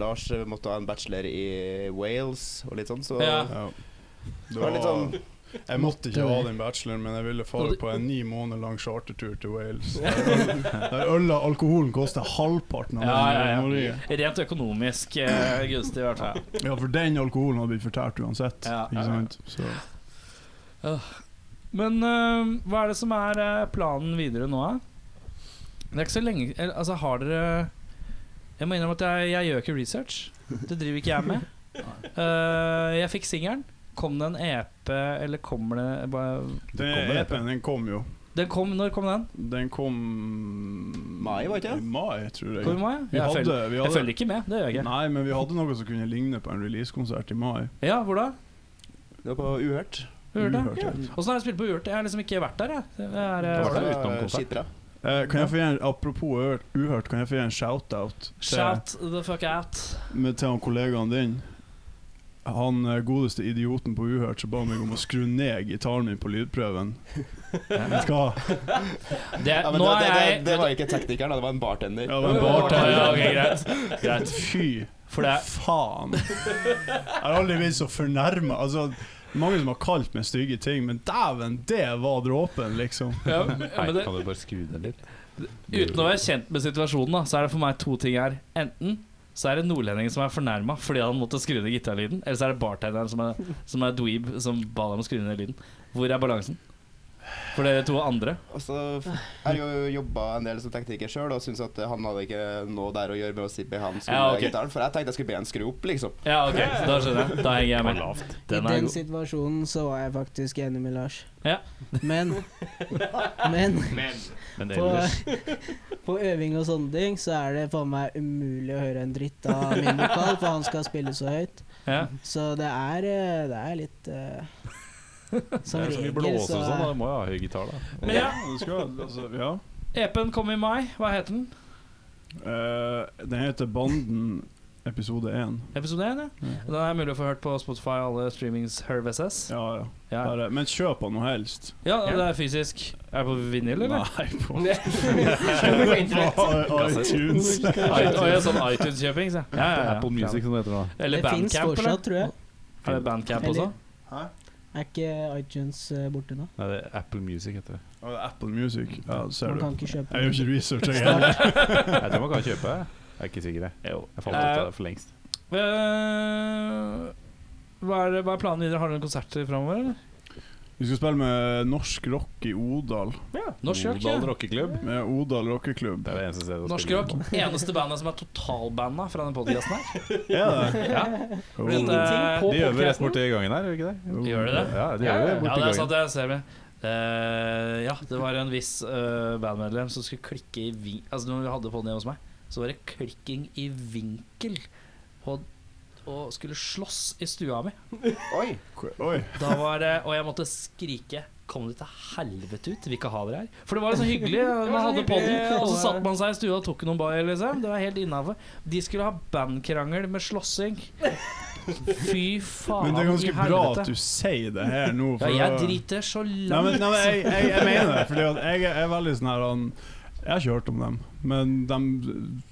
[SPEAKER 2] Lars øh, måtte ha en bachelor i Wales og litt sånn, så
[SPEAKER 3] Ja.
[SPEAKER 6] Ja.
[SPEAKER 2] det var litt sånn
[SPEAKER 6] Jeg måtte ikke ha den bacheloren, men jeg ville fare på en ni måneder lang chartertur til Wales. Der øl og alkoholen koster halvparten av
[SPEAKER 3] Ja,
[SPEAKER 6] den i
[SPEAKER 3] ja,
[SPEAKER 6] Norge.
[SPEAKER 3] ja. Rent økonomisk eh, gunstig, i hvert fall.
[SPEAKER 6] Ja, for den alkoholen hadde blitt fortært uansett.
[SPEAKER 3] Ja.
[SPEAKER 6] Ikke sant? Så.
[SPEAKER 3] Men eh, hva er det som er eh, planen videre nå, da? Det er ikke så lenge eller, Altså, har dere Jeg må innrømme at jeg, jeg gjør ikke research. Det driver ikke jeg med. Eh, jeg fikk singelen. Kom det en EP, eller kommer det bare-
[SPEAKER 6] Den EP-en den kom jo.
[SPEAKER 3] Den kom, Når kom den?
[SPEAKER 6] Den kom
[SPEAKER 2] Mai, var det ikke?
[SPEAKER 6] I mai, tror jeg.
[SPEAKER 3] Kom i mai?
[SPEAKER 6] Vi
[SPEAKER 3] Jeg
[SPEAKER 6] hadde,
[SPEAKER 3] følger-
[SPEAKER 6] vi
[SPEAKER 3] Jeg
[SPEAKER 6] hadde
[SPEAKER 3] følger ikke med. Det gjør jeg ikke.
[SPEAKER 6] Nei, men vi hadde noe som kunne ligne på en releasekonsert i mai.
[SPEAKER 3] Ja, hvor da?
[SPEAKER 2] Det var på Uhørt.
[SPEAKER 3] Uhørt,
[SPEAKER 6] Uhørt,
[SPEAKER 3] ja.
[SPEAKER 6] ja.
[SPEAKER 3] Åssen har jeg spilt på Uhørt? Jeg har liksom ikke vært der, jeg. Det er, eh,
[SPEAKER 4] Det var det.
[SPEAKER 2] Ja,
[SPEAKER 4] utenom konsert.
[SPEAKER 2] skitbra.
[SPEAKER 6] Eh, kan jeg få gi en, apropos Uhørt- Uhørt, kan jeg få gi en shout-out til,
[SPEAKER 3] Shout the fuck out.
[SPEAKER 6] med- til han kollegaen din? Han eh, godeste idioten på Uhørt som ba meg om å skru ned gitaren min på lydprøven. Vet du hva?
[SPEAKER 3] Det,
[SPEAKER 2] Ja, men
[SPEAKER 3] nå
[SPEAKER 2] det, det,
[SPEAKER 3] er
[SPEAKER 2] det,
[SPEAKER 3] jeg
[SPEAKER 2] det var ikke teknikeren, da, det var en bartender.
[SPEAKER 6] Ja, det var en
[SPEAKER 3] Ja,
[SPEAKER 6] bartender.
[SPEAKER 3] ok, greit.
[SPEAKER 6] Greit. Fy
[SPEAKER 3] For det er
[SPEAKER 6] faen. Jeg har aldri blitt så fornærma. Altså, mange som har kalt meg stygge ting, men dæven, det var dråpen, liksom.
[SPEAKER 3] ja, men det,
[SPEAKER 4] Kan du bare skru ned litt?
[SPEAKER 3] Uten å være kjent med situasjonen, da, så er det for meg to ting her. Enten så er det nordlendingen som er fornærma fordi han måtte skru ned gitarlyden, eller så er det bartenderen som er, som er dweeb som ba dem å skru ned lyden. Hvor er balansen? For dere to andre?
[SPEAKER 8] Og så har jeg jo jobba en del som tekniker sjøl og syns at han hadde ikke noe der å gjøre med å si be han skulle
[SPEAKER 3] Ja, ok.
[SPEAKER 8] gitaren, for jeg tenkte jeg skulle be han skru opp, liksom.
[SPEAKER 3] Ja, ok, da skjønner jeg. Da henger jeg med. Den er
[SPEAKER 7] I den
[SPEAKER 3] god.
[SPEAKER 7] situasjonen så var jeg faktisk enig med Lars.
[SPEAKER 3] Ja.
[SPEAKER 7] Men, men
[SPEAKER 3] Men
[SPEAKER 7] på,
[SPEAKER 3] ellers
[SPEAKER 7] på øving og sånne ting så er det for meg umulig å høre en dritt av min vokal, for han skal spille så høyt.
[SPEAKER 3] ja.
[SPEAKER 7] Så det er, eh, det er litt eh, Som
[SPEAKER 4] Det er så mye
[SPEAKER 7] regel
[SPEAKER 4] blåse
[SPEAKER 7] så
[SPEAKER 4] og sånn, da.
[SPEAKER 7] er
[SPEAKER 4] Du må jo ha høy gitar, da.
[SPEAKER 3] Men ja,
[SPEAKER 6] Du skal, altså, ja.
[SPEAKER 3] EP-en kom i mai. Hva het den?
[SPEAKER 6] Eh, den heter Banden episode 1.
[SPEAKER 3] Episode 1, ja. Den er mulig å få hørt på Spotify og alle streamings Herv SS.
[SPEAKER 6] Ja, ja.
[SPEAKER 3] Ja.
[SPEAKER 6] Bare, men kjøp den nå helst.
[SPEAKER 3] ja, det er fysisk. Er det på vinyl, eller?
[SPEAKER 6] Nei, på
[SPEAKER 2] Internett.
[SPEAKER 6] på iTunes.
[SPEAKER 3] Nei. Oi, ja, sånn iTunes-kjøping, så. Ja, ja, ja.
[SPEAKER 4] Apple Music, som det heter da.
[SPEAKER 3] Eller
[SPEAKER 7] Det fins
[SPEAKER 3] Bandcamp, eller?
[SPEAKER 7] fortsatt, tror jeg.
[SPEAKER 3] Er det Bandcamp også?
[SPEAKER 7] Er ikke iTunes eh, borte nå?
[SPEAKER 4] Nei, det er Apple Music heter det.
[SPEAKER 6] Og det er Apple Music. Ja, det ser du.
[SPEAKER 7] Man kan ikke kjøpe
[SPEAKER 6] Jeg gjør ikke research, jeg
[SPEAKER 7] Start-
[SPEAKER 6] heller.
[SPEAKER 4] Jeg tror man kan kjøpe. Jeg er ikke sikker, jeg.
[SPEAKER 3] Jo.
[SPEAKER 4] Jeg falt ut av det for lengst.
[SPEAKER 3] Eh, hva, er, hva er planen videre? Har dere noen konserter framover, eller?
[SPEAKER 6] Vi skal spille med norsk rock i Odal.
[SPEAKER 3] Norsk rock,
[SPEAKER 4] Odal
[SPEAKER 3] ja.
[SPEAKER 4] rockeklubb.
[SPEAKER 6] Med Odal rockeklubb.
[SPEAKER 4] Det er det eneste stedet å
[SPEAKER 3] Norsk
[SPEAKER 4] spille.
[SPEAKER 3] rock. Eneste bandet som er totalbanda fra den podkasten her.
[SPEAKER 6] Er det?
[SPEAKER 3] Ja.
[SPEAKER 6] Jo.
[SPEAKER 3] Men, eh,
[SPEAKER 4] De gjør vel rett borti gangen her, gjør de ikke det?
[SPEAKER 6] Jo.
[SPEAKER 3] Gjør de det?
[SPEAKER 4] Ja, de
[SPEAKER 3] Ja,
[SPEAKER 4] gjør det
[SPEAKER 3] ja,
[SPEAKER 4] borti
[SPEAKER 3] det er
[SPEAKER 4] gangen.
[SPEAKER 3] sant, jeg ser det. Eh, ja, det var en viss eh, bandmedlem som skulle klikke i vin... Altså, når vi hadde på den hjemme hos meg, så var det klikking i vinkel. Og, og skulle slåss i stua mi.
[SPEAKER 8] Oi!
[SPEAKER 6] Oi.
[SPEAKER 3] Da var det, og jeg måtte skrike Kom deg til helvete ut, vil ikke ha dere her For det var så hyggelig, eh, man hadde podden Og så satt man seg i stua og tok noen bajer liksom Det var helt innenfor De skulle ha bandkrangel med slåssing Fy faen
[SPEAKER 6] Men det er
[SPEAKER 3] i
[SPEAKER 6] ganske bra
[SPEAKER 3] helvete.
[SPEAKER 6] at du sier det her nå.
[SPEAKER 3] Ja, jeg
[SPEAKER 6] da-
[SPEAKER 3] driter så
[SPEAKER 6] Nei, men,
[SPEAKER 3] langt
[SPEAKER 6] nei, men jeg, jeg, jeg mener det. Fordi at jeg er- er veldig sånn her han, Jeg har ikke hørt om dem, men dem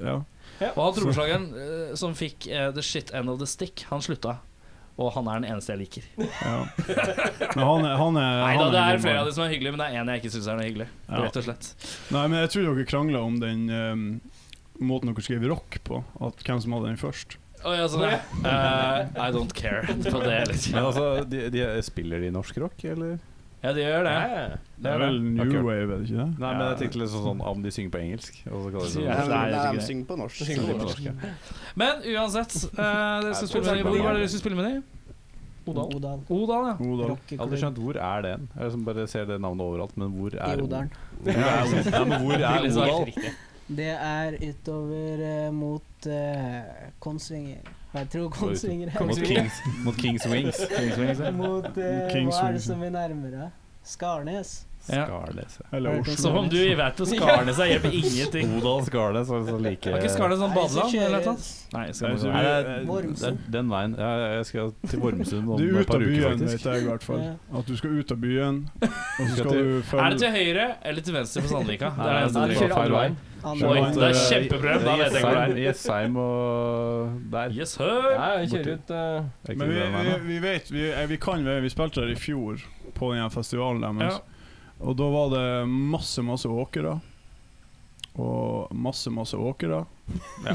[SPEAKER 6] Ja.
[SPEAKER 3] Og han trommeslageren eh, som fikk eh, The shit end of the stick Han slutta Og han er den eneste jeg liker
[SPEAKER 6] ja. Men han er, han er
[SPEAKER 3] Neida,
[SPEAKER 6] han
[SPEAKER 3] det er
[SPEAKER 6] god
[SPEAKER 3] flere
[SPEAKER 6] mann.
[SPEAKER 3] av de som er hyggelige Men det er en jeg ikke synes er noe hyggelig
[SPEAKER 6] Ja.
[SPEAKER 3] Rett og slett
[SPEAKER 6] Nei, men jeg tror dere krangla om den ehm, måten dere skrev rock på. At hvem som hadde den først.
[SPEAKER 3] Å, ja, sånn, ja. Eh, I don't care På det liksom
[SPEAKER 4] Men altså, de, de, spiller de norsk rock, eller?
[SPEAKER 3] Ja, det gjør det.
[SPEAKER 6] Det er vel New
[SPEAKER 4] Akkurat.
[SPEAKER 6] Wave, er det ikke det?
[SPEAKER 4] Nei, men jeg tenkte litt sånn, sånn om de synger på engelsk. Og så kaller de
[SPEAKER 3] Ja,
[SPEAKER 4] det
[SPEAKER 3] nei,
[SPEAKER 8] Nei,
[SPEAKER 3] jeg
[SPEAKER 8] de
[SPEAKER 3] synger-
[SPEAKER 8] synger på norsk.
[SPEAKER 4] sånn. Synger på norsk, ja.
[SPEAKER 3] Men uansett, eh, dere skal
[SPEAKER 4] Jeg
[SPEAKER 3] spille med
[SPEAKER 4] tror
[SPEAKER 3] Hvor var
[SPEAKER 4] det
[SPEAKER 3] det
[SPEAKER 4] er
[SPEAKER 3] dere skulle spille med dem?
[SPEAKER 7] Odal. Odal.
[SPEAKER 3] Odal, ja.
[SPEAKER 4] Jeg
[SPEAKER 6] Odal.
[SPEAKER 4] har aldri
[SPEAKER 7] Rockeklubb
[SPEAKER 4] skjønt hvor er den. Jeg liksom bare ser det navnet overalt, men hvor
[SPEAKER 7] i
[SPEAKER 4] er
[SPEAKER 7] Odalen.
[SPEAKER 4] Ja, men hvor er
[SPEAKER 3] Veldig svart.
[SPEAKER 4] Odal?
[SPEAKER 7] Det er utover eh, mot eh, Konsvinger. Jeg tror Konsvinger er eh,
[SPEAKER 4] Mot Kings, mot Kings Wings.
[SPEAKER 7] Mot eh,
[SPEAKER 6] Kings
[SPEAKER 7] Hva er det
[SPEAKER 6] Wings.
[SPEAKER 7] som er nærmere? Skarnes.
[SPEAKER 3] Ja.
[SPEAKER 4] Skarnes. ja.
[SPEAKER 6] Eller
[SPEAKER 7] Har du
[SPEAKER 6] Oslo.
[SPEAKER 3] Som om du i vet at Skarnes er hjelper ingenting.
[SPEAKER 4] Odal Skarnes, altså like
[SPEAKER 3] Var ikke Skarnes sånn
[SPEAKER 7] Er det som
[SPEAKER 3] badeland eller
[SPEAKER 7] kjører-
[SPEAKER 3] noe sånt? Nei,
[SPEAKER 6] Nei, så
[SPEAKER 3] Skarnes.
[SPEAKER 4] Nei,
[SPEAKER 6] vi-
[SPEAKER 4] det
[SPEAKER 6] eh,
[SPEAKER 4] er-
[SPEAKER 7] Vormsund.
[SPEAKER 4] det er Den veien. Ja, jeg skal til Vormsund om
[SPEAKER 6] Du er
[SPEAKER 4] et
[SPEAKER 6] ute
[SPEAKER 4] par
[SPEAKER 6] av
[SPEAKER 4] uker,
[SPEAKER 6] byen,
[SPEAKER 4] faktisk.
[SPEAKER 6] vet jeg i hvert fall.
[SPEAKER 7] Ja.
[SPEAKER 6] At du skal ut av byen, og så
[SPEAKER 4] Skal
[SPEAKER 6] skal
[SPEAKER 4] til-
[SPEAKER 6] du
[SPEAKER 3] Er det
[SPEAKER 6] følge
[SPEAKER 3] til høyre eller til venstre for Sandvika? Det er det eneste
[SPEAKER 4] Nei, altså,
[SPEAKER 3] jeg
[SPEAKER 4] det
[SPEAKER 3] tenker
[SPEAKER 4] var
[SPEAKER 3] på.
[SPEAKER 4] feil vei.
[SPEAKER 7] Andre
[SPEAKER 3] Oi,
[SPEAKER 7] veien.
[SPEAKER 3] det er kjempeproblem. Da vet jeg hvor det
[SPEAKER 4] Jessheim-
[SPEAKER 3] er.
[SPEAKER 4] Jessheim og der.
[SPEAKER 3] Yes, hør!
[SPEAKER 2] Nei, vi kjører ut eh,
[SPEAKER 4] Er ikke
[SPEAKER 6] Men vi,
[SPEAKER 4] den veien, da?
[SPEAKER 6] vi, vi vet vi, eh, vi kan veien. Vi spilte der i fjor, på den her festivalen
[SPEAKER 3] Ja.
[SPEAKER 6] deres. Og da var det masse, masse åkere. Og masse, masse åkere.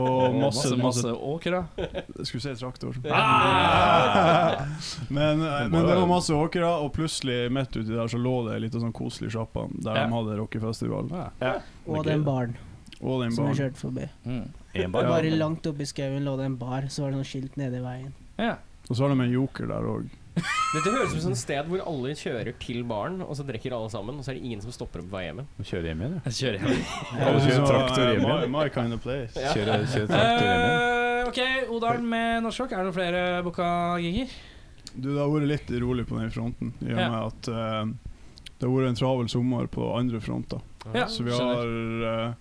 [SPEAKER 6] Og masse, masse
[SPEAKER 3] åker, da.
[SPEAKER 6] Jeg skulle si traktor.
[SPEAKER 3] Ah!
[SPEAKER 6] Men, eh, men det
[SPEAKER 4] jo-
[SPEAKER 6] var masse åkere, og plutselig midt uti der så lå det ei lita sånn koselig sjappa der
[SPEAKER 3] Ja.
[SPEAKER 6] de hadde rockefestival.
[SPEAKER 4] Ah!
[SPEAKER 7] Og den baren
[SPEAKER 6] Og den
[SPEAKER 7] som vi
[SPEAKER 6] barn.
[SPEAKER 7] kjørte forbi.
[SPEAKER 3] Mm.
[SPEAKER 4] En
[SPEAKER 7] Og
[SPEAKER 4] bar,
[SPEAKER 7] Bare
[SPEAKER 4] ja.
[SPEAKER 7] langt oppe i skauen lå det en bar, så var det noe skilt nede i veien.
[SPEAKER 3] Ja.
[SPEAKER 6] Og så har de en joker der òg.
[SPEAKER 2] Dette høres ut som et sted hvor alle kjører til baren, og så drikker alle sammen, og så er det ingen som stopper opp på vei hjem igjen.
[SPEAKER 4] Kjøre hjem igjen,
[SPEAKER 3] Jeg Kjører hjem.
[SPEAKER 4] traktor hjem igjen.
[SPEAKER 6] sånn eh, My, my kind of place.
[SPEAKER 4] ja. Kjøre, kjøre traktor hjem igjen.
[SPEAKER 3] Eh, ok, Odalen med norsk rock. Er det noen flere booka giger?
[SPEAKER 6] Du, det har vært litt rolig på den fronten, i og
[SPEAKER 3] Ja.
[SPEAKER 6] med at eh, det har vært en travel sommer på andre fronter.
[SPEAKER 3] Ja,
[SPEAKER 6] Så vi
[SPEAKER 3] skjønner.
[SPEAKER 6] har eh,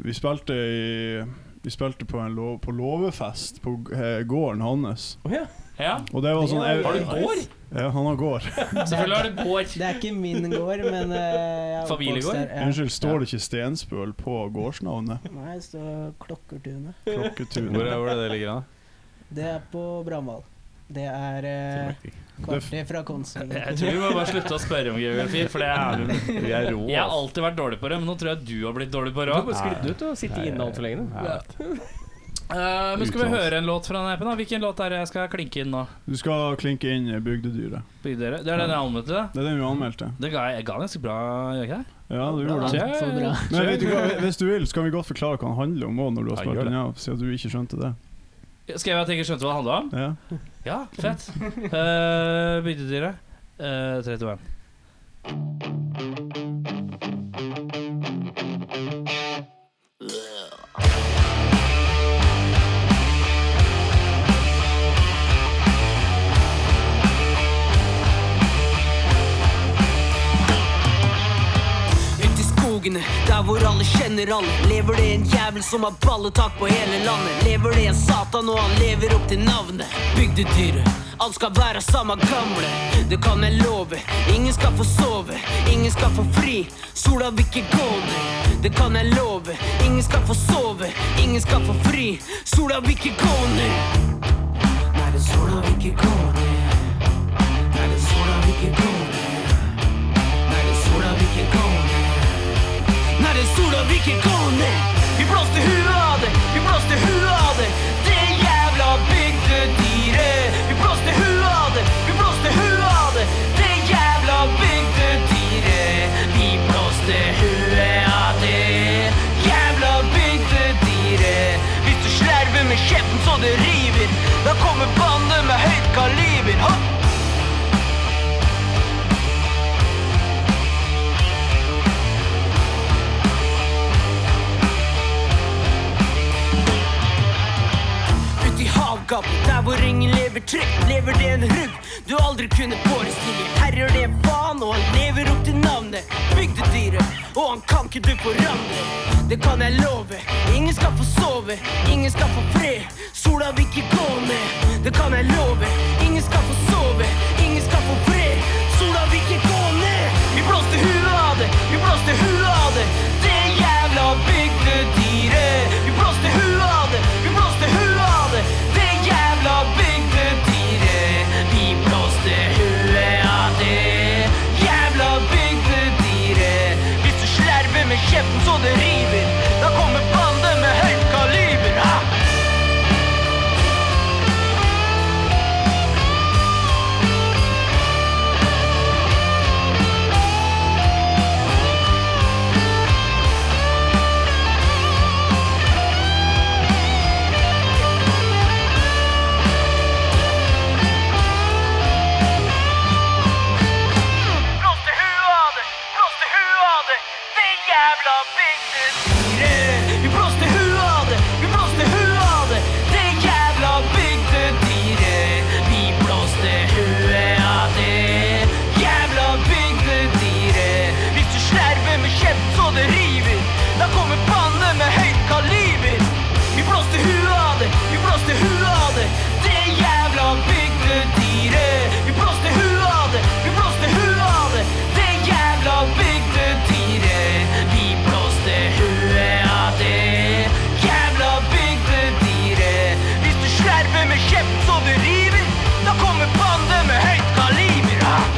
[SPEAKER 6] Vi spilte i vi spilte på, en lov, på låvefest på g- eh, gården hans.
[SPEAKER 2] ja.
[SPEAKER 3] Ja.
[SPEAKER 6] Og det var sånn jeg-
[SPEAKER 3] Har du gård?
[SPEAKER 6] Ja, han har gård.
[SPEAKER 3] Selvfølgelig har du gård.
[SPEAKER 7] Det er ikke min gård, men eh, jeg er
[SPEAKER 3] Familiegård?
[SPEAKER 7] oppvokst der. Ja.
[SPEAKER 6] Unnskyld, står det ikke Stensbøl på gårdsnavnet?
[SPEAKER 7] Nei, det står Klokkertunet.
[SPEAKER 6] Klokketun.
[SPEAKER 4] Hvor er hvor er det det ligger, da?
[SPEAKER 7] Det er på Bramvall. Det er eh, kvarter fra Konsvinger.
[SPEAKER 3] Jeg tror vi må bare slutte å spørre om geografi, for det er
[SPEAKER 4] Vi er rå.
[SPEAKER 3] Jeg har alltid vært dårlig på det, men nå tror jeg du har blitt dårlig på
[SPEAKER 2] Du
[SPEAKER 3] det
[SPEAKER 2] har
[SPEAKER 3] òg.
[SPEAKER 2] bare sklidd ut og sittet inne altfor lenge. du.
[SPEAKER 4] Ja.
[SPEAKER 3] Eh, men skal vi
[SPEAKER 4] Utenlands.
[SPEAKER 3] høre en låt fra den appen? da? Hvilken låt er det jeg skal klinke inn nå?
[SPEAKER 6] Du skal klinke inn i Bygdedyret.
[SPEAKER 3] Bygg dere. Det er den jeg anmeldte.
[SPEAKER 6] Det er den vi anmeldte.
[SPEAKER 3] Det ga jeg, jeg ga ganske bra, gjør jeg ikke det?
[SPEAKER 6] Ja, du
[SPEAKER 3] Bra.
[SPEAKER 6] gjorde det.
[SPEAKER 7] Så bra.
[SPEAKER 6] Men vet du hva, hvis du vil, så kan vi godt forklare hva den handler om også når du har
[SPEAKER 4] Ja,
[SPEAKER 6] spilt
[SPEAKER 4] gjør
[SPEAKER 6] den av, siden du ikke skjønte det.
[SPEAKER 3] Skrev jeg at jeg ikke skjønte hva det handla om?
[SPEAKER 6] Ja.
[SPEAKER 3] Ja, fett. Uh, Bygdedyret. Uh, 31.
[SPEAKER 9] Ut i skogene, der hvor alle kjenner alle. Lever det en jævel som har balletak på hele landet? Lever det en satan, og han lever opp til navnet? Bygdedyret, alt skal være samme gamle. Det kan jeg love. Ingen skal få sove, ingen skal få fri. Sola vil ikke gå ned. Det kan jeg love. Ingen skal få sove, ingen skal få fri. Sola vil ikke gå ned. Nei, den sola vil ikke gå ned. Nei, den sola vil ikke gå ned. Nei, den sola vil ikke gå ned. Nei, den sola vil ikke gå ned. Vi blåste huet av det, vi blåste huet av det. Det jævla bygdedyret. Vi blåste huet av det, vi blåste huet av det. Det jævla bygdedyret. Vi blåste huet av det. Jævla bygdedyret. Hvis du slerver med kjeften så det river, da kommer bandet med høyt kaliber. Hopp! ut i havgapet Der hvor ingen lever trygt, lever det en rugg Du aldri kunne forestille Herrer det er faen, og han lever opp til navnet Bygdedyret, og han kan ikke du forandre Det kan jeg love Ingen skal få sove, ingen skal få fred Sola vil ikke gå ned Det kan jeg love Ingen skal få sove, ingen skal få fred Sola vil ikke gå ned Vi blåste huet av det, vi blåste huet av det Det jævla bygdedyret Vi blåste huet av det, vi blåste huet av det Det jævla bygdedyret Vi blåste huet av det Jævla bygdedyret Hvis du slerver med kjeften så det river Da kommer banden med høyt kaliber ha! Blåste huet av det, blåste huet av det, det jævla bygdedyret. Vi blåste huet av det, vi blåste huet av det, det jævla bygdedyret. Vi blåste huet av det, jævla bygdedyret. Hvis du slerver med kjeft så det river, da kommer banne med høyt kaliber. Vi blåste huet av det, vi blåste huet av det, det jævla bygdedyret. Vi blåste huet av det, vi blåste huet av det, det jævla bygdedyret. Vi blåste huet av det, jævla bygdedyret. Hvis du slerver med kjeft så du river, da kommer bande med høyt kaliber. Ah!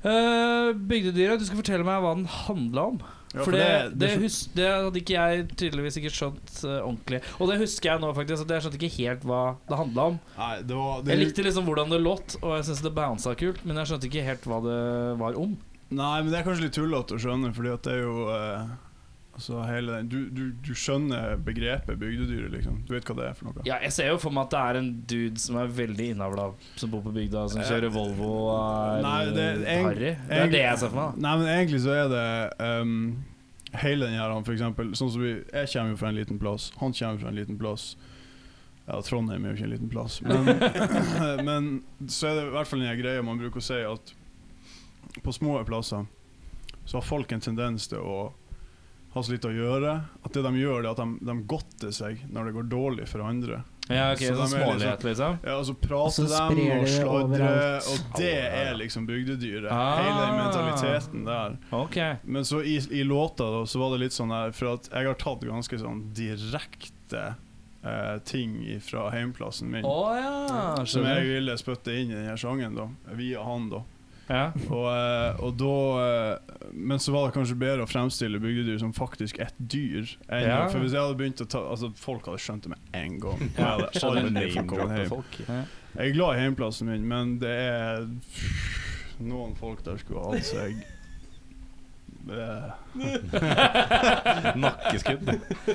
[SPEAKER 3] Eh, Bygdedyret, du skal fortelle meg hva den handla om.
[SPEAKER 6] Ja,
[SPEAKER 3] for
[SPEAKER 6] for
[SPEAKER 3] det, det,
[SPEAKER 6] det- det skjø-
[SPEAKER 3] hus det hadde ikke jeg tydeligvis ikke skjønt eh, ordentlig. Og det husker jeg nå, faktisk. At jeg skjønte ikke helt hva det handla om.
[SPEAKER 6] Nei, det var det,
[SPEAKER 3] Jeg likte liksom hvordan det låt, og jeg syntes det bounsa kult, men jeg skjønte ikke helt hva det var om.
[SPEAKER 6] Nei, men det er kanskje litt tullete å skjønne, fordi at det er jo eh, Altså hele den du, du, du skjønner begrepet bygdedyret, liksom. Du vet hva det er for noe.
[SPEAKER 3] Ja, jeg ser jo for meg at det er en dude som er veldig innavla, som bor på bygda, som kjører Volvo og er
[SPEAKER 6] Eh, Nei, det er
[SPEAKER 3] eh,
[SPEAKER 6] en-
[SPEAKER 3] harry. Det
[SPEAKER 6] en-
[SPEAKER 3] er det jeg ser for meg. da.
[SPEAKER 6] Nei, men egentlig så er det ehm, hele den her, han, for eksempel. Sånn som vi Jeg kommer jo fra en liten plass. Han kommer fra en liten plass. Ja, Trondheim er jo ikke en liten plass. Men, men så er det i hvert fall den her greia man bruker å si at på små plasser så har folk en tendens til å ha så lite å gjøre. At det de gjør, det er at de, de godter seg når det går dårlig for andre.
[SPEAKER 3] Ja, ok,
[SPEAKER 6] Så
[SPEAKER 3] så
[SPEAKER 6] de er sånn-
[SPEAKER 3] smålighet, liksom.
[SPEAKER 6] Ja, og så
[SPEAKER 7] Og så
[SPEAKER 6] prater de
[SPEAKER 7] sprer
[SPEAKER 6] og
[SPEAKER 7] det
[SPEAKER 6] sladrer,
[SPEAKER 7] overalt.
[SPEAKER 6] og det er liksom bygdedyret.
[SPEAKER 3] Ah.
[SPEAKER 6] Hele den mentaliteten der.
[SPEAKER 3] Ok.
[SPEAKER 6] Men så i, i låta da, så var det litt sånn her For at jeg har tatt ganske sånn direkte eh, ting fra heimplassen min
[SPEAKER 3] Å ja,
[SPEAKER 6] som jeg
[SPEAKER 3] skjønner.
[SPEAKER 6] ville spytte inn i denne sangen, da. Via han, da.
[SPEAKER 3] Ja.
[SPEAKER 6] Og, eh, og da eh, Men så var det kanskje bedre å fremstille bygdedyr som faktisk et dyr. Enn,
[SPEAKER 3] Ja.
[SPEAKER 6] For hvis jeg hadde begynt å ta Altså Folk hadde skjønt det med en gang. Jeg,
[SPEAKER 3] Ja,
[SPEAKER 6] hadde
[SPEAKER 3] skjønner.
[SPEAKER 6] aldri
[SPEAKER 4] Name
[SPEAKER 6] fått kommet
[SPEAKER 4] droppet
[SPEAKER 6] hjem.
[SPEAKER 4] folk.
[SPEAKER 6] jeg er glad i hjemplassen min, men det er noen folk der skulle hatt seg eh,
[SPEAKER 4] Nakkeskudd.
[SPEAKER 3] Da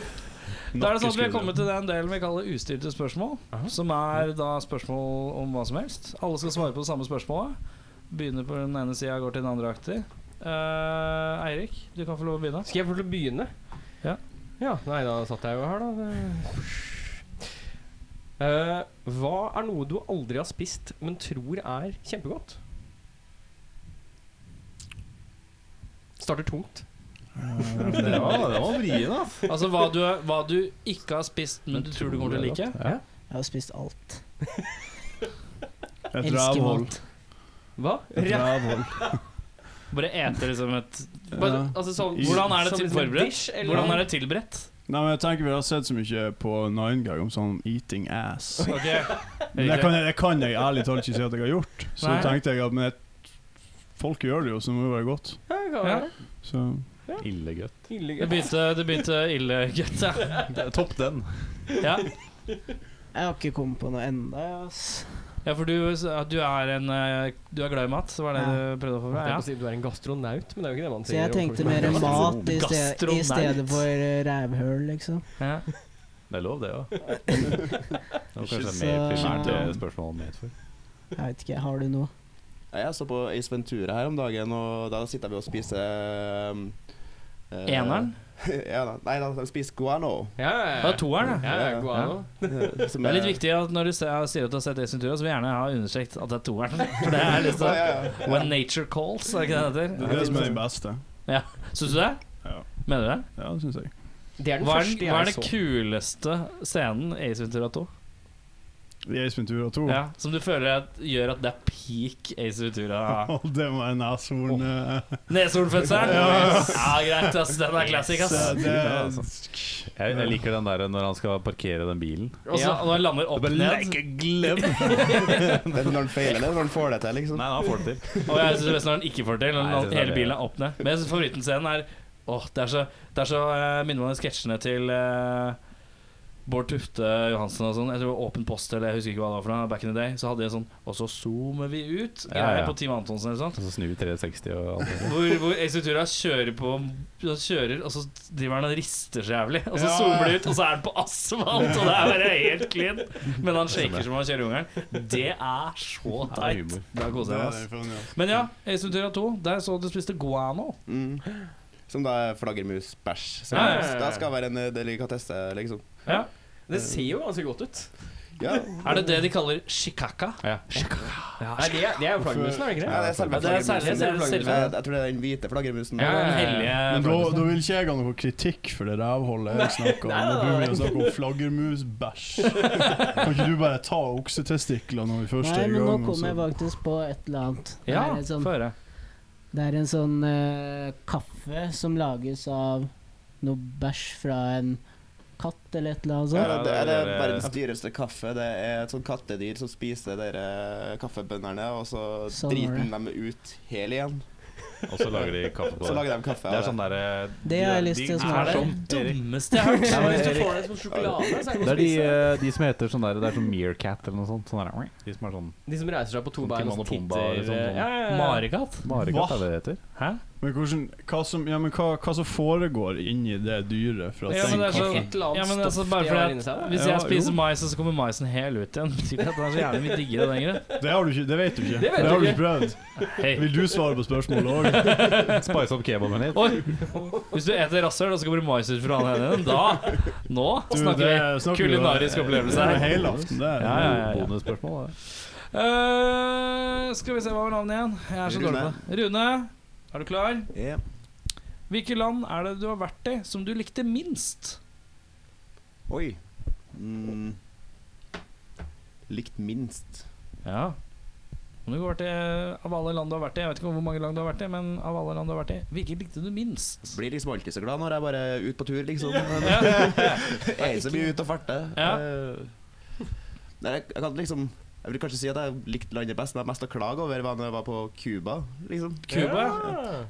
[SPEAKER 3] er det sånn at Vi har
[SPEAKER 6] nakkeskudd.
[SPEAKER 3] kommet til den delen vi kaller ustilte spørsmål. Som er da spørsmål om hva som helst. Alle skal svare på det samme spørsmålet. Begynner på den ene sida, går til den andre aktig. Eh, Eirik, du kan få lov å begynne.
[SPEAKER 2] Skal jeg få lov til å begynne?
[SPEAKER 3] Ja.
[SPEAKER 2] Ja, Nei, da satt jeg jo her, da. Det- Eh, hva er noe du aldri har spist, men tror er kjempegodt? Starter tungt.
[SPEAKER 4] Det var, det var vrien, ass.
[SPEAKER 3] Altså hva du, hva du ikke har spist, men du tror du kommer til å like.
[SPEAKER 7] Jeg har spist alt.
[SPEAKER 6] Et
[SPEAKER 7] Elsker
[SPEAKER 6] rævhold.
[SPEAKER 7] mat.
[SPEAKER 2] Hva?
[SPEAKER 6] Et rævhold.
[SPEAKER 3] Bare ete liksom et
[SPEAKER 2] Bare, altså, sånn,
[SPEAKER 3] Hvordan er det
[SPEAKER 2] som
[SPEAKER 3] til-
[SPEAKER 2] liksom en
[SPEAKER 3] forberedt?
[SPEAKER 2] dish, eller-
[SPEAKER 3] Hvordan er det tilberedt?
[SPEAKER 6] Nei, men jeg tenker Vi har sett så mye på Nine Gag om sånn 'eating ass'.
[SPEAKER 3] Ok
[SPEAKER 6] Men det kan, jeg, det kan jeg ærlig talt ikke si at jeg har gjort. Så
[SPEAKER 3] Nei.
[SPEAKER 6] tenkte jeg at men jeg, folk gjør det jo, så det må jo være godt.
[SPEAKER 2] Ja, det kan
[SPEAKER 3] Ja.
[SPEAKER 2] være.
[SPEAKER 6] Så
[SPEAKER 4] Ille gutt.
[SPEAKER 3] Det
[SPEAKER 2] Tidligere.
[SPEAKER 3] begynte, det begynte ille, gutt. Ja.
[SPEAKER 4] Topp den.
[SPEAKER 3] Ja.
[SPEAKER 7] Jeg har ikke kommet på noe enda, jeg, ass.
[SPEAKER 3] ja, for du, du, er en, eh, du er glad i mat, var det du prøvde å
[SPEAKER 2] Jeg
[SPEAKER 3] få fram?
[SPEAKER 2] holdt på å si du er en gastronaut, men det er jo ikke det man sier.
[SPEAKER 7] Så jeg
[SPEAKER 2] om folk
[SPEAKER 7] tenkte
[SPEAKER 2] som er
[SPEAKER 7] mer
[SPEAKER 2] gastronaut.
[SPEAKER 7] mat i, sted, i
[SPEAKER 3] Gastronaut.
[SPEAKER 7] stedet for eh, rævhøl, liksom.
[SPEAKER 3] Ja. Ja.
[SPEAKER 4] Det er lov, det òg. Det var kanskje
[SPEAKER 7] Så-
[SPEAKER 4] mer primært det spørsmålet han mente for.
[SPEAKER 7] Jeg vet ikke, har du noe?
[SPEAKER 8] Ja, Jeg så på Ace Ventura her om dagen, og da sitter vi og spiser um, eh,
[SPEAKER 3] Eneren?
[SPEAKER 8] ja, da. Nei, da, de spiser guano. eh,
[SPEAKER 2] Ja, ja, ja.
[SPEAKER 3] Det var toeren, ja.
[SPEAKER 2] Ja, ja, guano.
[SPEAKER 3] Det er litt viktig at når du se- sier at du har sett Ace Ventura, så vil jeg gjerne ha understreket at det er toeren. For det er litt sånn When nature calls, er det ikke det
[SPEAKER 6] det
[SPEAKER 3] det heter?
[SPEAKER 6] er det som er den beste.
[SPEAKER 3] Syns du det?
[SPEAKER 6] Ja.
[SPEAKER 3] Mener du det?
[SPEAKER 6] Ja, det syns jeg.
[SPEAKER 2] Det er den
[SPEAKER 3] Hva er,
[SPEAKER 2] første
[SPEAKER 3] den-
[SPEAKER 2] jeg
[SPEAKER 3] hva er den
[SPEAKER 2] så.
[SPEAKER 3] kuleste scenen i Ace Ventura 2?
[SPEAKER 6] I Ace Ventura 2.
[SPEAKER 3] Ja, som du føler at, gjør at det er peak Ace Ventura?
[SPEAKER 6] Og det var en neshorn eh,
[SPEAKER 3] Neshornfødselen? Ja, greit. ass Den er classic, ass.
[SPEAKER 6] så det,
[SPEAKER 4] Jeg, jeg liker den der når han skal parkere den bilen.
[SPEAKER 3] Og så når han lander opp ned
[SPEAKER 4] glem!
[SPEAKER 8] Det er når han feiler det, når han får det til, liksom.
[SPEAKER 4] Nei, han får det til.
[SPEAKER 3] Og jeg synes det beste når han ikke får det til. Når
[SPEAKER 4] Nei, jeg
[SPEAKER 3] han-
[SPEAKER 4] synes det er
[SPEAKER 3] hele
[SPEAKER 4] det.
[SPEAKER 3] bilen er opp ned. Men jeg synes favorittenscenen er Åh, det er så, det er så eh, minner meg om de sketsjene til eh, Bård Tufte Johansen og sånn. Jeg tror det var Åpen post eller jeg husker ikke hva det var for noe. Back in the day. Så hadde de en sånn Og så zoomer vi ut.
[SPEAKER 4] Ja,
[SPEAKER 3] Greier
[SPEAKER 4] ja.
[SPEAKER 3] på Team Antonsen eller sånt.
[SPEAKER 4] Og så snur vi 360 og alt det der.
[SPEAKER 3] Hvor, hvor Ace Ventura kjører på han Kjører, og så driver han og rister så jævlig. Og så
[SPEAKER 6] Ja,
[SPEAKER 3] zoomer
[SPEAKER 6] ja.
[SPEAKER 3] det ut, og så er han på asfalt, og det er bare helt clean. Men han shaker som han kjører jungelen. Det er så
[SPEAKER 4] Ja, det er
[SPEAKER 3] teit.
[SPEAKER 4] humor.
[SPEAKER 3] Da koser jeg meg. ass.
[SPEAKER 6] det, det,
[SPEAKER 3] Men ja, Ace Ventura 2, der så du spiste guano.
[SPEAKER 8] Mm. Som da er flaggermusbæsj. Så
[SPEAKER 3] Ja, ja, ja, ja.
[SPEAKER 8] Det skal være en eh, delikatesse, liksom.
[SPEAKER 2] Det ser jo ganske godt ut.
[SPEAKER 8] Ja,
[SPEAKER 3] Er det det de kaller shikaka?
[SPEAKER 4] Ja.
[SPEAKER 2] Nei, det, er, det er jo flaggermusen, er det ikke det?
[SPEAKER 8] ja det er selve
[SPEAKER 3] Ja, det er
[SPEAKER 8] flaggermusen.
[SPEAKER 3] selve- det er selve-
[SPEAKER 8] Jeg, jeg tror det er den hvite flaggermusen.
[SPEAKER 3] Ja, den
[SPEAKER 6] Men da,
[SPEAKER 3] hellige
[SPEAKER 6] da vil ikke jeg ha noe kritikk for det rævholdet jeg snakker om.
[SPEAKER 2] Nei,
[SPEAKER 6] Nå
[SPEAKER 2] nei,
[SPEAKER 6] begynner vi
[SPEAKER 2] nei.
[SPEAKER 6] å snakke om flaggermusbæsj. Kan ikke du bare ta oksetestikler når vi først
[SPEAKER 7] Nei,
[SPEAKER 6] er i
[SPEAKER 7] men nå
[SPEAKER 6] gang? altså. og
[SPEAKER 7] kom jeg
[SPEAKER 6] så-
[SPEAKER 7] faktisk på et eller annet. Det
[SPEAKER 3] Ja,
[SPEAKER 7] er et
[SPEAKER 3] få
[SPEAKER 7] sånn,
[SPEAKER 3] høre.
[SPEAKER 7] det er en sånn eh, kaffe som lages av noe bæsj fra en katt eller et eller annet
[SPEAKER 8] Ja,
[SPEAKER 7] sånt.
[SPEAKER 8] det, det
[SPEAKER 4] Ja,
[SPEAKER 8] er
[SPEAKER 4] det
[SPEAKER 8] det
[SPEAKER 4] er-
[SPEAKER 8] verdens dyreste kaffe. Det er et sånt kattedyr som spiser dere kaffebøndene, og så
[SPEAKER 7] Sånn var
[SPEAKER 8] driter
[SPEAKER 7] det.
[SPEAKER 8] dem ut hel igjen.
[SPEAKER 4] Og så lager de kaffe på
[SPEAKER 8] Så
[SPEAKER 4] det.
[SPEAKER 8] lager de kaffe
[SPEAKER 4] Det
[SPEAKER 8] av
[SPEAKER 4] er sånn derre
[SPEAKER 7] Det har jeg lyst til å
[SPEAKER 3] Er
[SPEAKER 7] smake.
[SPEAKER 3] det dummeste jeg har hørt?
[SPEAKER 4] Ja, men
[SPEAKER 2] Hvis du
[SPEAKER 4] Erik-
[SPEAKER 2] får deg som sjokolade, så er det
[SPEAKER 4] sånn- Det
[SPEAKER 2] godt å
[SPEAKER 4] er de,
[SPEAKER 2] spise.
[SPEAKER 4] eh, de som heter sånn der Det er sånn Meerkat eller noe sånt. Sånn der, de som er sånn
[SPEAKER 3] eh,
[SPEAKER 2] De som reiser seg på to
[SPEAKER 4] Sånn
[SPEAKER 2] bein og
[SPEAKER 4] Timon
[SPEAKER 2] så
[SPEAKER 4] og Pumba,
[SPEAKER 2] titter
[SPEAKER 4] liksom, sånn.
[SPEAKER 2] ja, ja, ja.
[SPEAKER 3] Marekatt?
[SPEAKER 4] Marekatt er det det heter.
[SPEAKER 3] Hæ?
[SPEAKER 6] Men, hvordan, hva, som, ja, men hva, hva som foregår inni det dyret for at
[SPEAKER 3] Ja, men
[SPEAKER 6] den
[SPEAKER 3] det er
[SPEAKER 6] kaffen
[SPEAKER 3] så-
[SPEAKER 2] Et eller annet
[SPEAKER 3] Ja, men altså,
[SPEAKER 2] stoff
[SPEAKER 3] bare
[SPEAKER 2] de har inni
[SPEAKER 3] fordi
[SPEAKER 2] seg,
[SPEAKER 3] at
[SPEAKER 2] da.
[SPEAKER 3] Hvis
[SPEAKER 6] Ja,
[SPEAKER 3] jeg
[SPEAKER 6] jo.
[SPEAKER 3] spiser mais, og så kommer maisen hel ut igjen, betyr det at den er så jævlig mye diggere den grunn?
[SPEAKER 6] Det har du ikke, det vet du ikke.
[SPEAKER 2] Det vet
[SPEAKER 6] har du
[SPEAKER 2] jeg
[SPEAKER 6] ikke prøvd.
[SPEAKER 3] Hei.
[SPEAKER 6] Vil du svare på spørsmålet òg?
[SPEAKER 4] Spice opp kebaben litt.
[SPEAKER 3] Oi! Hvis du eter rasshøl, og så kommer det mais ut fra den ene, da Nå snakker vi. Kulinarisk opplevelse her.
[SPEAKER 6] Helaften, det.
[SPEAKER 3] Ja, ja, ja, ja.
[SPEAKER 4] Bonusspørsmål. da.
[SPEAKER 3] Eh, skal vi se, hva var navnet igjen? Jeg er så dårlig på det. Rune, er du klar?
[SPEAKER 8] Ja.
[SPEAKER 3] Hvilke land er det du har vært i som du likte minst?
[SPEAKER 8] Oi. Mm. Likt minst.
[SPEAKER 3] Ja Om du går til eh, Av alle land du har vært i, jeg vet ikke hvor mange land du har vært i, men av alle land du har vært i, hvilket likte du minst?
[SPEAKER 8] Blir liksom alltid så glad når jeg bare er ute på tur, liksom. Men, jeg er så mye ute og farter.
[SPEAKER 3] Ja.
[SPEAKER 8] Eh, Nei, jeg, jeg kan liksom Jeg vil kanskje si at jeg likte landet best, men jeg har mest å klage over var når jeg var på Cuba, liksom.
[SPEAKER 3] Cuba?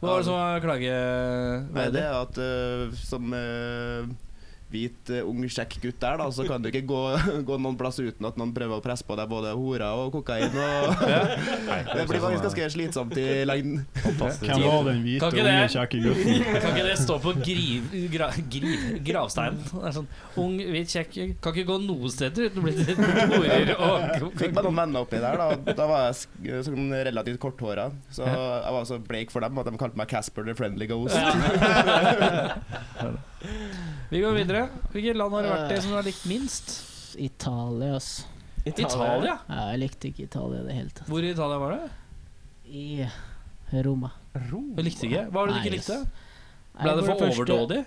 [SPEAKER 3] Hva var det som var klage...
[SPEAKER 8] Nei, det er at eh, som eh, hvit eh, ung kjekk gutt der, da, så kan du ikke gå, gå noen plass uten at noen prøver å presse på deg både horer og kokain. Og det
[SPEAKER 7] altså,
[SPEAKER 8] blir faktisk ganske slitsomt i lengden.
[SPEAKER 6] Hvem var den hvite
[SPEAKER 3] Kan ikke
[SPEAKER 6] unge
[SPEAKER 3] det?
[SPEAKER 6] kjekke gutten?
[SPEAKER 3] Kan ikke det stå på griv, gra, griv, gravsteinen? Det er sånn, Ung, hvit, kjekk Kan ikke gå noe sted uten å bli til horer og
[SPEAKER 8] Fikk meg noen venner oppi der. Da, da var jeg sk- sånn relativt korthåra, så jeg var så bleik for dem at de kalte meg Casper the Friendly Ghost.
[SPEAKER 3] Vi går videre. Hvilket land har du vært i som du har likt minst?
[SPEAKER 7] Italia, ass.
[SPEAKER 3] Italia.
[SPEAKER 7] Ja, jeg likte ikke Italia i det hele tatt.
[SPEAKER 3] Hvor i Italia var du?
[SPEAKER 7] I Roma.
[SPEAKER 3] Du likte ikke? Hva var det du ikke
[SPEAKER 7] Nei,
[SPEAKER 3] likte?
[SPEAKER 7] ass. Nei,
[SPEAKER 3] Ble det for
[SPEAKER 7] første-
[SPEAKER 3] overdådig?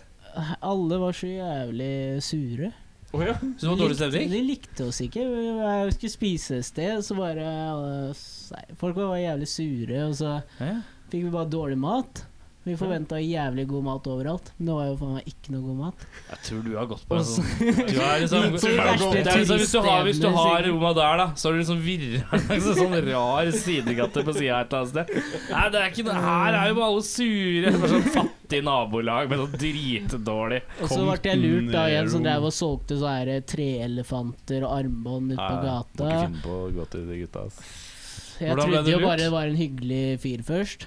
[SPEAKER 7] Alle var så jævlig sure.
[SPEAKER 3] Så det var dårlig stemning?
[SPEAKER 7] De likte oss ikke. Jeg skulle spise et sted, så bare alle- Nei, Folk var bare jævlig sure, og så
[SPEAKER 3] Ja.
[SPEAKER 7] fikk vi bare dårlig mat. Vi forventa jævlig god mat overalt, men det var jo faen meg ikke noe god mat.
[SPEAKER 3] Jeg tror du har gått på
[SPEAKER 7] Og
[SPEAKER 3] en
[SPEAKER 7] så-
[SPEAKER 3] sånn Du er liksom,
[SPEAKER 7] Så de verste
[SPEAKER 3] det er liksom hvis, du har, hvis du har
[SPEAKER 7] turiststedene,
[SPEAKER 3] Roma der, da, så har du liksom virra en sånn rar sidegate på sida et eller annet sted. Nei, det er ikke noe Her er jo bare alle sure. Bare sånn fattig nabolag med sånn dritdårlig
[SPEAKER 7] Og så ble jeg lurt av en som drev og solgte sånne her treelefanter og armbånd ute på
[SPEAKER 4] Må ikke
[SPEAKER 7] gata.
[SPEAKER 4] finne på å gå til de gutta. ass.
[SPEAKER 7] Jeg
[SPEAKER 3] Hvordan ble
[SPEAKER 7] trodde
[SPEAKER 3] du
[SPEAKER 7] jo
[SPEAKER 3] lurt?
[SPEAKER 7] bare det var en hyggelig fyr først.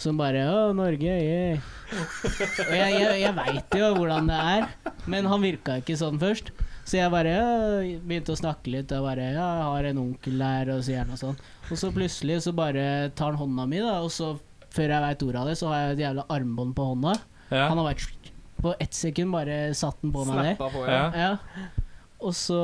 [SPEAKER 7] Som bare Å, Norge, yeah. Og jeg, jeg, jeg veit jo hvordan det er, men han virka ikke sånn først. Så jeg bare «Ja», begynte å snakke litt. Og bare, ja, jeg har en onkel der, og så gjerne og sånn. Og så plutselig så bare tar han hånda mi, da, og så før jeg veit ordet av det, så har jeg et jævla armbånd på hånda.
[SPEAKER 3] ja.
[SPEAKER 7] Han har vært På ett sekund bare satt den på meg der.
[SPEAKER 2] Snappa på, ja.
[SPEAKER 3] ja.
[SPEAKER 7] Ja. Og så,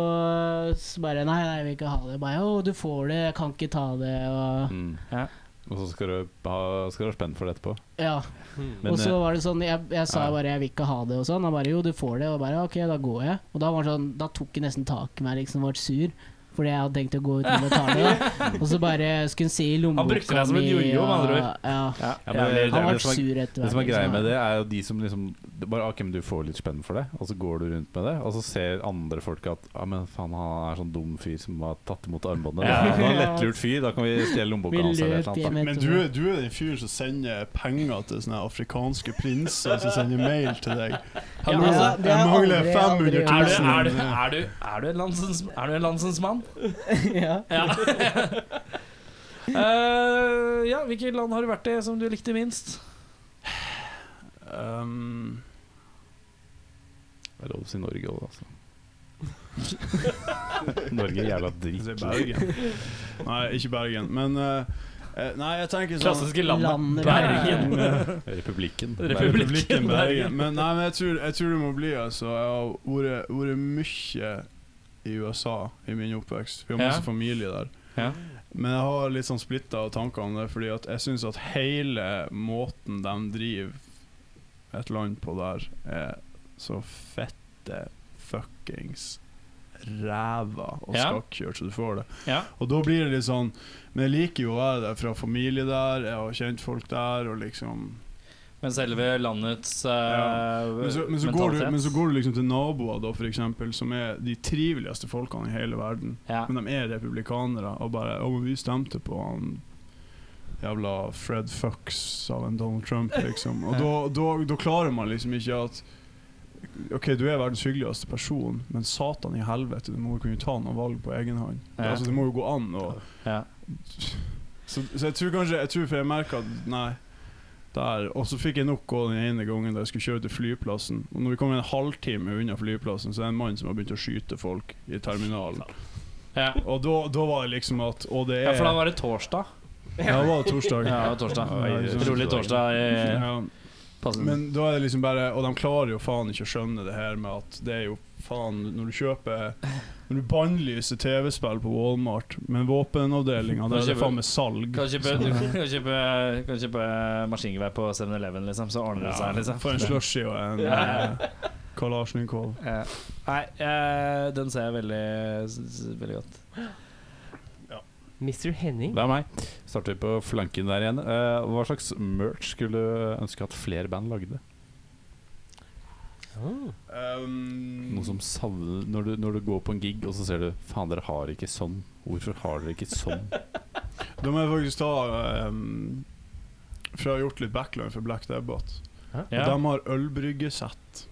[SPEAKER 7] så bare Nei, nei, jeg vil ikke ha det. Jeg Bare, å, du får det, jeg kan ikke ta det. Og,
[SPEAKER 4] Mm.
[SPEAKER 3] Ja.
[SPEAKER 4] Og så skal du ha, skal du ha spenn for det etterpå.
[SPEAKER 7] ja.
[SPEAKER 2] Hmm.
[SPEAKER 4] Men,
[SPEAKER 7] og så
[SPEAKER 4] eh,
[SPEAKER 7] var det sånn Jeg, jeg sa
[SPEAKER 4] ja.
[SPEAKER 7] bare jeg vil ikke ha det, og sånn. Han bare jo, du får det. Og jeg bare ok, da går jeg. Og da var det sånn Da tok han nesten tak i meg, liksom, og ble sur. Fordi jeg hadde tenkt å gå uten å ta det. Da. Og så bare skulle han si i lommeboka
[SPEAKER 3] Han brukte deg som en
[SPEAKER 7] mi,
[SPEAKER 3] jojo, med andre
[SPEAKER 7] og-
[SPEAKER 3] ord.
[SPEAKER 7] Ja.
[SPEAKER 3] Ja,
[SPEAKER 4] Ja, men det-
[SPEAKER 3] jævlig
[SPEAKER 4] det er
[SPEAKER 7] Han
[SPEAKER 4] vel
[SPEAKER 7] ble
[SPEAKER 4] som er-
[SPEAKER 7] sur etter
[SPEAKER 4] Det som er
[SPEAKER 7] hvert,
[SPEAKER 4] greia
[SPEAKER 7] liksom.
[SPEAKER 4] med det, er jo de som liksom det er Bare ok, men du får litt spenn for det, og så går du rundt med det, og så ser andre folk at Ja, men faen, han er sånn dum fyr som har tatt imot armbåndet.
[SPEAKER 3] Ja.
[SPEAKER 4] Han er en lettlurt fyr, da kan vi stjele lommeboka
[SPEAKER 7] Vi
[SPEAKER 4] hans eller et
[SPEAKER 7] løp
[SPEAKER 4] eller
[SPEAKER 7] hjem
[SPEAKER 4] annet.
[SPEAKER 6] Men du,
[SPEAKER 7] etterpå.
[SPEAKER 6] er- du er den fyren som sender penger til sånne afrikanske prinser som sender mail til deg. Hallo,
[SPEAKER 7] altså, det har
[SPEAKER 6] jeg mangler
[SPEAKER 7] aldri-
[SPEAKER 6] 500
[SPEAKER 7] aldri-
[SPEAKER 3] Er du, er,
[SPEAKER 6] 000.
[SPEAKER 3] du, er, du, er du en landsens, er du en landsens mann?
[SPEAKER 7] ja.
[SPEAKER 3] Ja. Eh, ja, hvilket land har du vært i som du likte minst?
[SPEAKER 6] Um,
[SPEAKER 4] Det er lov å si Norge òg, altså. Norge er jævla
[SPEAKER 6] det er
[SPEAKER 4] dritt.
[SPEAKER 6] Bergen. Nei, ikke Bergen. Men eh, eh, Nei, jeg tenker sånn
[SPEAKER 3] Klassiske landet.
[SPEAKER 7] Landet
[SPEAKER 3] Bergen. Republikken.
[SPEAKER 4] Republikken.
[SPEAKER 6] Republikken Bergen. Men, nei, men jeg, tror, jeg tror det må bli altså, Jeg har vært- vært mye i USA i min oppvekst. Vi har masse
[SPEAKER 3] Ja.
[SPEAKER 6] familie der.
[SPEAKER 3] Ja.
[SPEAKER 6] Men jeg har litt sånn splitta tanker om det, fordi at jeg syns at hele måten de driver et land på der, er så fette fuckings ræva og
[SPEAKER 3] Ja.
[SPEAKER 6] skakkjørt så du får det.
[SPEAKER 3] Ja.
[SPEAKER 6] Og da blir det litt sånn Men jeg liker jo å være der fra familie der, jeg har kjent folk der, og liksom
[SPEAKER 3] Men selve landets eh,
[SPEAKER 6] men så, men, så går du,
[SPEAKER 3] mentalitet
[SPEAKER 6] men så går du liksom til naboer, da, for eksempel, som er de triveligste folkene i hele verden.
[SPEAKER 3] ja.
[SPEAKER 6] Men de er republikanere, og bare Å, men vi stemte på han jævla Fred Fucks av en Donald Trump, liksom. Og da, da, da klarer man liksom ikke at OK, du er verdens hyggeligste person, men satan i helvete, du må jo kunne ta noen valg på egen hånd.
[SPEAKER 3] Ja.
[SPEAKER 6] Altså, det må jo gå an å
[SPEAKER 3] Ja.
[SPEAKER 6] så, så jeg tror kanskje Jeg tror for jeg merket at Nei der. Og så fikk jeg nok gå den ene gangen da jeg skulle kjøre til flyplassen. Og når vi kom en halvtime unna flyplassen, så er det en mann som har begynt å skyte folk i terminalen.
[SPEAKER 3] Ja.
[SPEAKER 6] Og da da var det liksom at Og det
[SPEAKER 3] ja,
[SPEAKER 6] er
[SPEAKER 3] for da var det torsdag.
[SPEAKER 6] Ja, det var torsdag.
[SPEAKER 3] Ja, det var torsdag.
[SPEAKER 6] Ja, ikke sant.
[SPEAKER 3] Rolig torsdag. eh, altså. i-
[SPEAKER 6] Ja,
[SPEAKER 3] passende.
[SPEAKER 6] men da er det liksom bare Og de klarer jo faen ikke å skjønne det her med at det er jo faen Når du kjøper Når du bannlyser TV-spill på Walmart, men våpenavdelinga, der er det faen meg salg.
[SPEAKER 3] Kan kjøpe, du kan kjøpe, kan kjøpe eh, maskingevær på 7-Eleven, liksom, så ordner det seg. liksom
[SPEAKER 6] For en slushy og en
[SPEAKER 3] Ja.
[SPEAKER 6] eh, Kalasjnikov.
[SPEAKER 3] Ja. Nei, eh, den ser jeg veldig, s- s- veldig godt.
[SPEAKER 6] Ja.
[SPEAKER 2] Mr. Henning.
[SPEAKER 4] Det er meg. Starter vi på flanken der igjen. Eh, hva slags merch skulle du ønske at flere band lagde?
[SPEAKER 2] Ah.
[SPEAKER 4] Noe som savner når du, når du går på en gig, og så ser du Faen, dere har ikke sånn. Hvorfor har dere ikke sånn?
[SPEAKER 6] Da må jeg faktisk ta ehm, For jeg har gjort litt backline for Black Debate. Og
[SPEAKER 3] Ja.
[SPEAKER 6] de har ølbryggesett.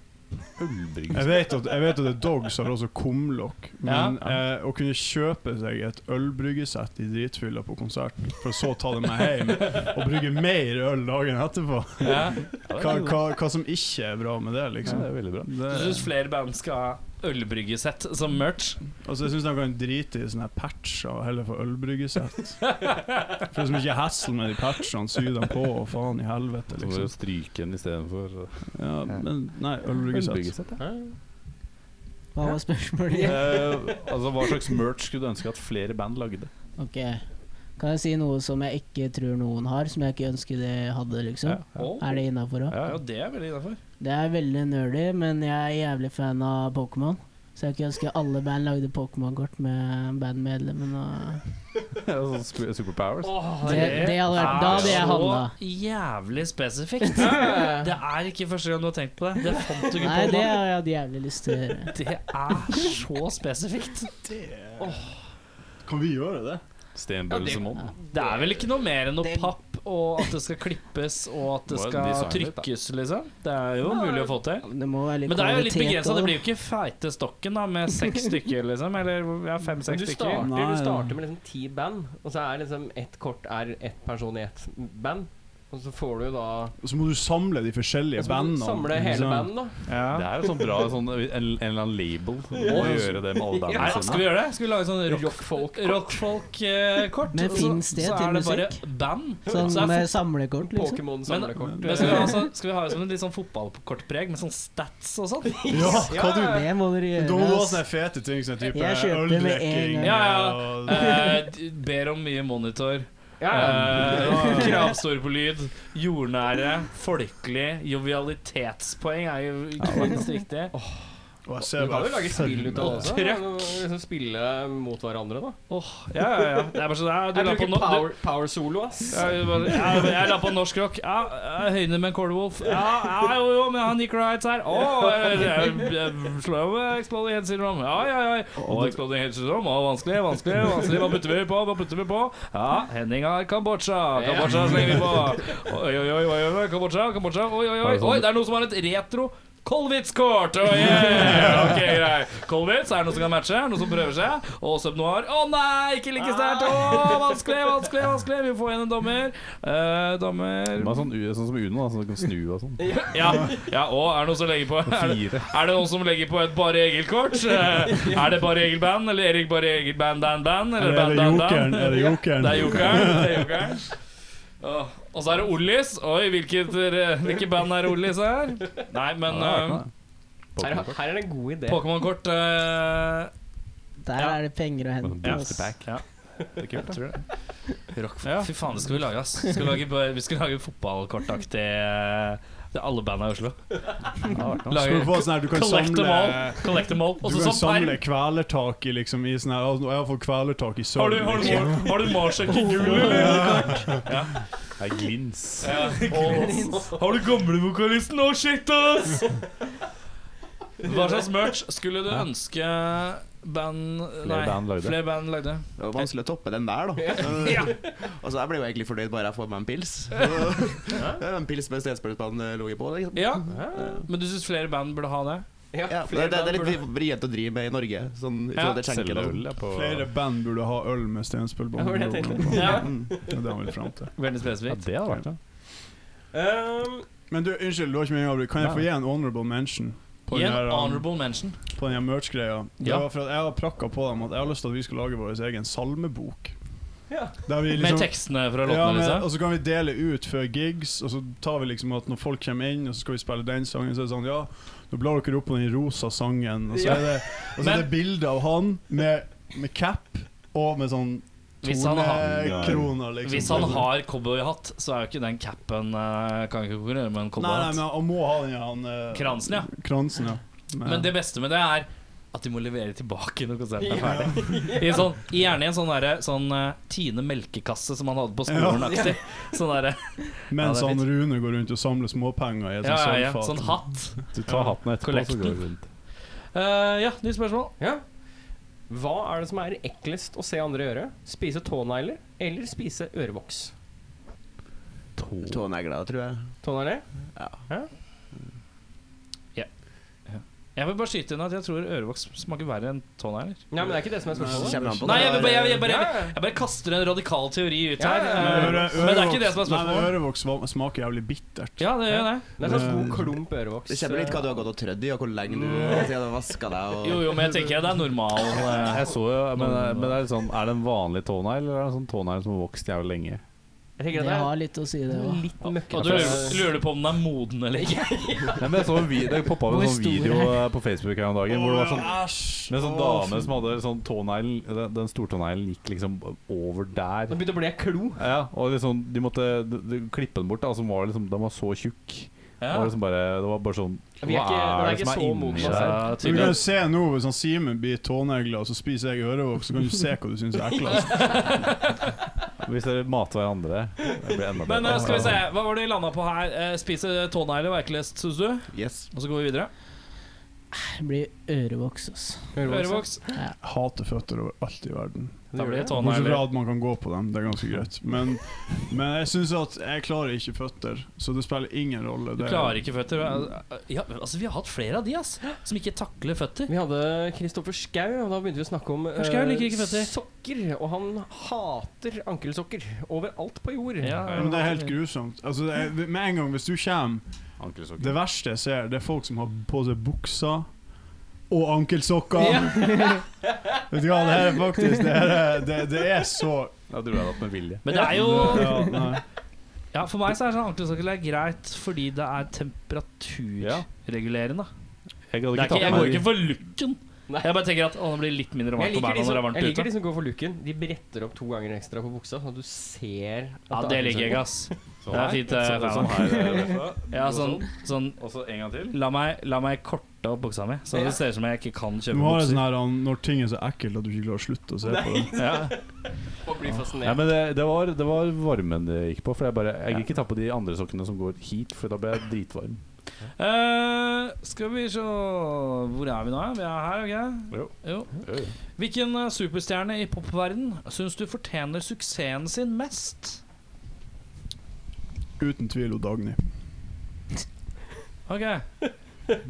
[SPEAKER 4] Ølbrygge
[SPEAKER 6] Jeg vet at, jeg vet at det er Dogs har også kumlokk, men eh, å kunne kjøpe seg et ølbryggesett i dritfylla på konsert, for så å ta det med hjem og brygge mer øl dagen etterpå
[SPEAKER 3] Ja.
[SPEAKER 6] hva, hva, hva som ikke er bra med det,
[SPEAKER 4] Ja,
[SPEAKER 6] liksom.
[SPEAKER 4] det er veldig bra.
[SPEAKER 6] Det,
[SPEAKER 3] Jeg syns flere band skal ha ølbryggesett som merch.
[SPEAKER 6] altså, jeg syns de kan drite i sånne her patcher og heller få ølbryggesett. For det som ikke er hassle med de patchene, sy dem på og faen i helvete,
[SPEAKER 4] Så må du
[SPEAKER 6] liksom.
[SPEAKER 4] stryke den istedenfor.
[SPEAKER 6] Ja, men nei, ølbryggesett.
[SPEAKER 4] Ølbryggesett, ja.
[SPEAKER 7] Hva var spørsmålet? igjen?
[SPEAKER 4] Eh, altså, hva slags merch skulle du ønske at flere band lagde?
[SPEAKER 7] Ok. Kan jeg si noe som jeg ikke tror noen har, som jeg ikke ønsker de hadde, liksom?
[SPEAKER 3] Oh.
[SPEAKER 7] Er det innafor
[SPEAKER 4] Ja,
[SPEAKER 7] òg?
[SPEAKER 3] Ja,
[SPEAKER 4] ja.
[SPEAKER 3] det er veldig innafor.
[SPEAKER 7] Det er veldig nerdy, men jeg er jævlig fan av Pokémon. Så jeg kunne ønske alle band lagde Pokémon-kort med bandmedlemmene og
[SPEAKER 4] Sånn sp- superpowers.
[SPEAKER 7] Det- det hadde vært- da hadde jeg handla.
[SPEAKER 3] Så jævlig spesifikt. Det er ikke første gang du har tenkt på det. Det fant du ikke
[SPEAKER 7] Nei,
[SPEAKER 3] på
[SPEAKER 7] det
[SPEAKER 3] nå.
[SPEAKER 7] har jeg hatt jævlig lyst til å gjøre.
[SPEAKER 3] Det er så spesifikt.
[SPEAKER 6] Kan vi gjøre det?
[SPEAKER 4] Stenbølsemon.
[SPEAKER 3] Det er vel ikke noe mer enn noe papp og at det skal klippes og at det
[SPEAKER 4] Må jo
[SPEAKER 3] skal
[SPEAKER 4] designe litt, da.
[SPEAKER 3] trykkes, liksom. Det er jo mulig å få til.
[SPEAKER 7] Det må være litt
[SPEAKER 3] Men det er jo litt
[SPEAKER 7] kvalitet
[SPEAKER 3] begrensa.
[SPEAKER 7] også.
[SPEAKER 3] Det blir jo ikke feite stokken da med seks stykker, liksom. Eller ja,
[SPEAKER 2] Men
[SPEAKER 3] fem-seks
[SPEAKER 2] du
[SPEAKER 3] stykker.
[SPEAKER 2] starter,
[SPEAKER 6] Nei,
[SPEAKER 2] du
[SPEAKER 6] ja.
[SPEAKER 2] starter med liksom ti band, og så er liksom ett kort er ett person i ett band. Og så får du da
[SPEAKER 6] Og så må du samle de forskjellige
[SPEAKER 2] og så må du
[SPEAKER 6] bandene.
[SPEAKER 2] Samle
[SPEAKER 6] ikke
[SPEAKER 2] hele
[SPEAKER 6] sant?
[SPEAKER 2] bandet, da.
[SPEAKER 4] Det
[SPEAKER 3] Ja.
[SPEAKER 4] er jo sånn bra sånn, en, en eller annen label. Du må gjøre det med alle
[SPEAKER 3] Nei,
[SPEAKER 4] bandene
[SPEAKER 3] skal
[SPEAKER 4] sine.
[SPEAKER 3] vi gjøre det? Skal vi lage sånn rock-
[SPEAKER 2] Rockfolk.
[SPEAKER 3] rockfolk-kort?
[SPEAKER 7] Men finnes det
[SPEAKER 3] så, så
[SPEAKER 7] til
[SPEAKER 3] er det bare
[SPEAKER 7] musikk?
[SPEAKER 3] band. så
[SPEAKER 7] Sånn
[SPEAKER 3] er
[SPEAKER 7] med samlekort, liksom.
[SPEAKER 2] Pokémon-samlekort.
[SPEAKER 3] Men skal vi ha, sånn, skal vi ha sånn, litt sånn fotballkortpreg med sånn stats og sånn?
[SPEAKER 6] Ja, hva du
[SPEAKER 7] Det må dere
[SPEAKER 6] Men Da må du
[SPEAKER 7] gjøre.
[SPEAKER 6] ha
[SPEAKER 7] ass.
[SPEAKER 6] sånne fete ting som type
[SPEAKER 7] Jeg kjøper med en
[SPEAKER 6] øldrikking
[SPEAKER 7] gang.
[SPEAKER 3] Ja,
[SPEAKER 6] og-
[SPEAKER 3] ja. Eh, d- ber om mye monitor.
[SPEAKER 2] Ja,
[SPEAKER 3] Eh, krav står på lyd. Jordnære, folkelig, jovialitetspoeng er jo ikke minst riktig.
[SPEAKER 6] Og jeg
[SPEAKER 2] Du
[SPEAKER 6] ser
[SPEAKER 2] kan jo
[SPEAKER 6] bare
[SPEAKER 2] lage spill ut av det
[SPEAKER 3] Og
[SPEAKER 2] også.
[SPEAKER 3] trøkk.
[SPEAKER 2] Liksom spille mot hverandre, da.
[SPEAKER 3] Åh, ja, ja, ja. Det er bare sånn ja, Du
[SPEAKER 2] Jeg
[SPEAKER 3] la på
[SPEAKER 2] bruker
[SPEAKER 3] no du,
[SPEAKER 2] power, power solo, ass.
[SPEAKER 3] ja, du bare- ja, jeg la på norsk rock. Ja, jeg høyner med Coldwolf. Ja, ja, jo, jo, men han Nick Wrights her. Å, jeg, jeg, jeg slår av med Exploding Head Syndrome. Ja, ja, ja. Og Exploding Head Syndrome. Å, vanskelig, vanskelig. vanskelig Hva putter vi på? Hva putter vi på? Ja, Henning har Kambodsja. Kambodsja slenger vi på. Oi, oi, oi. oi, oi. Kambodsja, Kambodsja. Oi, oi, oi. Oi, det er noe som har sånn- et retro Kolwitz-kort! Oh, yeah. Ok, grei. Kolwitz, er det noen som kan matche? Er det Noen som prøver seg? Og Sub Noir. Å nei, ikke like sterkt! Å, vanskelig, vanskelig, vanskelig! Vi får igjen en dommer. Eh, dommer
[SPEAKER 4] Det er sånn, u- sånn som Uno, da, sånn du kan snu og sånn.
[SPEAKER 3] ja, ja, og er det noen som legger på Er det,
[SPEAKER 4] Fire.
[SPEAKER 3] er det noen som legger på et Bare Egil-kort? Eh, Er det Bare Egil-band, eller Erik Bare Egil-band-band-band?
[SPEAKER 6] Er
[SPEAKER 3] Eller
[SPEAKER 6] det, er det jokeren?
[SPEAKER 3] band-band-band?
[SPEAKER 6] Er det jokeren?
[SPEAKER 3] Det er jokeren. Det er jokeren. Åh, Og så er det Ollis. Oi, hvilket, eh, hvilket band er Ollis her? Nei, men eh,
[SPEAKER 2] Her, her er det en god idé.
[SPEAKER 3] Pokémon-kort eh,
[SPEAKER 7] Der er det penger å hente. ass.
[SPEAKER 3] Ja. Det er kult, tror jeg. Rock, Fy faen, det skal vi lage, ass. Vi skal lage, vi skal lage fotballkortaktig eh, til alle banda i Oslo.
[SPEAKER 6] Skal du få sånn eh, her, du kan
[SPEAKER 3] Collect them all.
[SPEAKER 6] samle
[SPEAKER 3] Collect them all.
[SPEAKER 6] du
[SPEAKER 3] Også
[SPEAKER 6] kan
[SPEAKER 3] sånn perm.
[SPEAKER 6] samle kvelertak i liksom i sånn her altså, Jeg har fått kvelertak i
[SPEAKER 3] Har du,
[SPEAKER 6] sølv.
[SPEAKER 3] har du,
[SPEAKER 6] liksom.
[SPEAKER 3] har du Marsjekk i gul, eller?
[SPEAKER 4] Det er glins.
[SPEAKER 3] Ja. Har du gamlevokalisten? Å, shit, ass! Hva slags merch skulle du ønske band Nei,
[SPEAKER 4] band lagde.
[SPEAKER 3] flere band lagde?
[SPEAKER 8] Det var vanskelig å toppe den der, da.
[SPEAKER 3] Ja.
[SPEAKER 8] Altså, Jeg blir jo egentlig fornøyd bare jeg får meg en pils. Så- Det er en pils med stedspillutband-logi på. Liksom.
[SPEAKER 3] ja. Men du syns flere band burde ha det?
[SPEAKER 2] Ja.
[SPEAKER 8] Ja, det, det, det er litt vrient å drive med i Norge, sånn i forhold til skjenken.
[SPEAKER 4] Selge øl
[SPEAKER 8] og sånn.
[SPEAKER 4] ja, på
[SPEAKER 6] Flere band burde ha øl med
[SPEAKER 2] Ja, det var det jeg
[SPEAKER 6] steinspillbånd.
[SPEAKER 3] Ja.
[SPEAKER 6] Det er det han vil fram til.
[SPEAKER 3] Veldig
[SPEAKER 4] Ja,
[SPEAKER 3] spesifikt.
[SPEAKER 4] det hadde vært det.
[SPEAKER 2] Um,
[SPEAKER 6] Men du, unnskyld, du har ikke mye avbrudd. Kan jeg få gi en honorable mention? På
[SPEAKER 3] Gi
[SPEAKER 6] den
[SPEAKER 3] en
[SPEAKER 6] her, um,
[SPEAKER 3] honorable mention.
[SPEAKER 6] på den her merch-greia. Det
[SPEAKER 3] Ja.
[SPEAKER 6] var for at Jeg har prakka på dem at jeg har lyst til at vi skal lage vår egen salmebok.
[SPEAKER 2] Ja.
[SPEAKER 6] Der vi
[SPEAKER 3] Med
[SPEAKER 6] liksom
[SPEAKER 3] tekstene fra
[SPEAKER 6] ja,
[SPEAKER 3] låtene,
[SPEAKER 6] men,
[SPEAKER 3] liksom.
[SPEAKER 6] og så kan vi dele ut før gigs, og så tar vi liksom at når folk kommer inn, og så skal vi spille den sangen, så er det sånn Ja, nå blar dere opp på den rosa sangen, og så
[SPEAKER 2] Ja.
[SPEAKER 6] er det, og så
[SPEAKER 3] Men-
[SPEAKER 6] er det bilde av han med, med cap og med sånn
[SPEAKER 3] Hvis han har-
[SPEAKER 6] tornekroner, liksom.
[SPEAKER 3] Hvis han har cowboyhatt, så er jo ikke den capen eh, Kan ikke konkurrere med en
[SPEAKER 6] Nei, nei, men
[SPEAKER 3] cowboyhatt.
[SPEAKER 6] han må ha den her, han eh,
[SPEAKER 3] Kransen, ja.
[SPEAKER 6] Kransen, ja. Men-
[SPEAKER 3] Men det beste med det er at de må levere tilbake når konserten er ferdig. I sånn, i gjerne i en sånn, derre- sånn eh, Tine melkekasse som han hadde på skolen-aktig. Sånn derre
[SPEAKER 6] Mens
[SPEAKER 3] Ja, det er
[SPEAKER 6] han sånn Rune går rundt og samler småpenger i et
[SPEAKER 3] ja, ja, ja,
[SPEAKER 6] sølvfat.
[SPEAKER 3] sånn hatt.
[SPEAKER 4] Du tar hatten etterpå, så
[SPEAKER 3] Kollekten.
[SPEAKER 4] går du rundt.
[SPEAKER 3] Eh, ja, nye spørsmål.
[SPEAKER 2] Ja. Hva er det som er eklest å se andre gjøre? Spise tånegler eller spise ørevoks?
[SPEAKER 8] Tånegler, tror jeg.
[SPEAKER 2] Tånegler?
[SPEAKER 3] Jeg vil bare skyte inn at jeg tror ørevoks smaker verre enn tånegler.
[SPEAKER 2] Nei, men det er ikke det som er spørsmålet.
[SPEAKER 8] Kjenner han på
[SPEAKER 3] Nei, jeg, vil bare- jeg, vil- jeg, bare-
[SPEAKER 2] Ja, ja.
[SPEAKER 3] jeg bare kaster en radikal teori ut
[SPEAKER 2] Ja,
[SPEAKER 3] her.
[SPEAKER 2] ja,
[SPEAKER 6] Men
[SPEAKER 2] ja.
[SPEAKER 3] eh,
[SPEAKER 6] øre-
[SPEAKER 3] Men det er ikke det som er
[SPEAKER 6] ørevoks- nei, men
[SPEAKER 3] spørsmålet.
[SPEAKER 6] Ørevoks sma- smaker jævlig bittert.
[SPEAKER 3] Ja, det gjør det.
[SPEAKER 2] Det er sånn god klump ørevoks. eh,
[SPEAKER 8] Det kommer litt hva du har gått og trødd i, og hvor lenge du siden du vaska deg.
[SPEAKER 3] Mm.
[SPEAKER 8] Og...
[SPEAKER 3] Jo, jo, men jeg tenker det er normal eh,
[SPEAKER 4] Jeg så jo, men, men det er, litt sånn, er det en vanlig tånegl, eller er det en sånn tånegl som har vokst jævlig lenge?
[SPEAKER 2] Jeg tenker
[SPEAKER 7] Det
[SPEAKER 2] at
[SPEAKER 7] har litt å si, det
[SPEAKER 2] det er
[SPEAKER 7] òg.
[SPEAKER 2] litt møkkete.
[SPEAKER 3] Og du lurer, lurer du på om den er moden eller ikke?
[SPEAKER 4] Nei, men jeg så en video, Det poppa opp en sånn video eh, på Facebook her om dagen hvor det var sånn
[SPEAKER 6] Æsj!
[SPEAKER 4] med en sånn
[SPEAKER 6] Åh,
[SPEAKER 4] dame som hadde sånn tånegl Den, den stortåneglen gikk liksom over der.
[SPEAKER 2] Nå begynte det å bli en klo.
[SPEAKER 4] Ja, og liksom, de måtte de, de, klippe den bort, da, som var liksom, den var så tjukk. Det, var liksom bare, det var bare sånn
[SPEAKER 2] Vi er
[SPEAKER 4] Hva
[SPEAKER 2] ikke- den er
[SPEAKER 4] er det
[SPEAKER 2] ikke
[SPEAKER 4] som er
[SPEAKER 2] så moden,
[SPEAKER 4] inni
[SPEAKER 2] altså.
[SPEAKER 4] deg?
[SPEAKER 3] Ja,
[SPEAKER 6] Du kan jo
[SPEAKER 3] tydeligvis.
[SPEAKER 6] se nå, hvis han Simen blir tånegler, og så spiser jeg ørevoks, så kan du se hva du syns er eklest.
[SPEAKER 4] Hvis dere mater hverandre. Det blir enda bedre.
[SPEAKER 3] Men eh, skal vi se, hva var det vi landa på her? Eh, Spise tånegler var eklest, syns du?
[SPEAKER 8] Yes.
[SPEAKER 3] Og så går vi videre.
[SPEAKER 7] Det blir ørevoks, ass.
[SPEAKER 3] Ørevoks.
[SPEAKER 6] Hater føtter over alt i verden.
[SPEAKER 3] Da blir det
[SPEAKER 6] Bortsett fra
[SPEAKER 3] tånegler.
[SPEAKER 6] at man kan gå på dem, det er ganske greit. Men, men jeg syns at jeg klarer ikke føtter, så det spiller ingen rolle.
[SPEAKER 3] Du klarer ikke føtter. Ja, altså, vi har hatt flere av de ass, som ikke takler føtter.
[SPEAKER 2] Vi hadde Kristoffer Schau, og da begynte vi å snakke om eh,
[SPEAKER 3] Schau liker ikke føtter.
[SPEAKER 2] sokker. Og han hater ankelsokker overalt på jord.
[SPEAKER 3] Ja,
[SPEAKER 6] Ja, men det er helt grusomt. Altså, det er, med en gang, hvis du kommer Det verste jeg ser, det er folk som har på seg buksa og ankelsokker. Vet du hva, det her er faktisk Det, her er, det, det er så
[SPEAKER 4] Da dro jeg det opp med vilje.
[SPEAKER 3] Men det er jo
[SPEAKER 6] ja, nei.
[SPEAKER 3] Ja, For meg så er sånn ankelsokkel er greit fordi det er temperaturregulerende.
[SPEAKER 4] Jeg gadd
[SPEAKER 3] Det er ikke,
[SPEAKER 4] ikke ta
[SPEAKER 3] jeg
[SPEAKER 4] på
[SPEAKER 3] går
[SPEAKER 4] meg
[SPEAKER 3] ikke for looken.
[SPEAKER 2] Nei.
[SPEAKER 3] Jeg bare tenker at å, det blir litt mindre
[SPEAKER 2] Jeg
[SPEAKER 3] varmt på
[SPEAKER 2] liker, de
[SPEAKER 3] beina når det er
[SPEAKER 2] som, jeg
[SPEAKER 3] varmt
[SPEAKER 2] liker
[SPEAKER 3] ute.
[SPEAKER 2] de som går for looken. De bretter opp to ganger ekstra på buksa, sånn at du ser at
[SPEAKER 3] Ja, det liker jeg
[SPEAKER 2] liksom-
[SPEAKER 3] ikke, ass. Det er fint. eh,
[SPEAKER 4] Sånn,
[SPEAKER 3] Herman.
[SPEAKER 4] sånn her, eh,
[SPEAKER 3] Ja, sånn, sånn
[SPEAKER 4] Og så en gang til.
[SPEAKER 3] la, meg, la meg korte opp buksa mi, så
[SPEAKER 2] Ja.
[SPEAKER 3] det ser ut som jeg ikke kan
[SPEAKER 6] Du
[SPEAKER 3] kjøpe
[SPEAKER 6] har en sånn
[SPEAKER 3] bukser.
[SPEAKER 6] her han, når ting er så ekkelt at du ikke klarer å slutte å se på det.
[SPEAKER 3] Ja.
[SPEAKER 2] Og blir fascinert.
[SPEAKER 4] Ja, men det, det, var, det var varmen det gikk på. For Jeg bare Jeg gikk ikke ta på de andre sokkene som går hit, for da ble jeg dritvarm.
[SPEAKER 3] Eh, skal vi se Hvor er vi nå? Vi er her, OK?
[SPEAKER 4] Jo. Jo, jo.
[SPEAKER 3] Hvilken eh, superstjerne i popverden syns du fortjener suksessen sin mest?
[SPEAKER 6] Uten tvil og Dagny.
[SPEAKER 3] OK.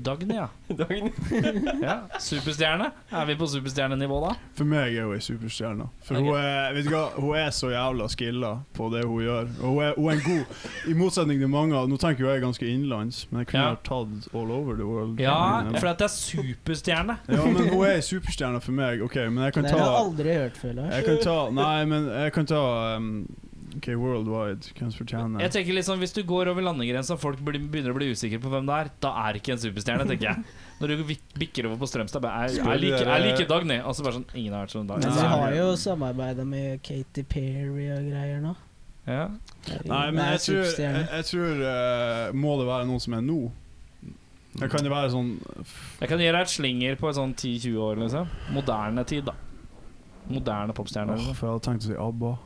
[SPEAKER 3] Dagny, ja.
[SPEAKER 2] Dagen-
[SPEAKER 3] ja. Superstjerne? Er vi på superstjernenivå da?
[SPEAKER 6] For meg er hun ei superstjerne. For hun, er, vet du hva, hun er så jævla skilla på det hun gjør. Og hun er, hun er en god I motsetning til mange av- Nå tenker jo jeg ganske innenlands, men jeg kunne
[SPEAKER 3] Ja.
[SPEAKER 6] ha tatt all over the world.
[SPEAKER 3] Ja, for at det er superstjerne.
[SPEAKER 6] ja, men hun er ei superstjerne for meg, OK, men jeg
[SPEAKER 7] Det
[SPEAKER 6] kan
[SPEAKER 7] har
[SPEAKER 6] ta
[SPEAKER 7] jeg aldri hørt før, Lars.
[SPEAKER 6] Jeg kan ta Nei, men jeg kan ta um, OK, worldwide. Hvem som fortjener
[SPEAKER 3] Jeg tenker liksom, Hvis du går over landegrensa og folk blir, begynner å bli usikre på hvem det er, da er det ikke en superstjerne, tenker jeg. Når du vik- bikker over på Strømstad bare, Jeg, jeg, liker, jeg liker Dagny. Og så bare sånn Ingen har vært sånn
[SPEAKER 7] Men
[SPEAKER 3] Dagny.
[SPEAKER 7] de har jo samarbeida med Katy Perry og greier nå.
[SPEAKER 3] Ja.
[SPEAKER 6] Nei, men
[SPEAKER 7] Det er
[SPEAKER 6] jeg tror, jeg,
[SPEAKER 7] superstjerne.
[SPEAKER 6] jeg tror eh, Må det være noen som er nå? Eller kan det være sånn
[SPEAKER 3] Jeg kan gi deg et slinger på sånn 10-20 år, liksom. Moderne tid, da. Moderne popstjerne.
[SPEAKER 6] Åh,
[SPEAKER 3] Liksom.
[SPEAKER 6] For jeg hadde tenkt å si ABBA.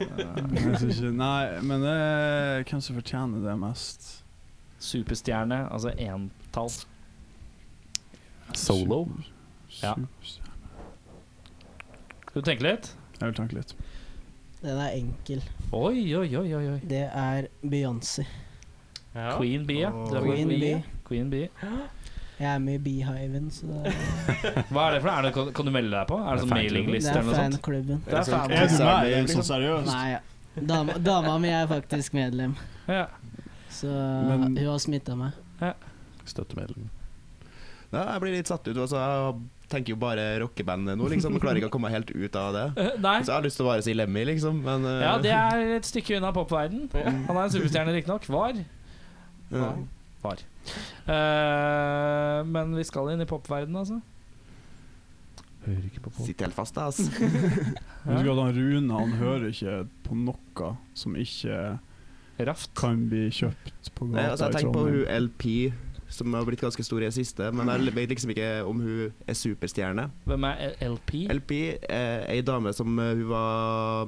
[SPEAKER 6] Eh, jeg synes ikke, nei, men det er hvem som fortjener det mest.
[SPEAKER 3] Superstjerne, altså entall.
[SPEAKER 4] Solo.
[SPEAKER 3] Ja.
[SPEAKER 6] Superstjerne.
[SPEAKER 3] Skal du tenke litt?
[SPEAKER 6] Jeg vil tenke litt.
[SPEAKER 7] Den er enkel.
[SPEAKER 3] Oi, oi, oi, oi. oi.
[SPEAKER 7] Det er Beyoncé.
[SPEAKER 2] Ja.
[SPEAKER 3] Queen Bee, ja. Du er på
[SPEAKER 7] Queen Bee.
[SPEAKER 3] Queen Bee.
[SPEAKER 7] Jeg er med i Beehiven, så det er,
[SPEAKER 3] Hva er det for noe? Er det- Kan, kan du melde deg på? Er det sånn
[SPEAKER 4] Det er fanklubben.
[SPEAKER 7] det
[SPEAKER 3] mailingliste
[SPEAKER 7] er
[SPEAKER 3] eller noe sånt?
[SPEAKER 7] fanklubben.
[SPEAKER 3] Det liksom. er fan.
[SPEAKER 6] Er du med i en sånn seriøst?
[SPEAKER 7] Nei, ja. Dama, dama mi er faktisk medlem,
[SPEAKER 3] Ja.
[SPEAKER 7] så
[SPEAKER 6] Men-
[SPEAKER 7] hun har smitta meg.
[SPEAKER 4] Støttemedlem.
[SPEAKER 8] Ja, jeg blir litt satt ut. Altså, jeg tenker jo bare rockeband nå, liksom. Jeg klarer ikke å komme helt ut av det.
[SPEAKER 3] Eh, Nei.
[SPEAKER 8] Så jeg har lyst til å bare si Lemmy, liksom. Men Altså, eh,
[SPEAKER 3] Ja, det er et stykke unna popverden. Han er en superstjerne, riktignok. Var.
[SPEAKER 8] ja.
[SPEAKER 3] Var. Eh, men vi skal inn i popverden, altså.
[SPEAKER 4] Hører ikke på folk.
[SPEAKER 8] Sitter helt fast, jeg, ass.
[SPEAKER 6] Husk at han Rune han hører ikke på noe som ikke
[SPEAKER 3] Raft.
[SPEAKER 6] kan bli kjøpt på
[SPEAKER 8] Nei, altså,
[SPEAKER 6] gata
[SPEAKER 8] jeg
[SPEAKER 6] i
[SPEAKER 8] tenker på
[SPEAKER 6] Trondheim.
[SPEAKER 8] hun LP som har blitt ganske stor i det siste. Men
[SPEAKER 3] Mm.
[SPEAKER 8] jeg vet liksom ikke om hun er superstjerne.
[SPEAKER 3] Hvem er LP?
[SPEAKER 8] LP er ei dame som eh, hun var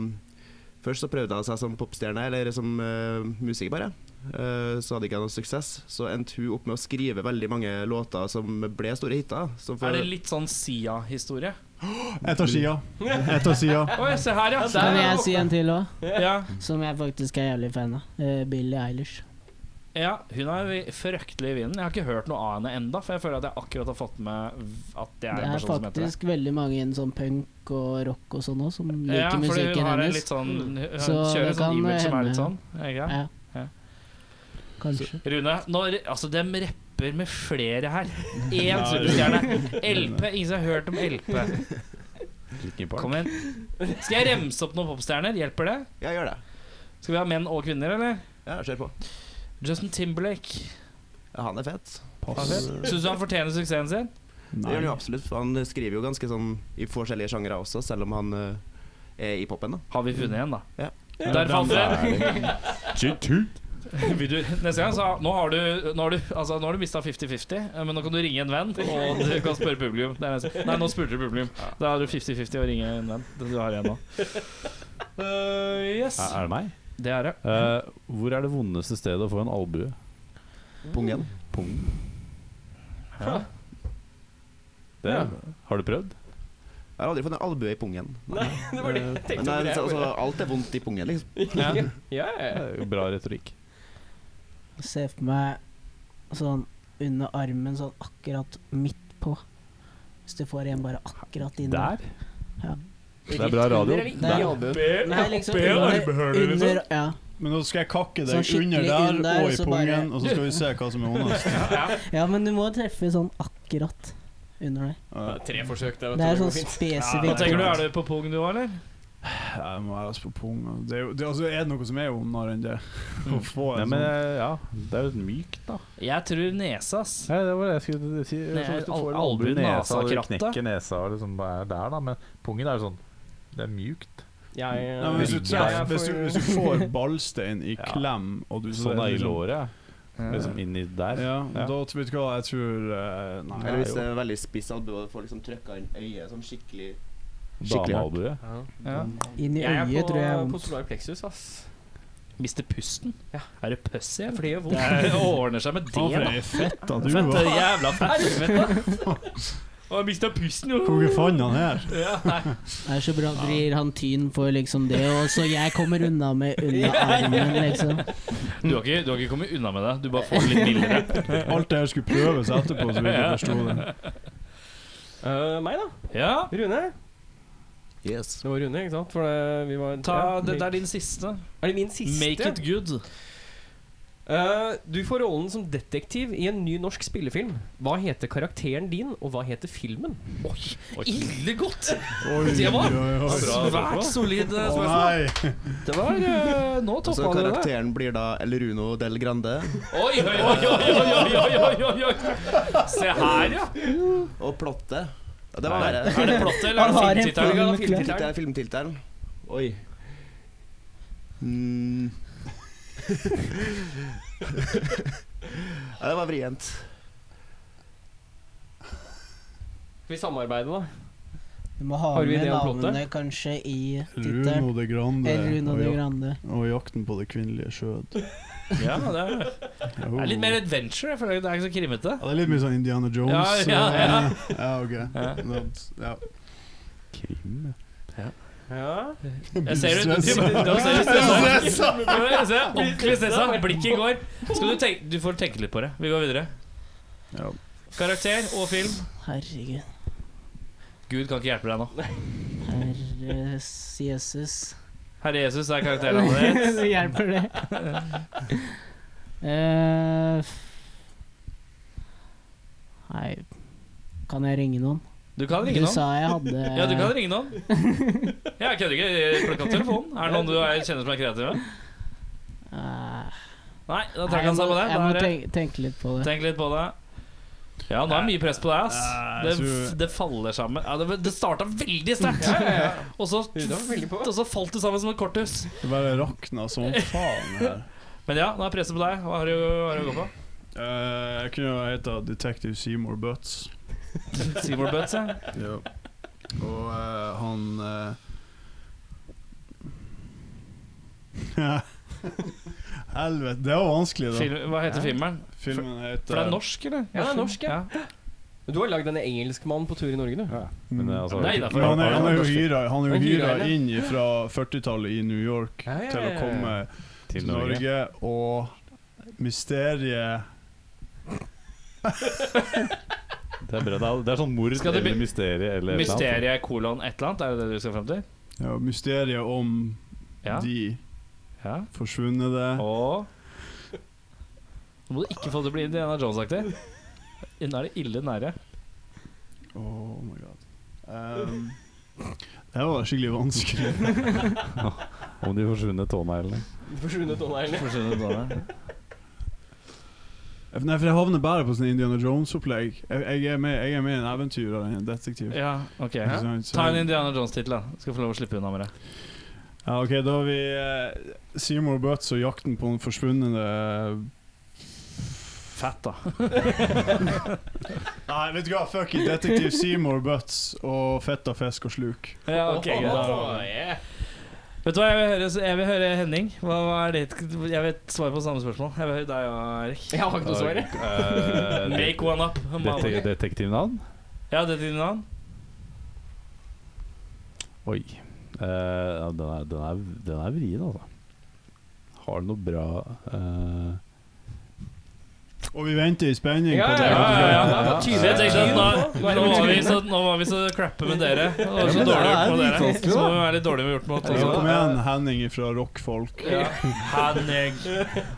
[SPEAKER 8] Først så prøvde hun seg som popstjerne, eller som eh, musiker, bare. Eh, så hadde ikke hun noe suksess. Så endte hun opp med å skrive veldig mange låter som ble store hiter. Som for-
[SPEAKER 3] Er det litt sånn Sia-historie?
[SPEAKER 6] Jeg tar skia. Jeg tar skia.
[SPEAKER 3] Oi, se her, ja.
[SPEAKER 7] Kan
[SPEAKER 3] Der,
[SPEAKER 7] jeg si en til òg,
[SPEAKER 3] ja.
[SPEAKER 7] som jeg faktisk er jævlig fan av? Eh, Billie Eilish.
[SPEAKER 3] ja, hun er vi- fryktelig i vinden. Jeg har ikke hørt noe av henne enda for jeg føler at jeg akkurat har fått med v- at det er
[SPEAKER 7] Det
[SPEAKER 3] en
[SPEAKER 7] er
[SPEAKER 3] person som heter det.
[SPEAKER 7] faktisk veldig mange innen sånn punk og rock og sånn òg, som liker
[SPEAKER 3] Ja, fordi hun
[SPEAKER 7] musikken
[SPEAKER 3] har en
[SPEAKER 7] hennes.
[SPEAKER 3] litt sånn Hun
[SPEAKER 7] Så
[SPEAKER 3] kjører en
[SPEAKER 7] det
[SPEAKER 3] sånn
[SPEAKER 7] kan
[SPEAKER 3] image som er litt sånn.
[SPEAKER 7] hende.
[SPEAKER 3] er det Ikke? det?
[SPEAKER 7] Ja. Kanskje.
[SPEAKER 3] Rune, når, altså dem rapper med flere her. Én superstjerne. LP. Ingen som har hørt om LP. Kom igjen. Skal jeg remse opp noen popstjerner? Hjelper det?
[SPEAKER 8] Ja, gjør det.
[SPEAKER 3] Skal vi ha menn og kvinner, eller?
[SPEAKER 8] Ja, kjør på.
[SPEAKER 3] Justin Timberlake.
[SPEAKER 8] Ja, han er fet.
[SPEAKER 3] Syns du han fortjener suksessen sin?
[SPEAKER 8] Det gjør han jo absolutt. for Han skriver jo ganske sånn i forskjellige sjangere også, selv om han eh, er i popen. da
[SPEAKER 3] Har vi funnet en, da?
[SPEAKER 8] Ja.
[SPEAKER 3] Der fant vi en.
[SPEAKER 4] Jitu.
[SPEAKER 3] Vil du- Neste gang, så Nå har du Nå har du, altså, nå har du mista 50-50, eh, men nå kan du ringe en venn, og du kan spørre publikum. Det er det eneste. Nei, nå spurte du publikum. Da har du 50-50 å ringe en venn. Det Du har en nå. Eh, yes.
[SPEAKER 4] Er er det meg?
[SPEAKER 3] Det er det.
[SPEAKER 4] Eh, hvor er det vondeste stedet å få en albue?
[SPEAKER 3] Mm.
[SPEAKER 8] Pungen.
[SPEAKER 4] Det, Har du prøvd?
[SPEAKER 8] Jeg har aldri fått en albue i pungen.
[SPEAKER 2] Nei, det var det jeg
[SPEAKER 8] Men
[SPEAKER 2] tenkte.
[SPEAKER 8] det
[SPEAKER 2] på
[SPEAKER 8] er,
[SPEAKER 2] det
[SPEAKER 8] altså,
[SPEAKER 2] ordet.
[SPEAKER 8] alt er vondt i pungen, liksom.
[SPEAKER 2] Ja, ja,
[SPEAKER 4] Det
[SPEAKER 2] ja.
[SPEAKER 4] er jo Bra retorikk.
[SPEAKER 7] Se for meg sånn under armen, sånn akkurat midt på. Hvis du får en bare akkurat inn
[SPEAKER 4] Der?
[SPEAKER 7] Ja.
[SPEAKER 4] Det er bra radio.
[SPEAKER 7] Nei, Nei, liksom under, under Ja.
[SPEAKER 6] Men nå skal jeg kakke
[SPEAKER 7] Sånn
[SPEAKER 6] deg
[SPEAKER 7] skikkelig
[SPEAKER 6] under der
[SPEAKER 7] inn der,
[SPEAKER 6] og
[SPEAKER 7] og
[SPEAKER 6] i
[SPEAKER 7] så bare-
[SPEAKER 6] pungen, og så skal vi se hva som er vondest.
[SPEAKER 7] ja, men du må treffe sånn akkurat under deg.
[SPEAKER 6] Ja,
[SPEAKER 3] liksom.
[SPEAKER 2] Tre forsøk der. vet
[SPEAKER 7] Det
[SPEAKER 2] du,
[SPEAKER 7] er sånn
[SPEAKER 2] går fint.
[SPEAKER 3] Hva
[SPEAKER 7] spesifikt.
[SPEAKER 3] tenker du, er du på pung du òg, eller?
[SPEAKER 6] Jeg må være på pungen. Det er, jo, det, altså, er det noe som er vondere enn det? Å få
[SPEAKER 4] Mm. Nei,
[SPEAKER 6] en
[SPEAKER 4] men
[SPEAKER 6] sånn
[SPEAKER 4] eh, ja, det er jo mykt, da.
[SPEAKER 3] Jeg tror nese, ass.
[SPEAKER 4] Nei, det var det jeg skulle si.
[SPEAKER 3] Nei,
[SPEAKER 4] Altså, hvis du
[SPEAKER 3] al-
[SPEAKER 4] får en
[SPEAKER 3] albuen,
[SPEAKER 4] albue i nesa,
[SPEAKER 3] altså,
[SPEAKER 4] du
[SPEAKER 3] krattet.
[SPEAKER 4] knekker nesa og liksom bare er der, da. Men pungen er jo sånn Det er mjukt.
[SPEAKER 2] Jeg, eh,
[SPEAKER 6] Nei, men hvis, du
[SPEAKER 4] Ryggen.
[SPEAKER 6] treffer,
[SPEAKER 2] jeg får
[SPEAKER 6] hvis, du,
[SPEAKER 2] jo-
[SPEAKER 6] hvis du får ballstein i
[SPEAKER 4] Ja.
[SPEAKER 6] klem og du
[SPEAKER 4] Sånn er i
[SPEAKER 6] liksom-
[SPEAKER 4] låret. ja. Liksom inni der.
[SPEAKER 6] Ja,
[SPEAKER 4] Ja.
[SPEAKER 6] da vet du hva, jeg tror eh, Nei.
[SPEAKER 8] Eller hvis
[SPEAKER 4] jo.
[SPEAKER 8] det er veldig spiss albue og får liksom trøkka inn øyet sånn skikkelig Skikkelig hardt.
[SPEAKER 4] Damealbue.
[SPEAKER 7] Inn i
[SPEAKER 2] Jeg er
[SPEAKER 7] øyet
[SPEAKER 2] på,
[SPEAKER 7] tror jeg er
[SPEAKER 2] på
[SPEAKER 7] vondt.
[SPEAKER 2] solar plexus, ass.
[SPEAKER 3] Mister pusten?
[SPEAKER 2] Ja.
[SPEAKER 3] Er det pussy? eller?
[SPEAKER 2] For det gjør
[SPEAKER 3] Det
[SPEAKER 2] vondt.
[SPEAKER 3] er- ordner seg med det,
[SPEAKER 6] Å, for
[SPEAKER 3] da.
[SPEAKER 6] ei fett at du
[SPEAKER 3] Fett, det
[SPEAKER 6] var
[SPEAKER 3] er jævla fett. Å, mista pusten, jo.
[SPEAKER 6] Hvor fant han her?
[SPEAKER 3] Ja, nei.
[SPEAKER 7] Det er så bra vrir han tyn for liksom det, og så jeg kommer unna med under armen, liksom.
[SPEAKER 3] Du, har ikke, du har ikke kommet unna med det. Du bare får det litt mildere.
[SPEAKER 6] Alt det her skulle prøves etterpå, så vi ikke forsto det.
[SPEAKER 2] Eh, meg, da?
[SPEAKER 3] Ja.
[SPEAKER 2] Rune?
[SPEAKER 8] Yes.
[SPEAKER 2] Det var Rune, ikke sant? For det, vi var
[SPEAKER 3] Ta,
[SPEAKER 2] ja,
[SPEAKER 3] det, det er din siste.
[SPEAKER 2] Er det min siste?
[SPEAKER 3] Make it good.
[SPEAKER 2] Eh, du får rollen som detektiv i en ny norsk spillefilm. Hva heter karakteren din, og hva heter filmen?
[SPEAKER 3] Ille godt!
[SPEAKER 6] Oi,
[SPEAKER 3] Det var
[SPEAKER 6] oi, oi.
[SPEAKER 3] Svært solid eh,
[SPEAKER 6] Å
[SPEAKER 3] spørsmål.
[SPEAKER 6] nei!
[SPEAKER 3] Det var eh, Nå
[SPEAKER 8] Og så
[SPEAKER 3] toppa du det.
[SPEAKER 8] karakteren blir da El Runo del Grande.
[SPEAKER 3] Oi, oi, oi, oi, oi, oi, oi, oi, oi. Se her, ja.
[SPEAKER 8] Og plottet ja, Det var verre.
[SPEAKER 3] Er det plottet, eller
[SPEAKER 7] Han har
[SPEAKER 3] er
[SPEAKER 7] en
[SPEAKER 3] det filmtittelen?
[SPEAKER 7] film.
[SPEAKER 8] Filmtittelen. filmtittelen. Oi. Mm. ja, det var vrient.
[SPEAKER 2] Skal vi samarbeide, da?
[SPEAKER 7] Du må ha
[SPEAKER 2] Har du
[SPEAKER 7] med
[SPEAKER 2] idé om
[SPEAKER 7] navnet kanskje i tittelen.
[SPEAKER 6] Runo de Grande
[SPEAKER 7] Eller Runo
[SPEAKER 6] og,
[SPEAKER 7] de
[SPEAKER 6] jak
[SPEAKER 7] Grande.
[SPEAKER 6] og jakten på det kvinnelige skjød.
[SPEAKER 3] Ja, det er, det er litt mer adventure. Jeg føler det er ikke så krimete.
[SPEAKER 6] Ja, det er litt mer sånn Indiana Jones.
[SPEAKER 3] Ja, ja,
[SPEAKER 6] eh, ja ok. Nå- Ja.
[SPEAKER 4] Krim.
[SPEAKER 2] Ja.
[SPEAKER 3] Jeg ser ut du,
[SPEAKER 6] Stressa.
[SPEAKER 3] da ser du stressa ut. Jeg ser Ordentlig stressa. Blikket går. Skal du, tenke, du får tenke litt på det. Vi går videre.
[SPEAKER 6] Ja.
[SPEAKER 3] Karakter og film.
[SPEAKER 7] Herregud.
[SPEAKER 3] Gud kan ikke hjelpe deg nå.
[SPEAKER 7] Herres eh, Jesus.
[SPEAKER 3] Herre Jesus er karakteren hans.
[SPEAKER 7] Det hjelper det. Eh, nei Kan jeg ringe noen?
[SPEAKER 3] Du kan
[SPEAKER 7] Du
[SPEAKER 3] ringe noen.
[SPEAKER 7] sa jeg hadde
[SPEAKER 3] Ja, du kan ringe noen. Jeg kødder ikke. Plukk opp telefonen. Er det noen du er- kjenner som er kreative?
[SPEAKER 7] Eh,
[SPEAKER 3] Nei, da
[SPEAKER 7] nei,
[SPEAKER 3] trekker han seg på det.
[SPEAKER 7] Jeg
[SPEAKER 3] Da
[SPEAKER 7] må
[SPEAKER 3] er det-
[SPEAKER 7] tenke, tenke litt på det.
[SPEAKER 3] Tenk litt på det. Ja, nå er det mye press på deg, ass.
[SPEAKER 6] Nei, jeg
[SPEAKER 3] Det,
[SPEAKER 6] tror-
[SPEAKER 3] det faller sammen. Ja, det, det starta veldig sterkt, og så,
[SPEAKER 2] Du, da var vi veldig på.
[SPEAKER 3] og så falt du sammen som et korthus.
[SPEAKER 6] Det bare rakna som faen her.
[SPEAKER 3] Men ja, nå er presset på deg. Hva har du, hva har du å gå på?
[SPEAKER 6] Eh, jeg kunne jo heta Detective Seymour Butts.
[SPEAKER 3] Seymour Butts, ja.
[SPEAKER 6] Ja. Og eh, han eh, Helvete, det var vanskelig, da.
[SPEAKER 3] Film, hva heter
[SPEAKER 6] Ja.
[SPEAKER 3] filmen?
[SPEAKER 6] Filmen heter
[SPEAKER 3] For det er norsk, eller?
[SPEAKER 2] Ja, det er norsk, ja. Men du har lagd en engelskmann på tur i Norge, du.
[SPEAKER 4] Men det er altså
[SPEAKER 3] Nei, da,
[SPEAKER 6] Men han er, han er jo hyra, han
[SPEAKER 2] Han
[SPEAKER 6] er jo
[SPEAKER 2] er hyra,
[SPEAKER 6] hyra
[SPEAKER 2] ja.
[SPEAKER 6] inn fra 40-tallet i New York
[SPEAKER 2] Ja, ja,
[SPEAKER 6] til å
[SPEAKER 2] ja, ja.
[SPEAKER 6] komme til Norge, og mysteriet
[SPEAKER 4] Det er, bra. Det er, det er sånn mord
[SPEAKER 3] Skal det
[SPEAKER 4] eller
[SPEAKER 3] bli-
[SPEAKER 4] mysterie eller et eller annet.
[SPEAKER 3] Mysteriet kolon et eller annet, er det det du skal frem til?
[SPEAKER 6] ja, Mysteriet om
[SPEAKER 3] Ja.
[SPEAKER 6] de
[SPEAKER 3] ja.
[SPEAKER 6] forsvunne det.
[SPEAKER 3] Og Nå må du ikke få det til å bli Indiana Jones-aktig. Nå er det ille nære.
[SPEAKER 6] Oh my god. Um, det var skikkelig vanskelig.
[SPEAKER 4] Om de forsvunne tåneglene.
[SPEAKER 2] Forsvunnet åndeeierne.
[SPEAKER 3] Forsvinner det da, ja.
[SPEAKER 6] Nei, for jeg havner bare på sånn Indiana Jones-opplegg. Jeg, jeg, er med- jeg er med i en eventyr og en detektiv.
[SPEAKER 3] Ja, ok.
[SPEAKER 6] Ikke sant? Så-
[SPEAKER 3] Ta en Indiana Jones-tittel, da. Skal få lov å slippe unna med det.
[SPEAKER 6] Ja, ok, da har vi eh, Seymour Butts og jakten på den eh, forsvunne
[SPEAKER 3] Fett, da.
[SPEAKER 6] Nei, vet du hva, fuck it. Detektiv Seymour Butts og fett av fisk og sluk.
[SPEAKER 3] Ja, ok, greit. Vet du hva, jeg vil høre, jeg vil høre Henning. Hva, hva er ditt Jeg vet svaret på samme spørsmål. Jeg vil høre deg og Erik.
[SPEAKER 2] Jeg har ikke noe svar, jeg.
[SPEAKER 4] Eh, det-
[SPEAKER 3] Make one up.
[SPEAKER 4] dete- Detektivnavn?
[SPEAKER 3] Ja, det er din navn?
[SPEAKER 4] Oi. Eh, ja, den, er, den, er, den er vrien, altså. Har du noe bra eh,
[SPEAKER 6] Og vi venter i spenning
[SPEAKER 2] Ja,
[SPEAKER 6] på
[SPEAKER 2] ja,
[SPEAKER 6] det.
[SPEAKER 2] ja, ja, ja.
[SPEAKER 3] Så jeg tenkte at nå, nå, var vi så, nå var vi så crappe med dere. Og så
[SPEAKER 2] men det
[SPEAKER 3] dårlig gjort
[SPEAKER 2] er
[SPEAKER 3] mot dere.
[SPEAKER 2] dritvanskelig,
[SPEAKER 3] Så
[SPEAKER 2] da.
[SPEAKER 3] må vi være litt dårlige vi har gjort mot
[SPEAKER 6] Så
[SPEAKER 3] oss.
[SPEAKER 6] Liksom, kom igjen, Henning fra rockfolk.
[SPEAKER 3] Ja. Henning,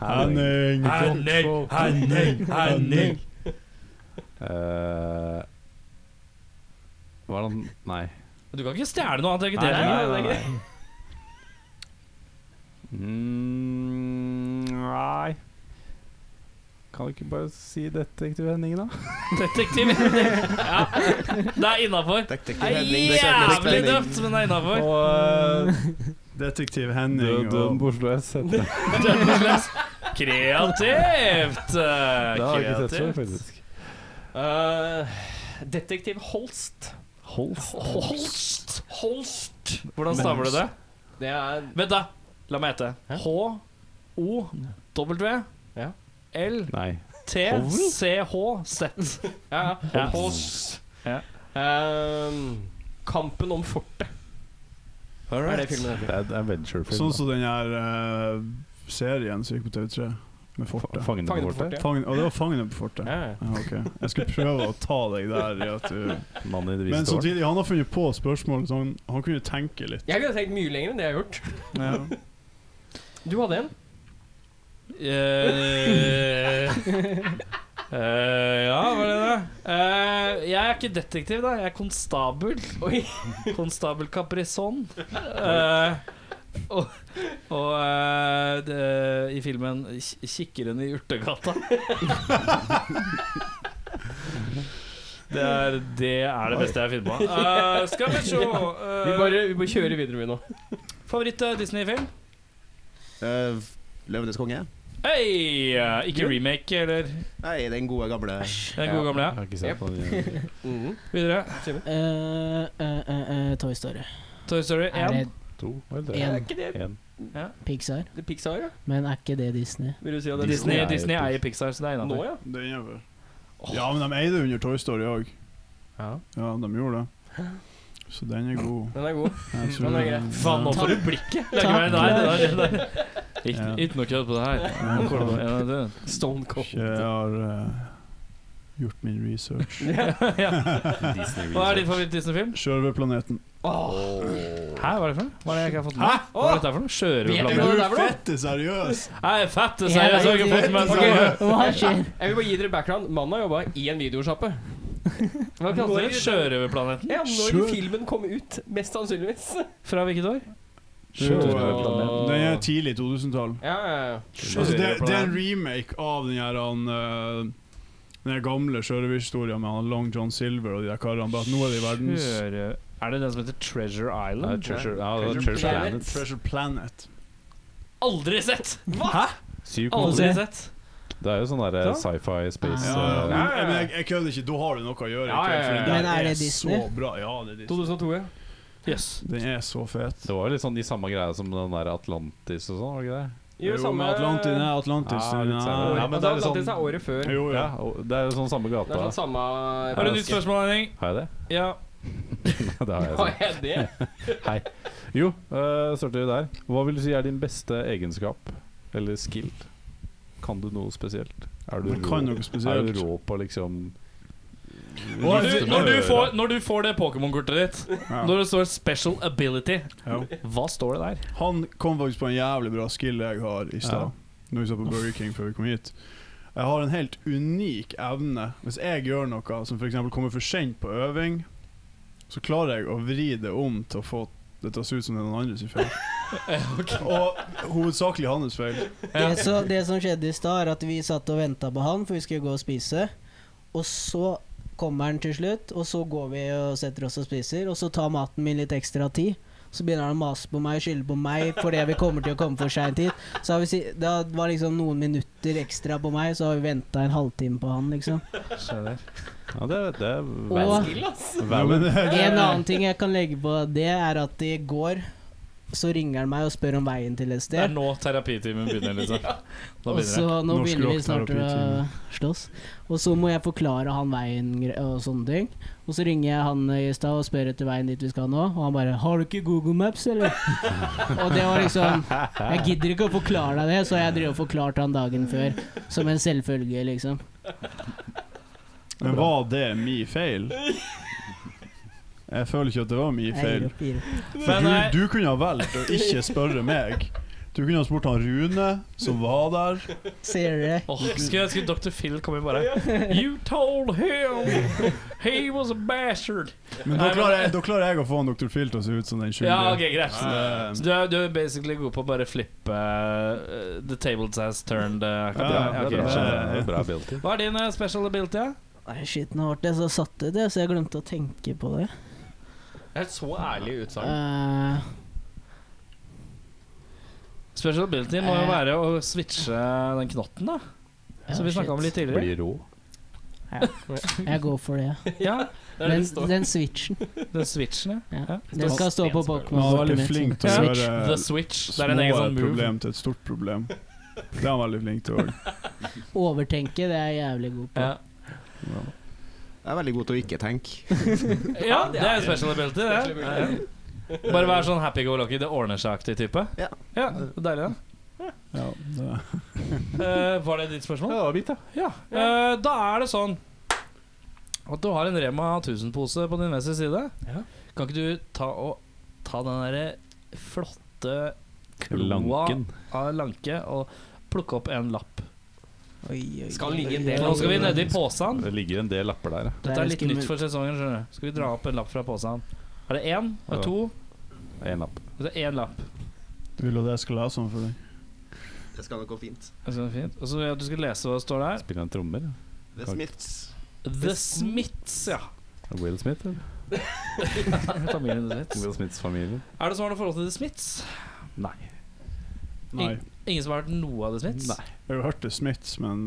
[SPEAKER 6] Henning!
[SPEAKER 3] Henning, Henning, Henning.
[SPEAKER 4] Eh, Hva er det han Nei.
[SPEAKER 3] Du kan ikke stjele noe annet enn
[SPEAKER 4] Nei,
[SPEAKER 3] dere.
[SPEAKER 4] nei, nei, nei. Mm, nei. Kan du ikke bare si detektiv Henning, da?
[SPEAKER 3] Detektiv Henning. Ja, det er innafor.
[SPEAKER 8] Detektiv
[SPEAKER 3] Det er
[SPEAKER 8] Henning søker
[SPEAKER 3] jævlig
[SPEAKER 8] spenning.
[SPEAKER 3] døpt, men det er innafor.
[SPEAKER 4] Og eh,
[SPEAKER 6] Detektiv Henning
[SPEAKER 4] Døden
[SPEAKER 6] og
[SPEAKER 4] på Oslo S heter det.
[SPEAKER 3] Kreativt! eh,
[SPEAKER 4] Det har jeg ikke sett før,
[SPEAKER 3] Kreativt.
[SPEAKER 4] faktisk.
[SPEAKER 2] Eh, detektiv Holst.
[SPEAKER 4] Holst.
[SPEAKER 3] Holst. Holst. Hvordan staver du det?
[SPEAKER 2] Det er
[SPEAKER 3] Vent, da. La meg hete.
[SPEAKER 2] Ja.
[SPEAKER 3] H-O-W-L-T-C-H-Z.
[SPEAKER 4] Nei.
[SPEAKER 2] Ja, ja.
[SPEAKER 3] Ja.
[SPEAKER 2] Holst.
[SPEAKER 3] Ja.
[SPEAKER 2] Ehm, kampen om fortet. Hva er det filmen heter?
[SPEAKER 4] Det er en venturefilm.
[SPEAKER 6] Sånn som den her eh, serien som gikk på TV3, med fortet.
[SPEAKER 4] Fangene
[SPEAKER 2] Fangene
[SPEAKER 4] på
[SPEAKER 2] på
[SPEAKER 4] fortet.
[SPEAKER 6] Fangen, og det var Fangene på fortet.
[SPEAKER 2] Ja, ja.
[SPEAKER 6] Ja, ok. Jeg skulle prøve å ta deg der. I at du
[SPEAKER 4] Mannen i det
[SPEAKER 6] Men
[SPEAKER 4] vise tårn.
[SPEAKER 6] samtidig, han har funnet på spørsmålet, så han, han kunne tenke litt.
[SPEAKER 2] Jeg kunne tenkt mye lenger enn det jeg har gjort.
[SPEAKER 6] Ja.
[SPEAKER 2] Du hadde en.
[SPEAKER 3] Eh, eh, ja, hva er det da? Eh, jeg er ikke detektiv, da. Jeg er konstabel.
[SPEAKER 2] Oi.
[SPEAKER 3] Konstabel Caprison. Eh, og og eh, det, i filmen Ki- 'Kikkeren i urtegata'. Det er, det er det beste jeg har funnet på. Eh, skal vi se
[SPEAKER 2] Vi
[SPEAKER 3] eh,
[SPEAKER 2] bare, vi bare kjører videre vi nå.
[SPEAKER 3] Favoritt-Disney-film?
[SPEAKER 8] Eh, Løvenes konge?
[SPEAKER 3] Hei! eh, Ikke remake, eller
[SPEAKER 8] Nei, den gode gamle.
[SPEAKER 3] den gode gamle?
[SPEAKER 4] Jeg har ikke sett den.
[SPEAKER 2] Mhm.
[SPEAKER 3] Videre.
[SPEAKER 7] Eh, eh, eh, eh, Toy Story.
[SPEAKER 3] Toy Story
[SPEAKER 7] Er
[SPEAKER 3] 1.
[SPEAKER 7] det
[SPEAKER 4] To, var det
[SPEAKER 7] En.
[SPEAKER 4] det?
[SPEAKER 2] Er ikke det
[SPEAKER 4] En.
[SPEAKER 7] Pixar?
[SPEAKER 2] det er Pixar, ja?
[SPEAKER 7] Men er ikke det Disney?
[SPEAKER 2] Vil du si at det er
[SPEAKER 3] Disney,
[SPEAKER 4] Disney er
[SPEAKER 3] Disney
[SPEAKER 4] jo
[SPEAKER 3] eier Pixar, så det er
[SPEAKER 2] nå,
[SPEAKER 3] innafor.
[SPEAKER 2] ja?
[SPEAKER 6] Det er innenfor. Ja, men de eide under Toy Story òg.
[SPEAKER 2] Ja.
[SPEAKER 6] Ja, de gjorde det. Så den er god.
[SPEAKER 2] Den er god.
[SPEAKER 6] Jeg tror-
[SPEAKER 2] Den er grei.
[SPEAKER 3] Faen, nå får du blikket! Legger meg der, det der, det der. Ikke,
[SPEAKER 6] Ja.
[SPEAKER 3] ikke noe kødd på det her. Nå får du- ja, det-
[SPEAKER 2] Stone
[SPEAKER 6] Ikke Jeg har eh, gjort min research.
[SPEAKER 3] Hva er din favoritt-Disney-film?
[SPEAKER 6] Sjørøverplaneten.
[SPEAKER 3] Hæ, hva er det for noe? Hva er det jeg ikke har fått med? Hva er dette for noe?
[SPEAKER 2] Vet
[SPEAKER 6] Er
[SPEAKER 2] Hva
[SPEAKER 3] Sjørøverplanet?
[SPEAKER 2] er
[SPEAKER 6] du
[SPEAKER 2] det der for noe?
[SPEAKER 6] fette seriøs?
[SPEAKER 3] Nei, fett, det sier jeg, så har jeg ikke fått med
[SPEAKER 2] Ok.
[SPEAKER 3] meg.
[SPEAKER 7] Hva skjer?
[SPEAKER 2] Jeg vil bare gi dere background. Mannen har jobba i en videosjappe. Hva kalte
[SPEAKER 3] Når
[SPEAKER 2] dere det?
[SPEAKER 3] Sjørøverplaneten?
[SPEAKER 2] Ja, når
[SPEAKER 6] Sjø-
[SPEAKER 2] filmen kom ut, mest sannsynligvis.
[SPEAKER 3] Fra hvilket år?
[SPEAKER 6] Sjørøverplaneten. Den er tidlig 2000-tall.
[SPEAKER 2] Ja, ja, ja.
[SPEAKER 6] Altså, det, det er en remake av den her han eh, den her gamle sjørøverhistorien med han Long John Silver og de der karene. Bare at nå er de verdens
[SPEAKER 3] Sjøre... Er det den som heter Treasure
[SPEAKER 4] Ja,
[SPEAKER 3] Island?
[SPEAKER 4] Treasure, ja, det
[SPEAKER 2] Treasure
[SPEAKER 4] var Treasure
[SPEAKER 2] Planet.
[SPEAKER 4] Planet.
[SPEAKER 6] Treasure Planet.
[SPEAKER 3] Aldri sett!
[SPEAKER 4] Syv
[SPEAKER 3] Aldri sett.
[SPEAKER 4] Det er jo sånn derre sci-fi space
[SPEAKER 6] Ja,
[SPEAKER 4] eh,
[SPEAKER 6] Men jeg, jeg kødder ikke, da har du noe å gjøre. i
[SPEAKER 4] Ja, ja,
[SPEAKER 6] kveld,
[SPEAKER 4] ja.
[SPEAKER 6] for den
[SPEAKER 7] Men
[SPEAKER 6] der
[SPEAKER 7] er det Disney?
[SPEAKER 6] Så bra. Ja, det er Disney.
[SPEAKER 2] 2002, ja.
[SPEAKER 3] Yes.
[SPEAKER 6] Den er så fet.
[SPEAKER 4] Det var jo litt sånn de samme greia som den der Atlantis og sånn, var det ikke det?
[SPEAKER 6] Jo, med Atlantis, nei, Atlantis
[SPEAKER 4] Ja, litt
[SPEAKER 6] nei.
[SPEAKER 4] senere.
[SPEAKER 2] Året-
[SPEAKER 4] Ja, men
[SPEAKER 2] altså,
[SPEAKER 4] det er litt
[SPEAKER 2] Atlantis
[SPEAKER 4] sånn-
[SPEAKER 2] er året før.
[SPEAKER 6] Jo, ja.
[SPEAKER 4] Ja, og det er jo sånn samme
[SPEAKER 2] Det er
[SPEAKER 4] gata.
[SPEAKER 2] sånn samme
[SPEAKER 3] Har du nytt spørsmål, Henning?
[SPEAKER 4] Har jeg det?
[SPEAKER 3] Ja.
[SPEAKER 4] Det har jeg.
[SPEAKER 2] Hva
[SPEAKER 4] sånn.
[SPEAKER 2] er det?
[SPEAKER 4] Hei. Jo, uh, starter vi der. Hva vil du si er din beste egenskap eller skill? Kan du noe spesielt? Er du,
[SPEAKER 6] Man kan noe
[SPEAKER 4] er du
[SPEAKER 6] spesielt.
[SPEAKER 4] rå på liksom
[SPEAKER 3] Når du, når du, får, når du får det Pokémon-kortet ditt,
[SPEAKER 6] Ja.
[SPEAKER 3] når det står 'special ability',
[SPEAKER 6] Ja.
[SPEAKER 3] hva står det der?
[SPEAKER 6] Han kom faktisk på en jævlig bra skill jeg har i stad, når vi så på Burger King før vi kom hit. Jeg har en helt unik evne. Hvis jeg gjør noe som f.eks. kommer for sent på øving, så klarer jeg å vri det om til å få det til å se ut som det er noen andres feil. Og hovedsakelig hans feil.
[SPEAKER 7] Det, så, det som skjedde i stad, er at vi satt og venta på han, for vi skulle gå og spise. Og så kommer han til slutt, og så går vi og setter oss og spiser. Og så tar maten min litt ekstra tid. Så begynner han å mase på meg og skylde på meg fordi vi kommer til å komme for seint hit. Så har vi si, det var liksom noen minutter ekstra på meg, så har vi venta en halvtime på han, liksom.
[SPEAKER 4] Ja, det, det er
[SPEAKER 7] Og
[SPEAKER 6] Men,
[SPEAKER 7] En annen ting jeg kan legge på det, er at i går så ringer han meg og spør om veien til et
[SPEAKER 3] Det er
[SPEAKER 7] sted.
[SPEAKER 3] nå terapitimen begynner. liksom Da
[SPEAKER 7] Og
[SPEAKER 3] begynner
[SPEAKER 7] så
[SPEAKER 3] det.
[SPEAKER 7] nå
[SPEAKER 6] Norsk
[SPEAKER 7] begynner vi
[SPEAKER 6] rock
[SPEAKER 7] snart å
[SPEAKER 6] terapitime.
[SPEAKER 7] slåss. Og så må jeg forklare han veien gre- og sånne ting. Og så ringer jeg han i stad og spør etter veien dit vi skal nå, og han bare 'Har du ikke Google Maps, eller?' og det var liksom Jeg gidder ikke å forklare deg det, så jeg drev og forklarte han dagen før. Som en selvfølge, liksom.
[SPEAKER 6] men var det min feil? Jeg føler ikke at det var min
[SPEAKER 7] Jeg
[SPEAKER 6] feil.
[SPEAKER 7] gir opp, gir opp.
[SPEAKER 6] For
[SPEAKER 3] Men, eh,
[SPEAKER 6] du, du kunne ha valgt å ikke spørre meg. Du kunne ha spurt han Rune, som var der.
[SPEAKER 7] Ser du det?
[SPEAKER 3] Åh, skulle jeg skulle Dr. Phil komme inn bare You told him he was a bastard.
[SPEAKER 6] Men da klarer, jeg, da klarer jeg å få han Dr. Phil til å se ut som den skyldige.
[SPEAKER 3] Ja, ok, greit
[SPEAKER 6] Ja, ja.
[SPEAKER 3] Så du er, du er basically god på å bare flippe eh, the tables has turned. eh,
[SPEAKER 6] Ja,
[SPEAKER 4] Ja,
[SPEAKER 3] ok,
[SPEAKER 4] det er bra,
[SPEAKER 3] skjønner.
[SPEAKER 4] det er bra ability.
[SPEAKER 3] Hva er din eh, special ability? da?
[SPEAKER 7] Nei, shit, nå ble jeg så satt ut, jeg, så jeg glemte å tenke på det.
[SPEAKER 2] Det er et så ærlig utsagn.
[SPEAKER 7] Eh,
[SPEAKER 3] Special ability må jo være å switche den knotten, da. Som vi
[SPEAKER 7] ja,
[SPEAKER 3] snakka om litt
[SPEAKER 7] shit.
[SPEAKER 3] tidligere.
[SPEAKER 4] Bli rå.
[SPEAKER 7] Jeg går for det.
[SPEAKER 3] Ja,
[SPEAKER 2] Det er det
[SPEAKER 7] Den,
[SPEAKER 2] det står.
[SPEAKER 7] den switchen.
[SPEAKER 3] Den switchen, ja.
[SPEAKER 7] Ja.
[SPEAKER 3] ja.
[SPEAKER 7] Den skal stå på Pokémon.
[SPEAKER 6] Men han var veldig flink til å
[SPEAKER 7] Switch.
[SPEAKER 6] gjøre
[SPEAKER 3] The switch. Det
[SPEAKER 6] små
[SPEAKER 3] er en egen sånn move.
[SPEAKER 6] problem til et stort problem. Det er han veldig flink til òg.
[SPEAKER 7] Overtenke, det er jeg jævlig god på.
[SPEAKER 3] Ja.
[SPEAKER 8] Jeg er veldig god til å ikke tenke.
[SPEAKER 3] ja, det er special ability, det. Ja. Bare vær sånn happy-go-lucky, det ordner seg-aktig type.
[SPEAKER 8] Ja.
[SPEAKER 3] ja det er Deilig, da.
[SPEAKER 6] Ja, det-
[SPEAKER 3] Eh, var det ditt spørsmål?
[SPEAKER 4] Ja, det var mitt, ja.
[SPEAKER 3] Ja, eh, da er det sånn at du har en Rema 1000-pose på din venstre side.
[SPEAKER 2] Ja.
[SPEAKER 3] Kan ikke du ta, og, ta den derre flotte kloa
[SPEAKER 4] Lanken.
[SPEAKER 3] av lanke og plukke opp en lapp?
[SPEAKER 7] Oi, oi, oi.
[SPEAKER 2] Skal ligge en del
[SPEAKER 3] Nå skal vi nedi posen.
[SPEAKER 4] Det ligger en del lapper der, ja.
[SPEAKER 3] Dette er litt
[SPEAKER 7] skummelt.
[SPEAKER 3] nytt for sesongen. skjønner du Skal vi dra opp en lapp fra posen? Er det én? Er
[SPEAKER 4] Ja.
[SPEAKER 3] det to?
[SPEAKER 4] En lapp.
[SPEAKER 3] Det er én lapp.
[SPEAKER 6] Vil du at jeg skal lese den for deg?
[SPEAKER 8] Det skal nok gå fint.
[SPEAKER 3] Det er så fint. Og så vil jeg at du skal lese hva det står der.
[SPEAKER 4] Spiller en trommer. ja.
[SPEAKER 8] Det er
[SPEAKER 4] Takk.
[SPEAKER 8] Smiths.
[SPEAKER 3] The Smiths, ja.
[SPEAKER 4] Will Smith, eller?
[SPEAKER 3] Familien The Smiths.
[SPEAKER 4] Will Smiths familie.
[SPEAKER 3] Er det som har noe forhold til The Smiths?
[SPEAKER 4] Nei.
[SPEAKER 6] Nei.
[SPEAKER 3] Ingen som har hørt noe av The Smiths? Nei.
[SPEAKER 6] Jeg hørte Smiths, men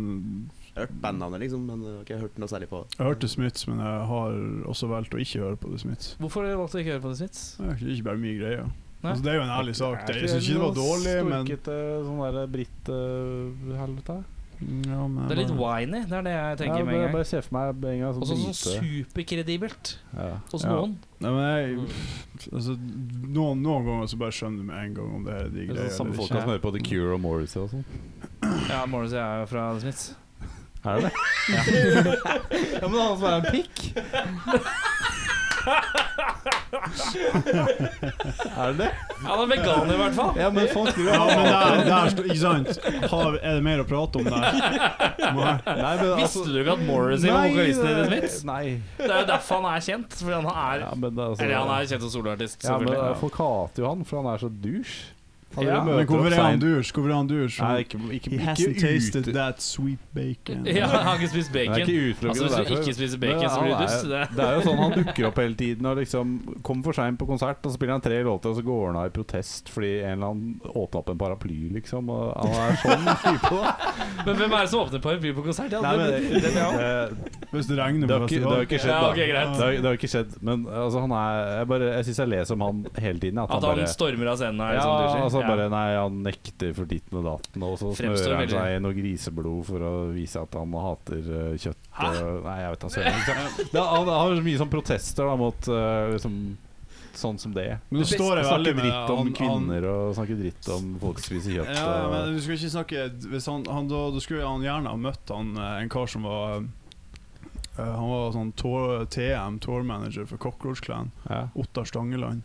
[SPEAKER 8] Jeg har hørt bandnavnet, liksom, men jeg har ikke hørt noe særlig på det.
[SPEAKER 6] jeg hørte Smiths, men jeg har også valgt å ikke høre på det Smiths.
[SPEAKER 3] Hvorfor valgte du ikke å høre på The Smiths?
[SPEAKER 6] Det er ikke bare mye greier.
[SPEAKER 3] Nei.
[SPEAKER 6] Altså, det er jo en ærlig sak. Det, jeg syns ikke det var dårlig, men
[SPEAKER 4] Storkete sånn derre britt-helvete.
[SPEAKER 6] ja, men
[SPEAKER 3] Det er
[SPEAKER 6] jeg
[SPEAKER 3] litt
[SPEAKER 6] bare-
[SPEAKER 3] whiny, det er det jeg tenker med
[SPEAKER 4] bare,
[SPEAKER 3] en gang.
[SPEAKER 4] bare se for meg en gang
[SPEAKER 3] Og så sånn superkredibelt
[SPEAKER 4] ja.
[SPEAKER 3] hos
[SPEAKER 6] Ja.
[SPEAKER 3] noen.
[SPEAKER 6] Nei,
[SPEAKER 2] Mm.
[SPEAKER 6] men
[SPEAKER 3] Mm.
[SPEAKER 6] jeg altså, noen, noen ganger så bare skjønner du med en gang om det her er de
[SPEAKER 4] Det er
[SPEAKER 6] greier.
[SPEAKER 4] sånn samme
[SPEAKER 6] eller
[SPEAKER 4] folka
[SPEAKER 6] ikke.
[SPEAKER 4] som hører på The Cure og Morrissey og sånn.
[SPEAKER 3] Ja, Morris og jeg er jo fra The Smiths.
[SPEAKER 4] Er det det?
[SPEAKER 8] Ja, men han som er en pikk?
[SPEAKER 4] Er det det?
[SPEAKER 3] Ja, han er veganer i hvert fall.
[SPEAKER 8] Ja, men folk tror
[SPEAKER 6] Ja, men der, der står- ikke sant? Har, er det mer å prate om der? Må jeg-
[SPEAKER 4] Nei, men altså-
[SPEAKER 3] Visste du ikke at Morris var
[SPEAKER 4] Nei,
[SPEAKER 3] vokalisten i The
[SPEAKER 4] det-
[SPEAKER 3] Smiths?
[SPEAKER 4] Nei.
[SPEAKER 3] Det er jo derfor han er kjent. Fordi han er
[SPEAKER 4] Ja, men det er altså,
[SPEAKER 3] Eller han er kjent som soloartist,
[SPEAKER 4] ja, men
[SPEAKER 3] selvfølgelig.
[SPEAKER 4] Folk hater jo han, for han er så douche.
[SPEAKER 6] Hadde
[SPEAKER 3] Ja.
[SPEAKER 6] du
[SPEAKER 4] Men
[SPEAKER 6] møtt
[SPEAKER 4] hvorfor
[SPEAKER 6] opp
[SPEAKER 4] er han
[SPEAKER 6] seint? Hvorfor er han durs?
[SPEAKER 4] Nei, ikke, ikke,
[SPEAKER 6] He hasn't
[SPEAKER 4] ikke
[SPEAKER 6] tasted
[SPEAKER 4] ute-
[SPEAKER 6] that sweet bacon.
[SPEAKER 3] Ja, jeg har ikke spist
[SPEAKER 4] Det
[SPEAKER 3] bacon.
[SPEAKER 4] er ikke utelukkende
[SPEAKER 3] Altså, hvis du
[SPEAKER 4] derfor.
[SPEAKER 3] ikke spiser bacon,
[SPEAKER 4] Men
[SPEAKER 3] så blir du
[SPEAKER 4] han
[SPEAKER 3] dust.
[SPEAKER 4] er-
[SPEAKER 3] Det.
[SPEAKER 4] Det er jo sånn han dukker opp hele tiden og liksom kommer for seint på konsert, og så spiller han tre låter, og så går han av i protest fordi en eller annen åpna opp en paraply, liksom. Og han er sånn type, da.
[SPEAKER 3] Men hvem er det som åpner paraply på konsert? Ja,
[SPEAKER 4] Nei, men,
[SPEAKER 3] det-
[SPEAKER 4] det, det,
[SPEAKER 6] Hvis det regner
[SPEAKER 4] det, har
[SPEAKER 6] på
[SPEAKER 4] ikke, det har ikke skjedd,
[SPEAKER 3] Ja,
[SPEAKER 4] da.
[SPEAKER 3] ok, greit.
[SPEAKER 4] Det har, det har ikke skjedd. Men altså, han er Jeg, bare- jeg syns jeg leser om han hele tiden.
[SPEAKER 3] At
[SPEAKER 4] At, han
[SPEAKER 3] han
[SPEAKER 4] bare
[SPEAKER 3] stormer av scenen her,
[SPEAKER 4] ja,
[SPEAKER 3] som du sier.
[SPEAKER 4] altså
[SPEAKER 3] Ja.
[SPEAKER 4] bare Nei, han nekter for ditten og datten, og så
[SPEAKER 3] Fremstår
[SPEAKER 4] smører han
[SPEAKER 3] veldig-
[SPEAKER 4] seg i noe griseblod for å vise at han hater eh, kjøtt. og- Nei, jeg vet da søren. ikke sant? Det er- Han har så mye sånn protester da mot eh, liksom, sånn som det.
[SPEAKER 6] Men nå står jeg veldig
[SPEAKER 4] Snakker
[SPEAKER 6] med
[SPEAKER 4] dritt om
[SPEAKER 6] han- han-
[SPEAKER 4] kvinner og snakker dritt om folk som spiser kjøtt.
[SPEAKER 6] Ja,
[SPEAKER 4] og-
[SPEAKER 6] men du skulle ikke snakke hvis han, han, da, da skulle han gjerne ha møtt han, eh, en kar som var eh, Han var sånn tour, TM, tour manager for Cockroach Clan,
[SPEAKER 4] ja.
[SPEAKER 6] Ottar Stangeland.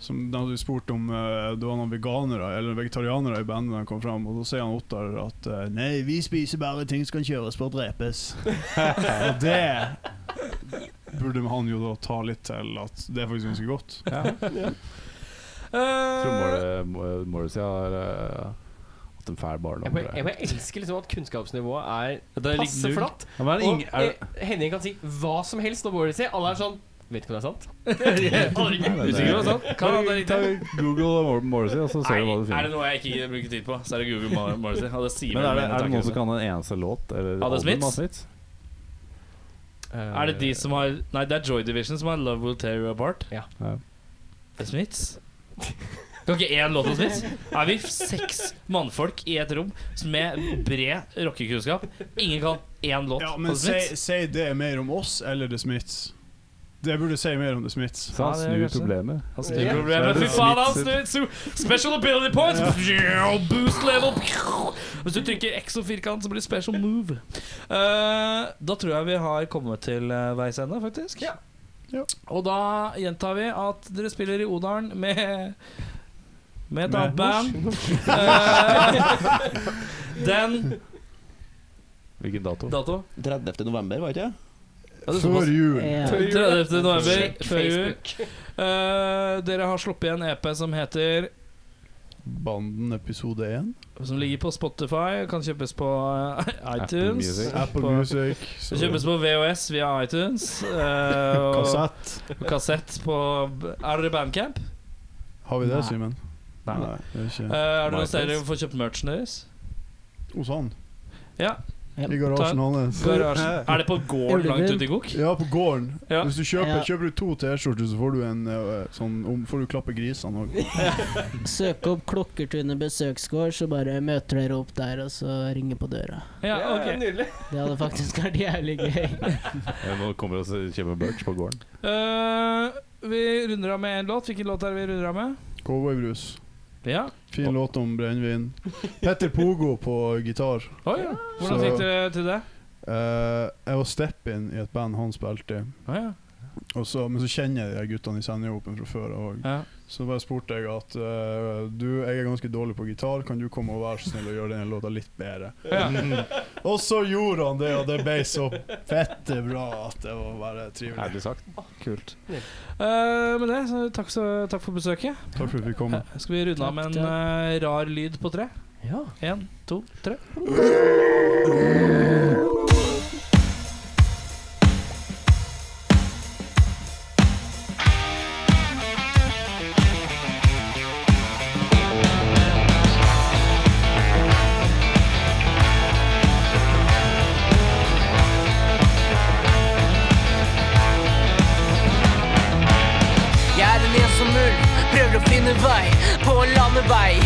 [SPEAKER 6] Som de hadde spurt om eh, det var noen veganere eller vegetarianere i bandet. da han kom frem, Og da sier han Ottar at eh, Nei, vi spiser bare ting som kan kjøres på og drepes. og det burde han jo da ta litt til at det er faktisk ganske godt.
[SPEAKER 4] Jeg tror
[SPEAKER 3] Eh,
[SPEAKER 4] Mor- Mor- Morrissey har eh, hatt en fæl
[SPEAKER 2] Jeg bare,
[SPEAKER 4] barndom.
[SPEAKER 2] jeg bare elsker liksom at kunnskapsnivået
[SPEAKER 3] Det
[SPEAKER 2] er
[SPEAKER 3] er litt
[SPEAKER 2] passe
[SPEAKER 3] null.
[SPEAKER 2] flatt.
[SPEAKER 4] Ja, men er det
[SPEAKER 2] Og
[SPEAKER 4] ingen- er det-
[SPEAKER 2] eh, Henning kan si hva som helst om Morrissey. Alle er sånn Vet ikke om det er sant.
[SPEAKER 3] Usikker på sånn? Kan han det
[SPEAKER 4] Ta
[SPEAKER 3] riktig?
[SPEAKER 4] Google Mor- Morrissey, og så ser du hva du
[SPEAKER 3] Nei, er det
[SPEAKER 4] finner.
[SPEAKER 3] noe jeg ikke bruker tid på, så er det Google Mar- Morrissey. Og det sier
[SPEAKER 4] Men er
[SPEAKER 3] meg
[SPEAKER 4] det,
[SPEAKER 3] mine
[SPEAKER 4] er det
[SPEAKER 3] tanker
[SPEAKER 4] noen som
[SPEAKER 3] om det.
[SPEAKER 4] kan en eneste låt? Eller
[SPEAKER 3] Av The
[SPEAKER 4] album av
[SPEAKER 3] Smiths?
[SPEAKER 4] Smiths?
[SPEAKER 2] Eh,
[SPEAKER 3] Er det de som har Nei, det er Joy Division som har 'Love Will Tear You Apart'.
[SPEAKER 2] Ja.
[SPEAKER 4] Ja.
[SPEAKER 3] The Smiths. Kan ikke én låt av Smiths? Er vi seks mannfolk i et rom med bred rockekunnskap? Ingen kan én låt
[SPEAKER 6] Ja,
[SPEAKER 3] av
[SPEAKER 6] men
[SPEAKER 3] The
[SPEAKER 6] si,
[SPEAKER 3] Smiths?
[SPEAKER 6] si det mer om oss eller The Smiths. Det burde si mer om The Smiths.
[SPEAKER 4] Så han
[SPEAKER 3] Ja, det er
[SPEAKER 4] snur
[SPEAKER 3] kanskje-
[SPEAKER 4] problemet.
[SPEAKER 3] Han snur problemet. Fy faen, han snur! snur. Special ability points! Boost level! Hvis du trykker X og firkant, så blir det special move. Eh, da tror jeg vi har kommet til eh, veis ende, faktisk.
[SPEAKER 2] Ja.
[SPEAKER 6] Ja.
[SPEAKER 3] Og da gjentar vi at dere spiller i Odalen med med et
[SPEAKER 6] Med
[SPEAKER 3] annet band. Eh, den
[SPEAKER 4] Hvilken dato?
[SPEAKER 3] dato?
[SPEAKER 8] 30. november, var det
[SPEAKER 3] Ja,
[SPEAKER 8] ikke?
[SPEAKER 3] det er Eh. såpass.
[SPEAKER 6] Før jul.
[SPEAKER 7] Ja.
[SPEAKER 3] 30. november
[SPEAKER 2] Sjekk
[SPEAKER 3] før jul.
[SPEAKER 2] Eh, Facebook.
[SPEAKER 3] Eh, dere har sluppet en EP som heter
[SPEAKER 6] Banden episode 1.
[SPEAKER 3] Som ligger på Spotify, kan kjøpes på eh,
[SPEAKER 4] Apple
[SPEAKER 3] iTunes.
[SPEAKER 4] Music.
[SPEAKER 6] Apple
[SPEAKER 3] På-
[SPEAKER 6] Music.
[SPEAKER 3] Det Kjøpes på VHS via iTunes. eh, og
[SPEAKER 6] Kassett.
[SPEAKER 3] og kassett på Er dere Bandcamp?
[SPEAKER 6] Har vi det, Simen?
[SPEAKER 3] Nei.
[SPEAKER 6] det er
[SPEAKER 3] Eh,
[SPEAKER 6] ikke
[SPEAKER 3] er det noen
[SPEAKER 4] MySpace.
[SPEAKER 3] steder dere får kjøpt merchen deres? Eh.
[SPEAKER 6] Hos han.
[SPEAKER 3] Ja.
[SPEAKER 6] I garasjen hans.
[SPEAKER 3] Garasjen. Er det på gården langt ute i Gok?
[SPEAKER 6] Ja, på gården.
[SPEAKER 3] Ja.
[SPEAKER 6] Hvis du kjøper,
[SPEAKER 7] Ja.
[SPEAKER 6] kjøper du to T-skjorter, så får du en eh, sånn om, Får du klappe grisene òg.
[SPEAKER 7] Søk opp Klokkertunet besøksgård, så bare møter dere opp der, og så ringer på døra.
[SPEAKER 3] Ja, ok.
[SPEAKER 2] Nydelig.
[SPEAKER 7] Det hadde faktisk vært jævlig gøy.
[SPEAKER 4] Ja, Nå kommer vi og kjøper merch på gården.
[SPEAKER 3] Eh, vi runder av med en låt. Hvilken låt er det vi runder av med?
[SPEAKER 6] Cowboybrus.
[SPEAKER 3] Ja.
[SPEAKER 6] Fin låt om brennevin. Petter Pogo på gitar.
[SPEAKER 3] Oi, ja. Hvordan
[SPEAKER 6] Så-
[SPEAKER 3] fikk dere til det?
[SPEAKER 6] Eh, jeg var step-in i et band han spilte i.
[SPEAKER 3] Å, ja.
[SPEAKER 6] Og så, men så kjenner jeg de her guttene i Senjahopen fra før òg.
[SPEAKER 3] Ja.
[SPEAKER 6] Så bare spurte jeg at eh, du, jeg er ganske dårlig på gitar, kan du komme og være så snill og gjøre denne låta litt bedre? og så gjorde han det, og det ble så fette bra at det var bare trivelig.
[SPEAKER 4] Ærlig sagt. Kult.
[SPEAKER 3] Eh, med det, så takk, så, takk for besøket.
[SPEAKER 6] Takk for at vi kom.
[SPEAKER 3] Skal vi runde av med en eh, rar lyd på tre?
[SPEAKER 2] Ja.
[SPEAKER 3] Én, to, tre.
[SPEAKER 9] Jeg er en ensom ulv, prøver å finne vei på en landevei.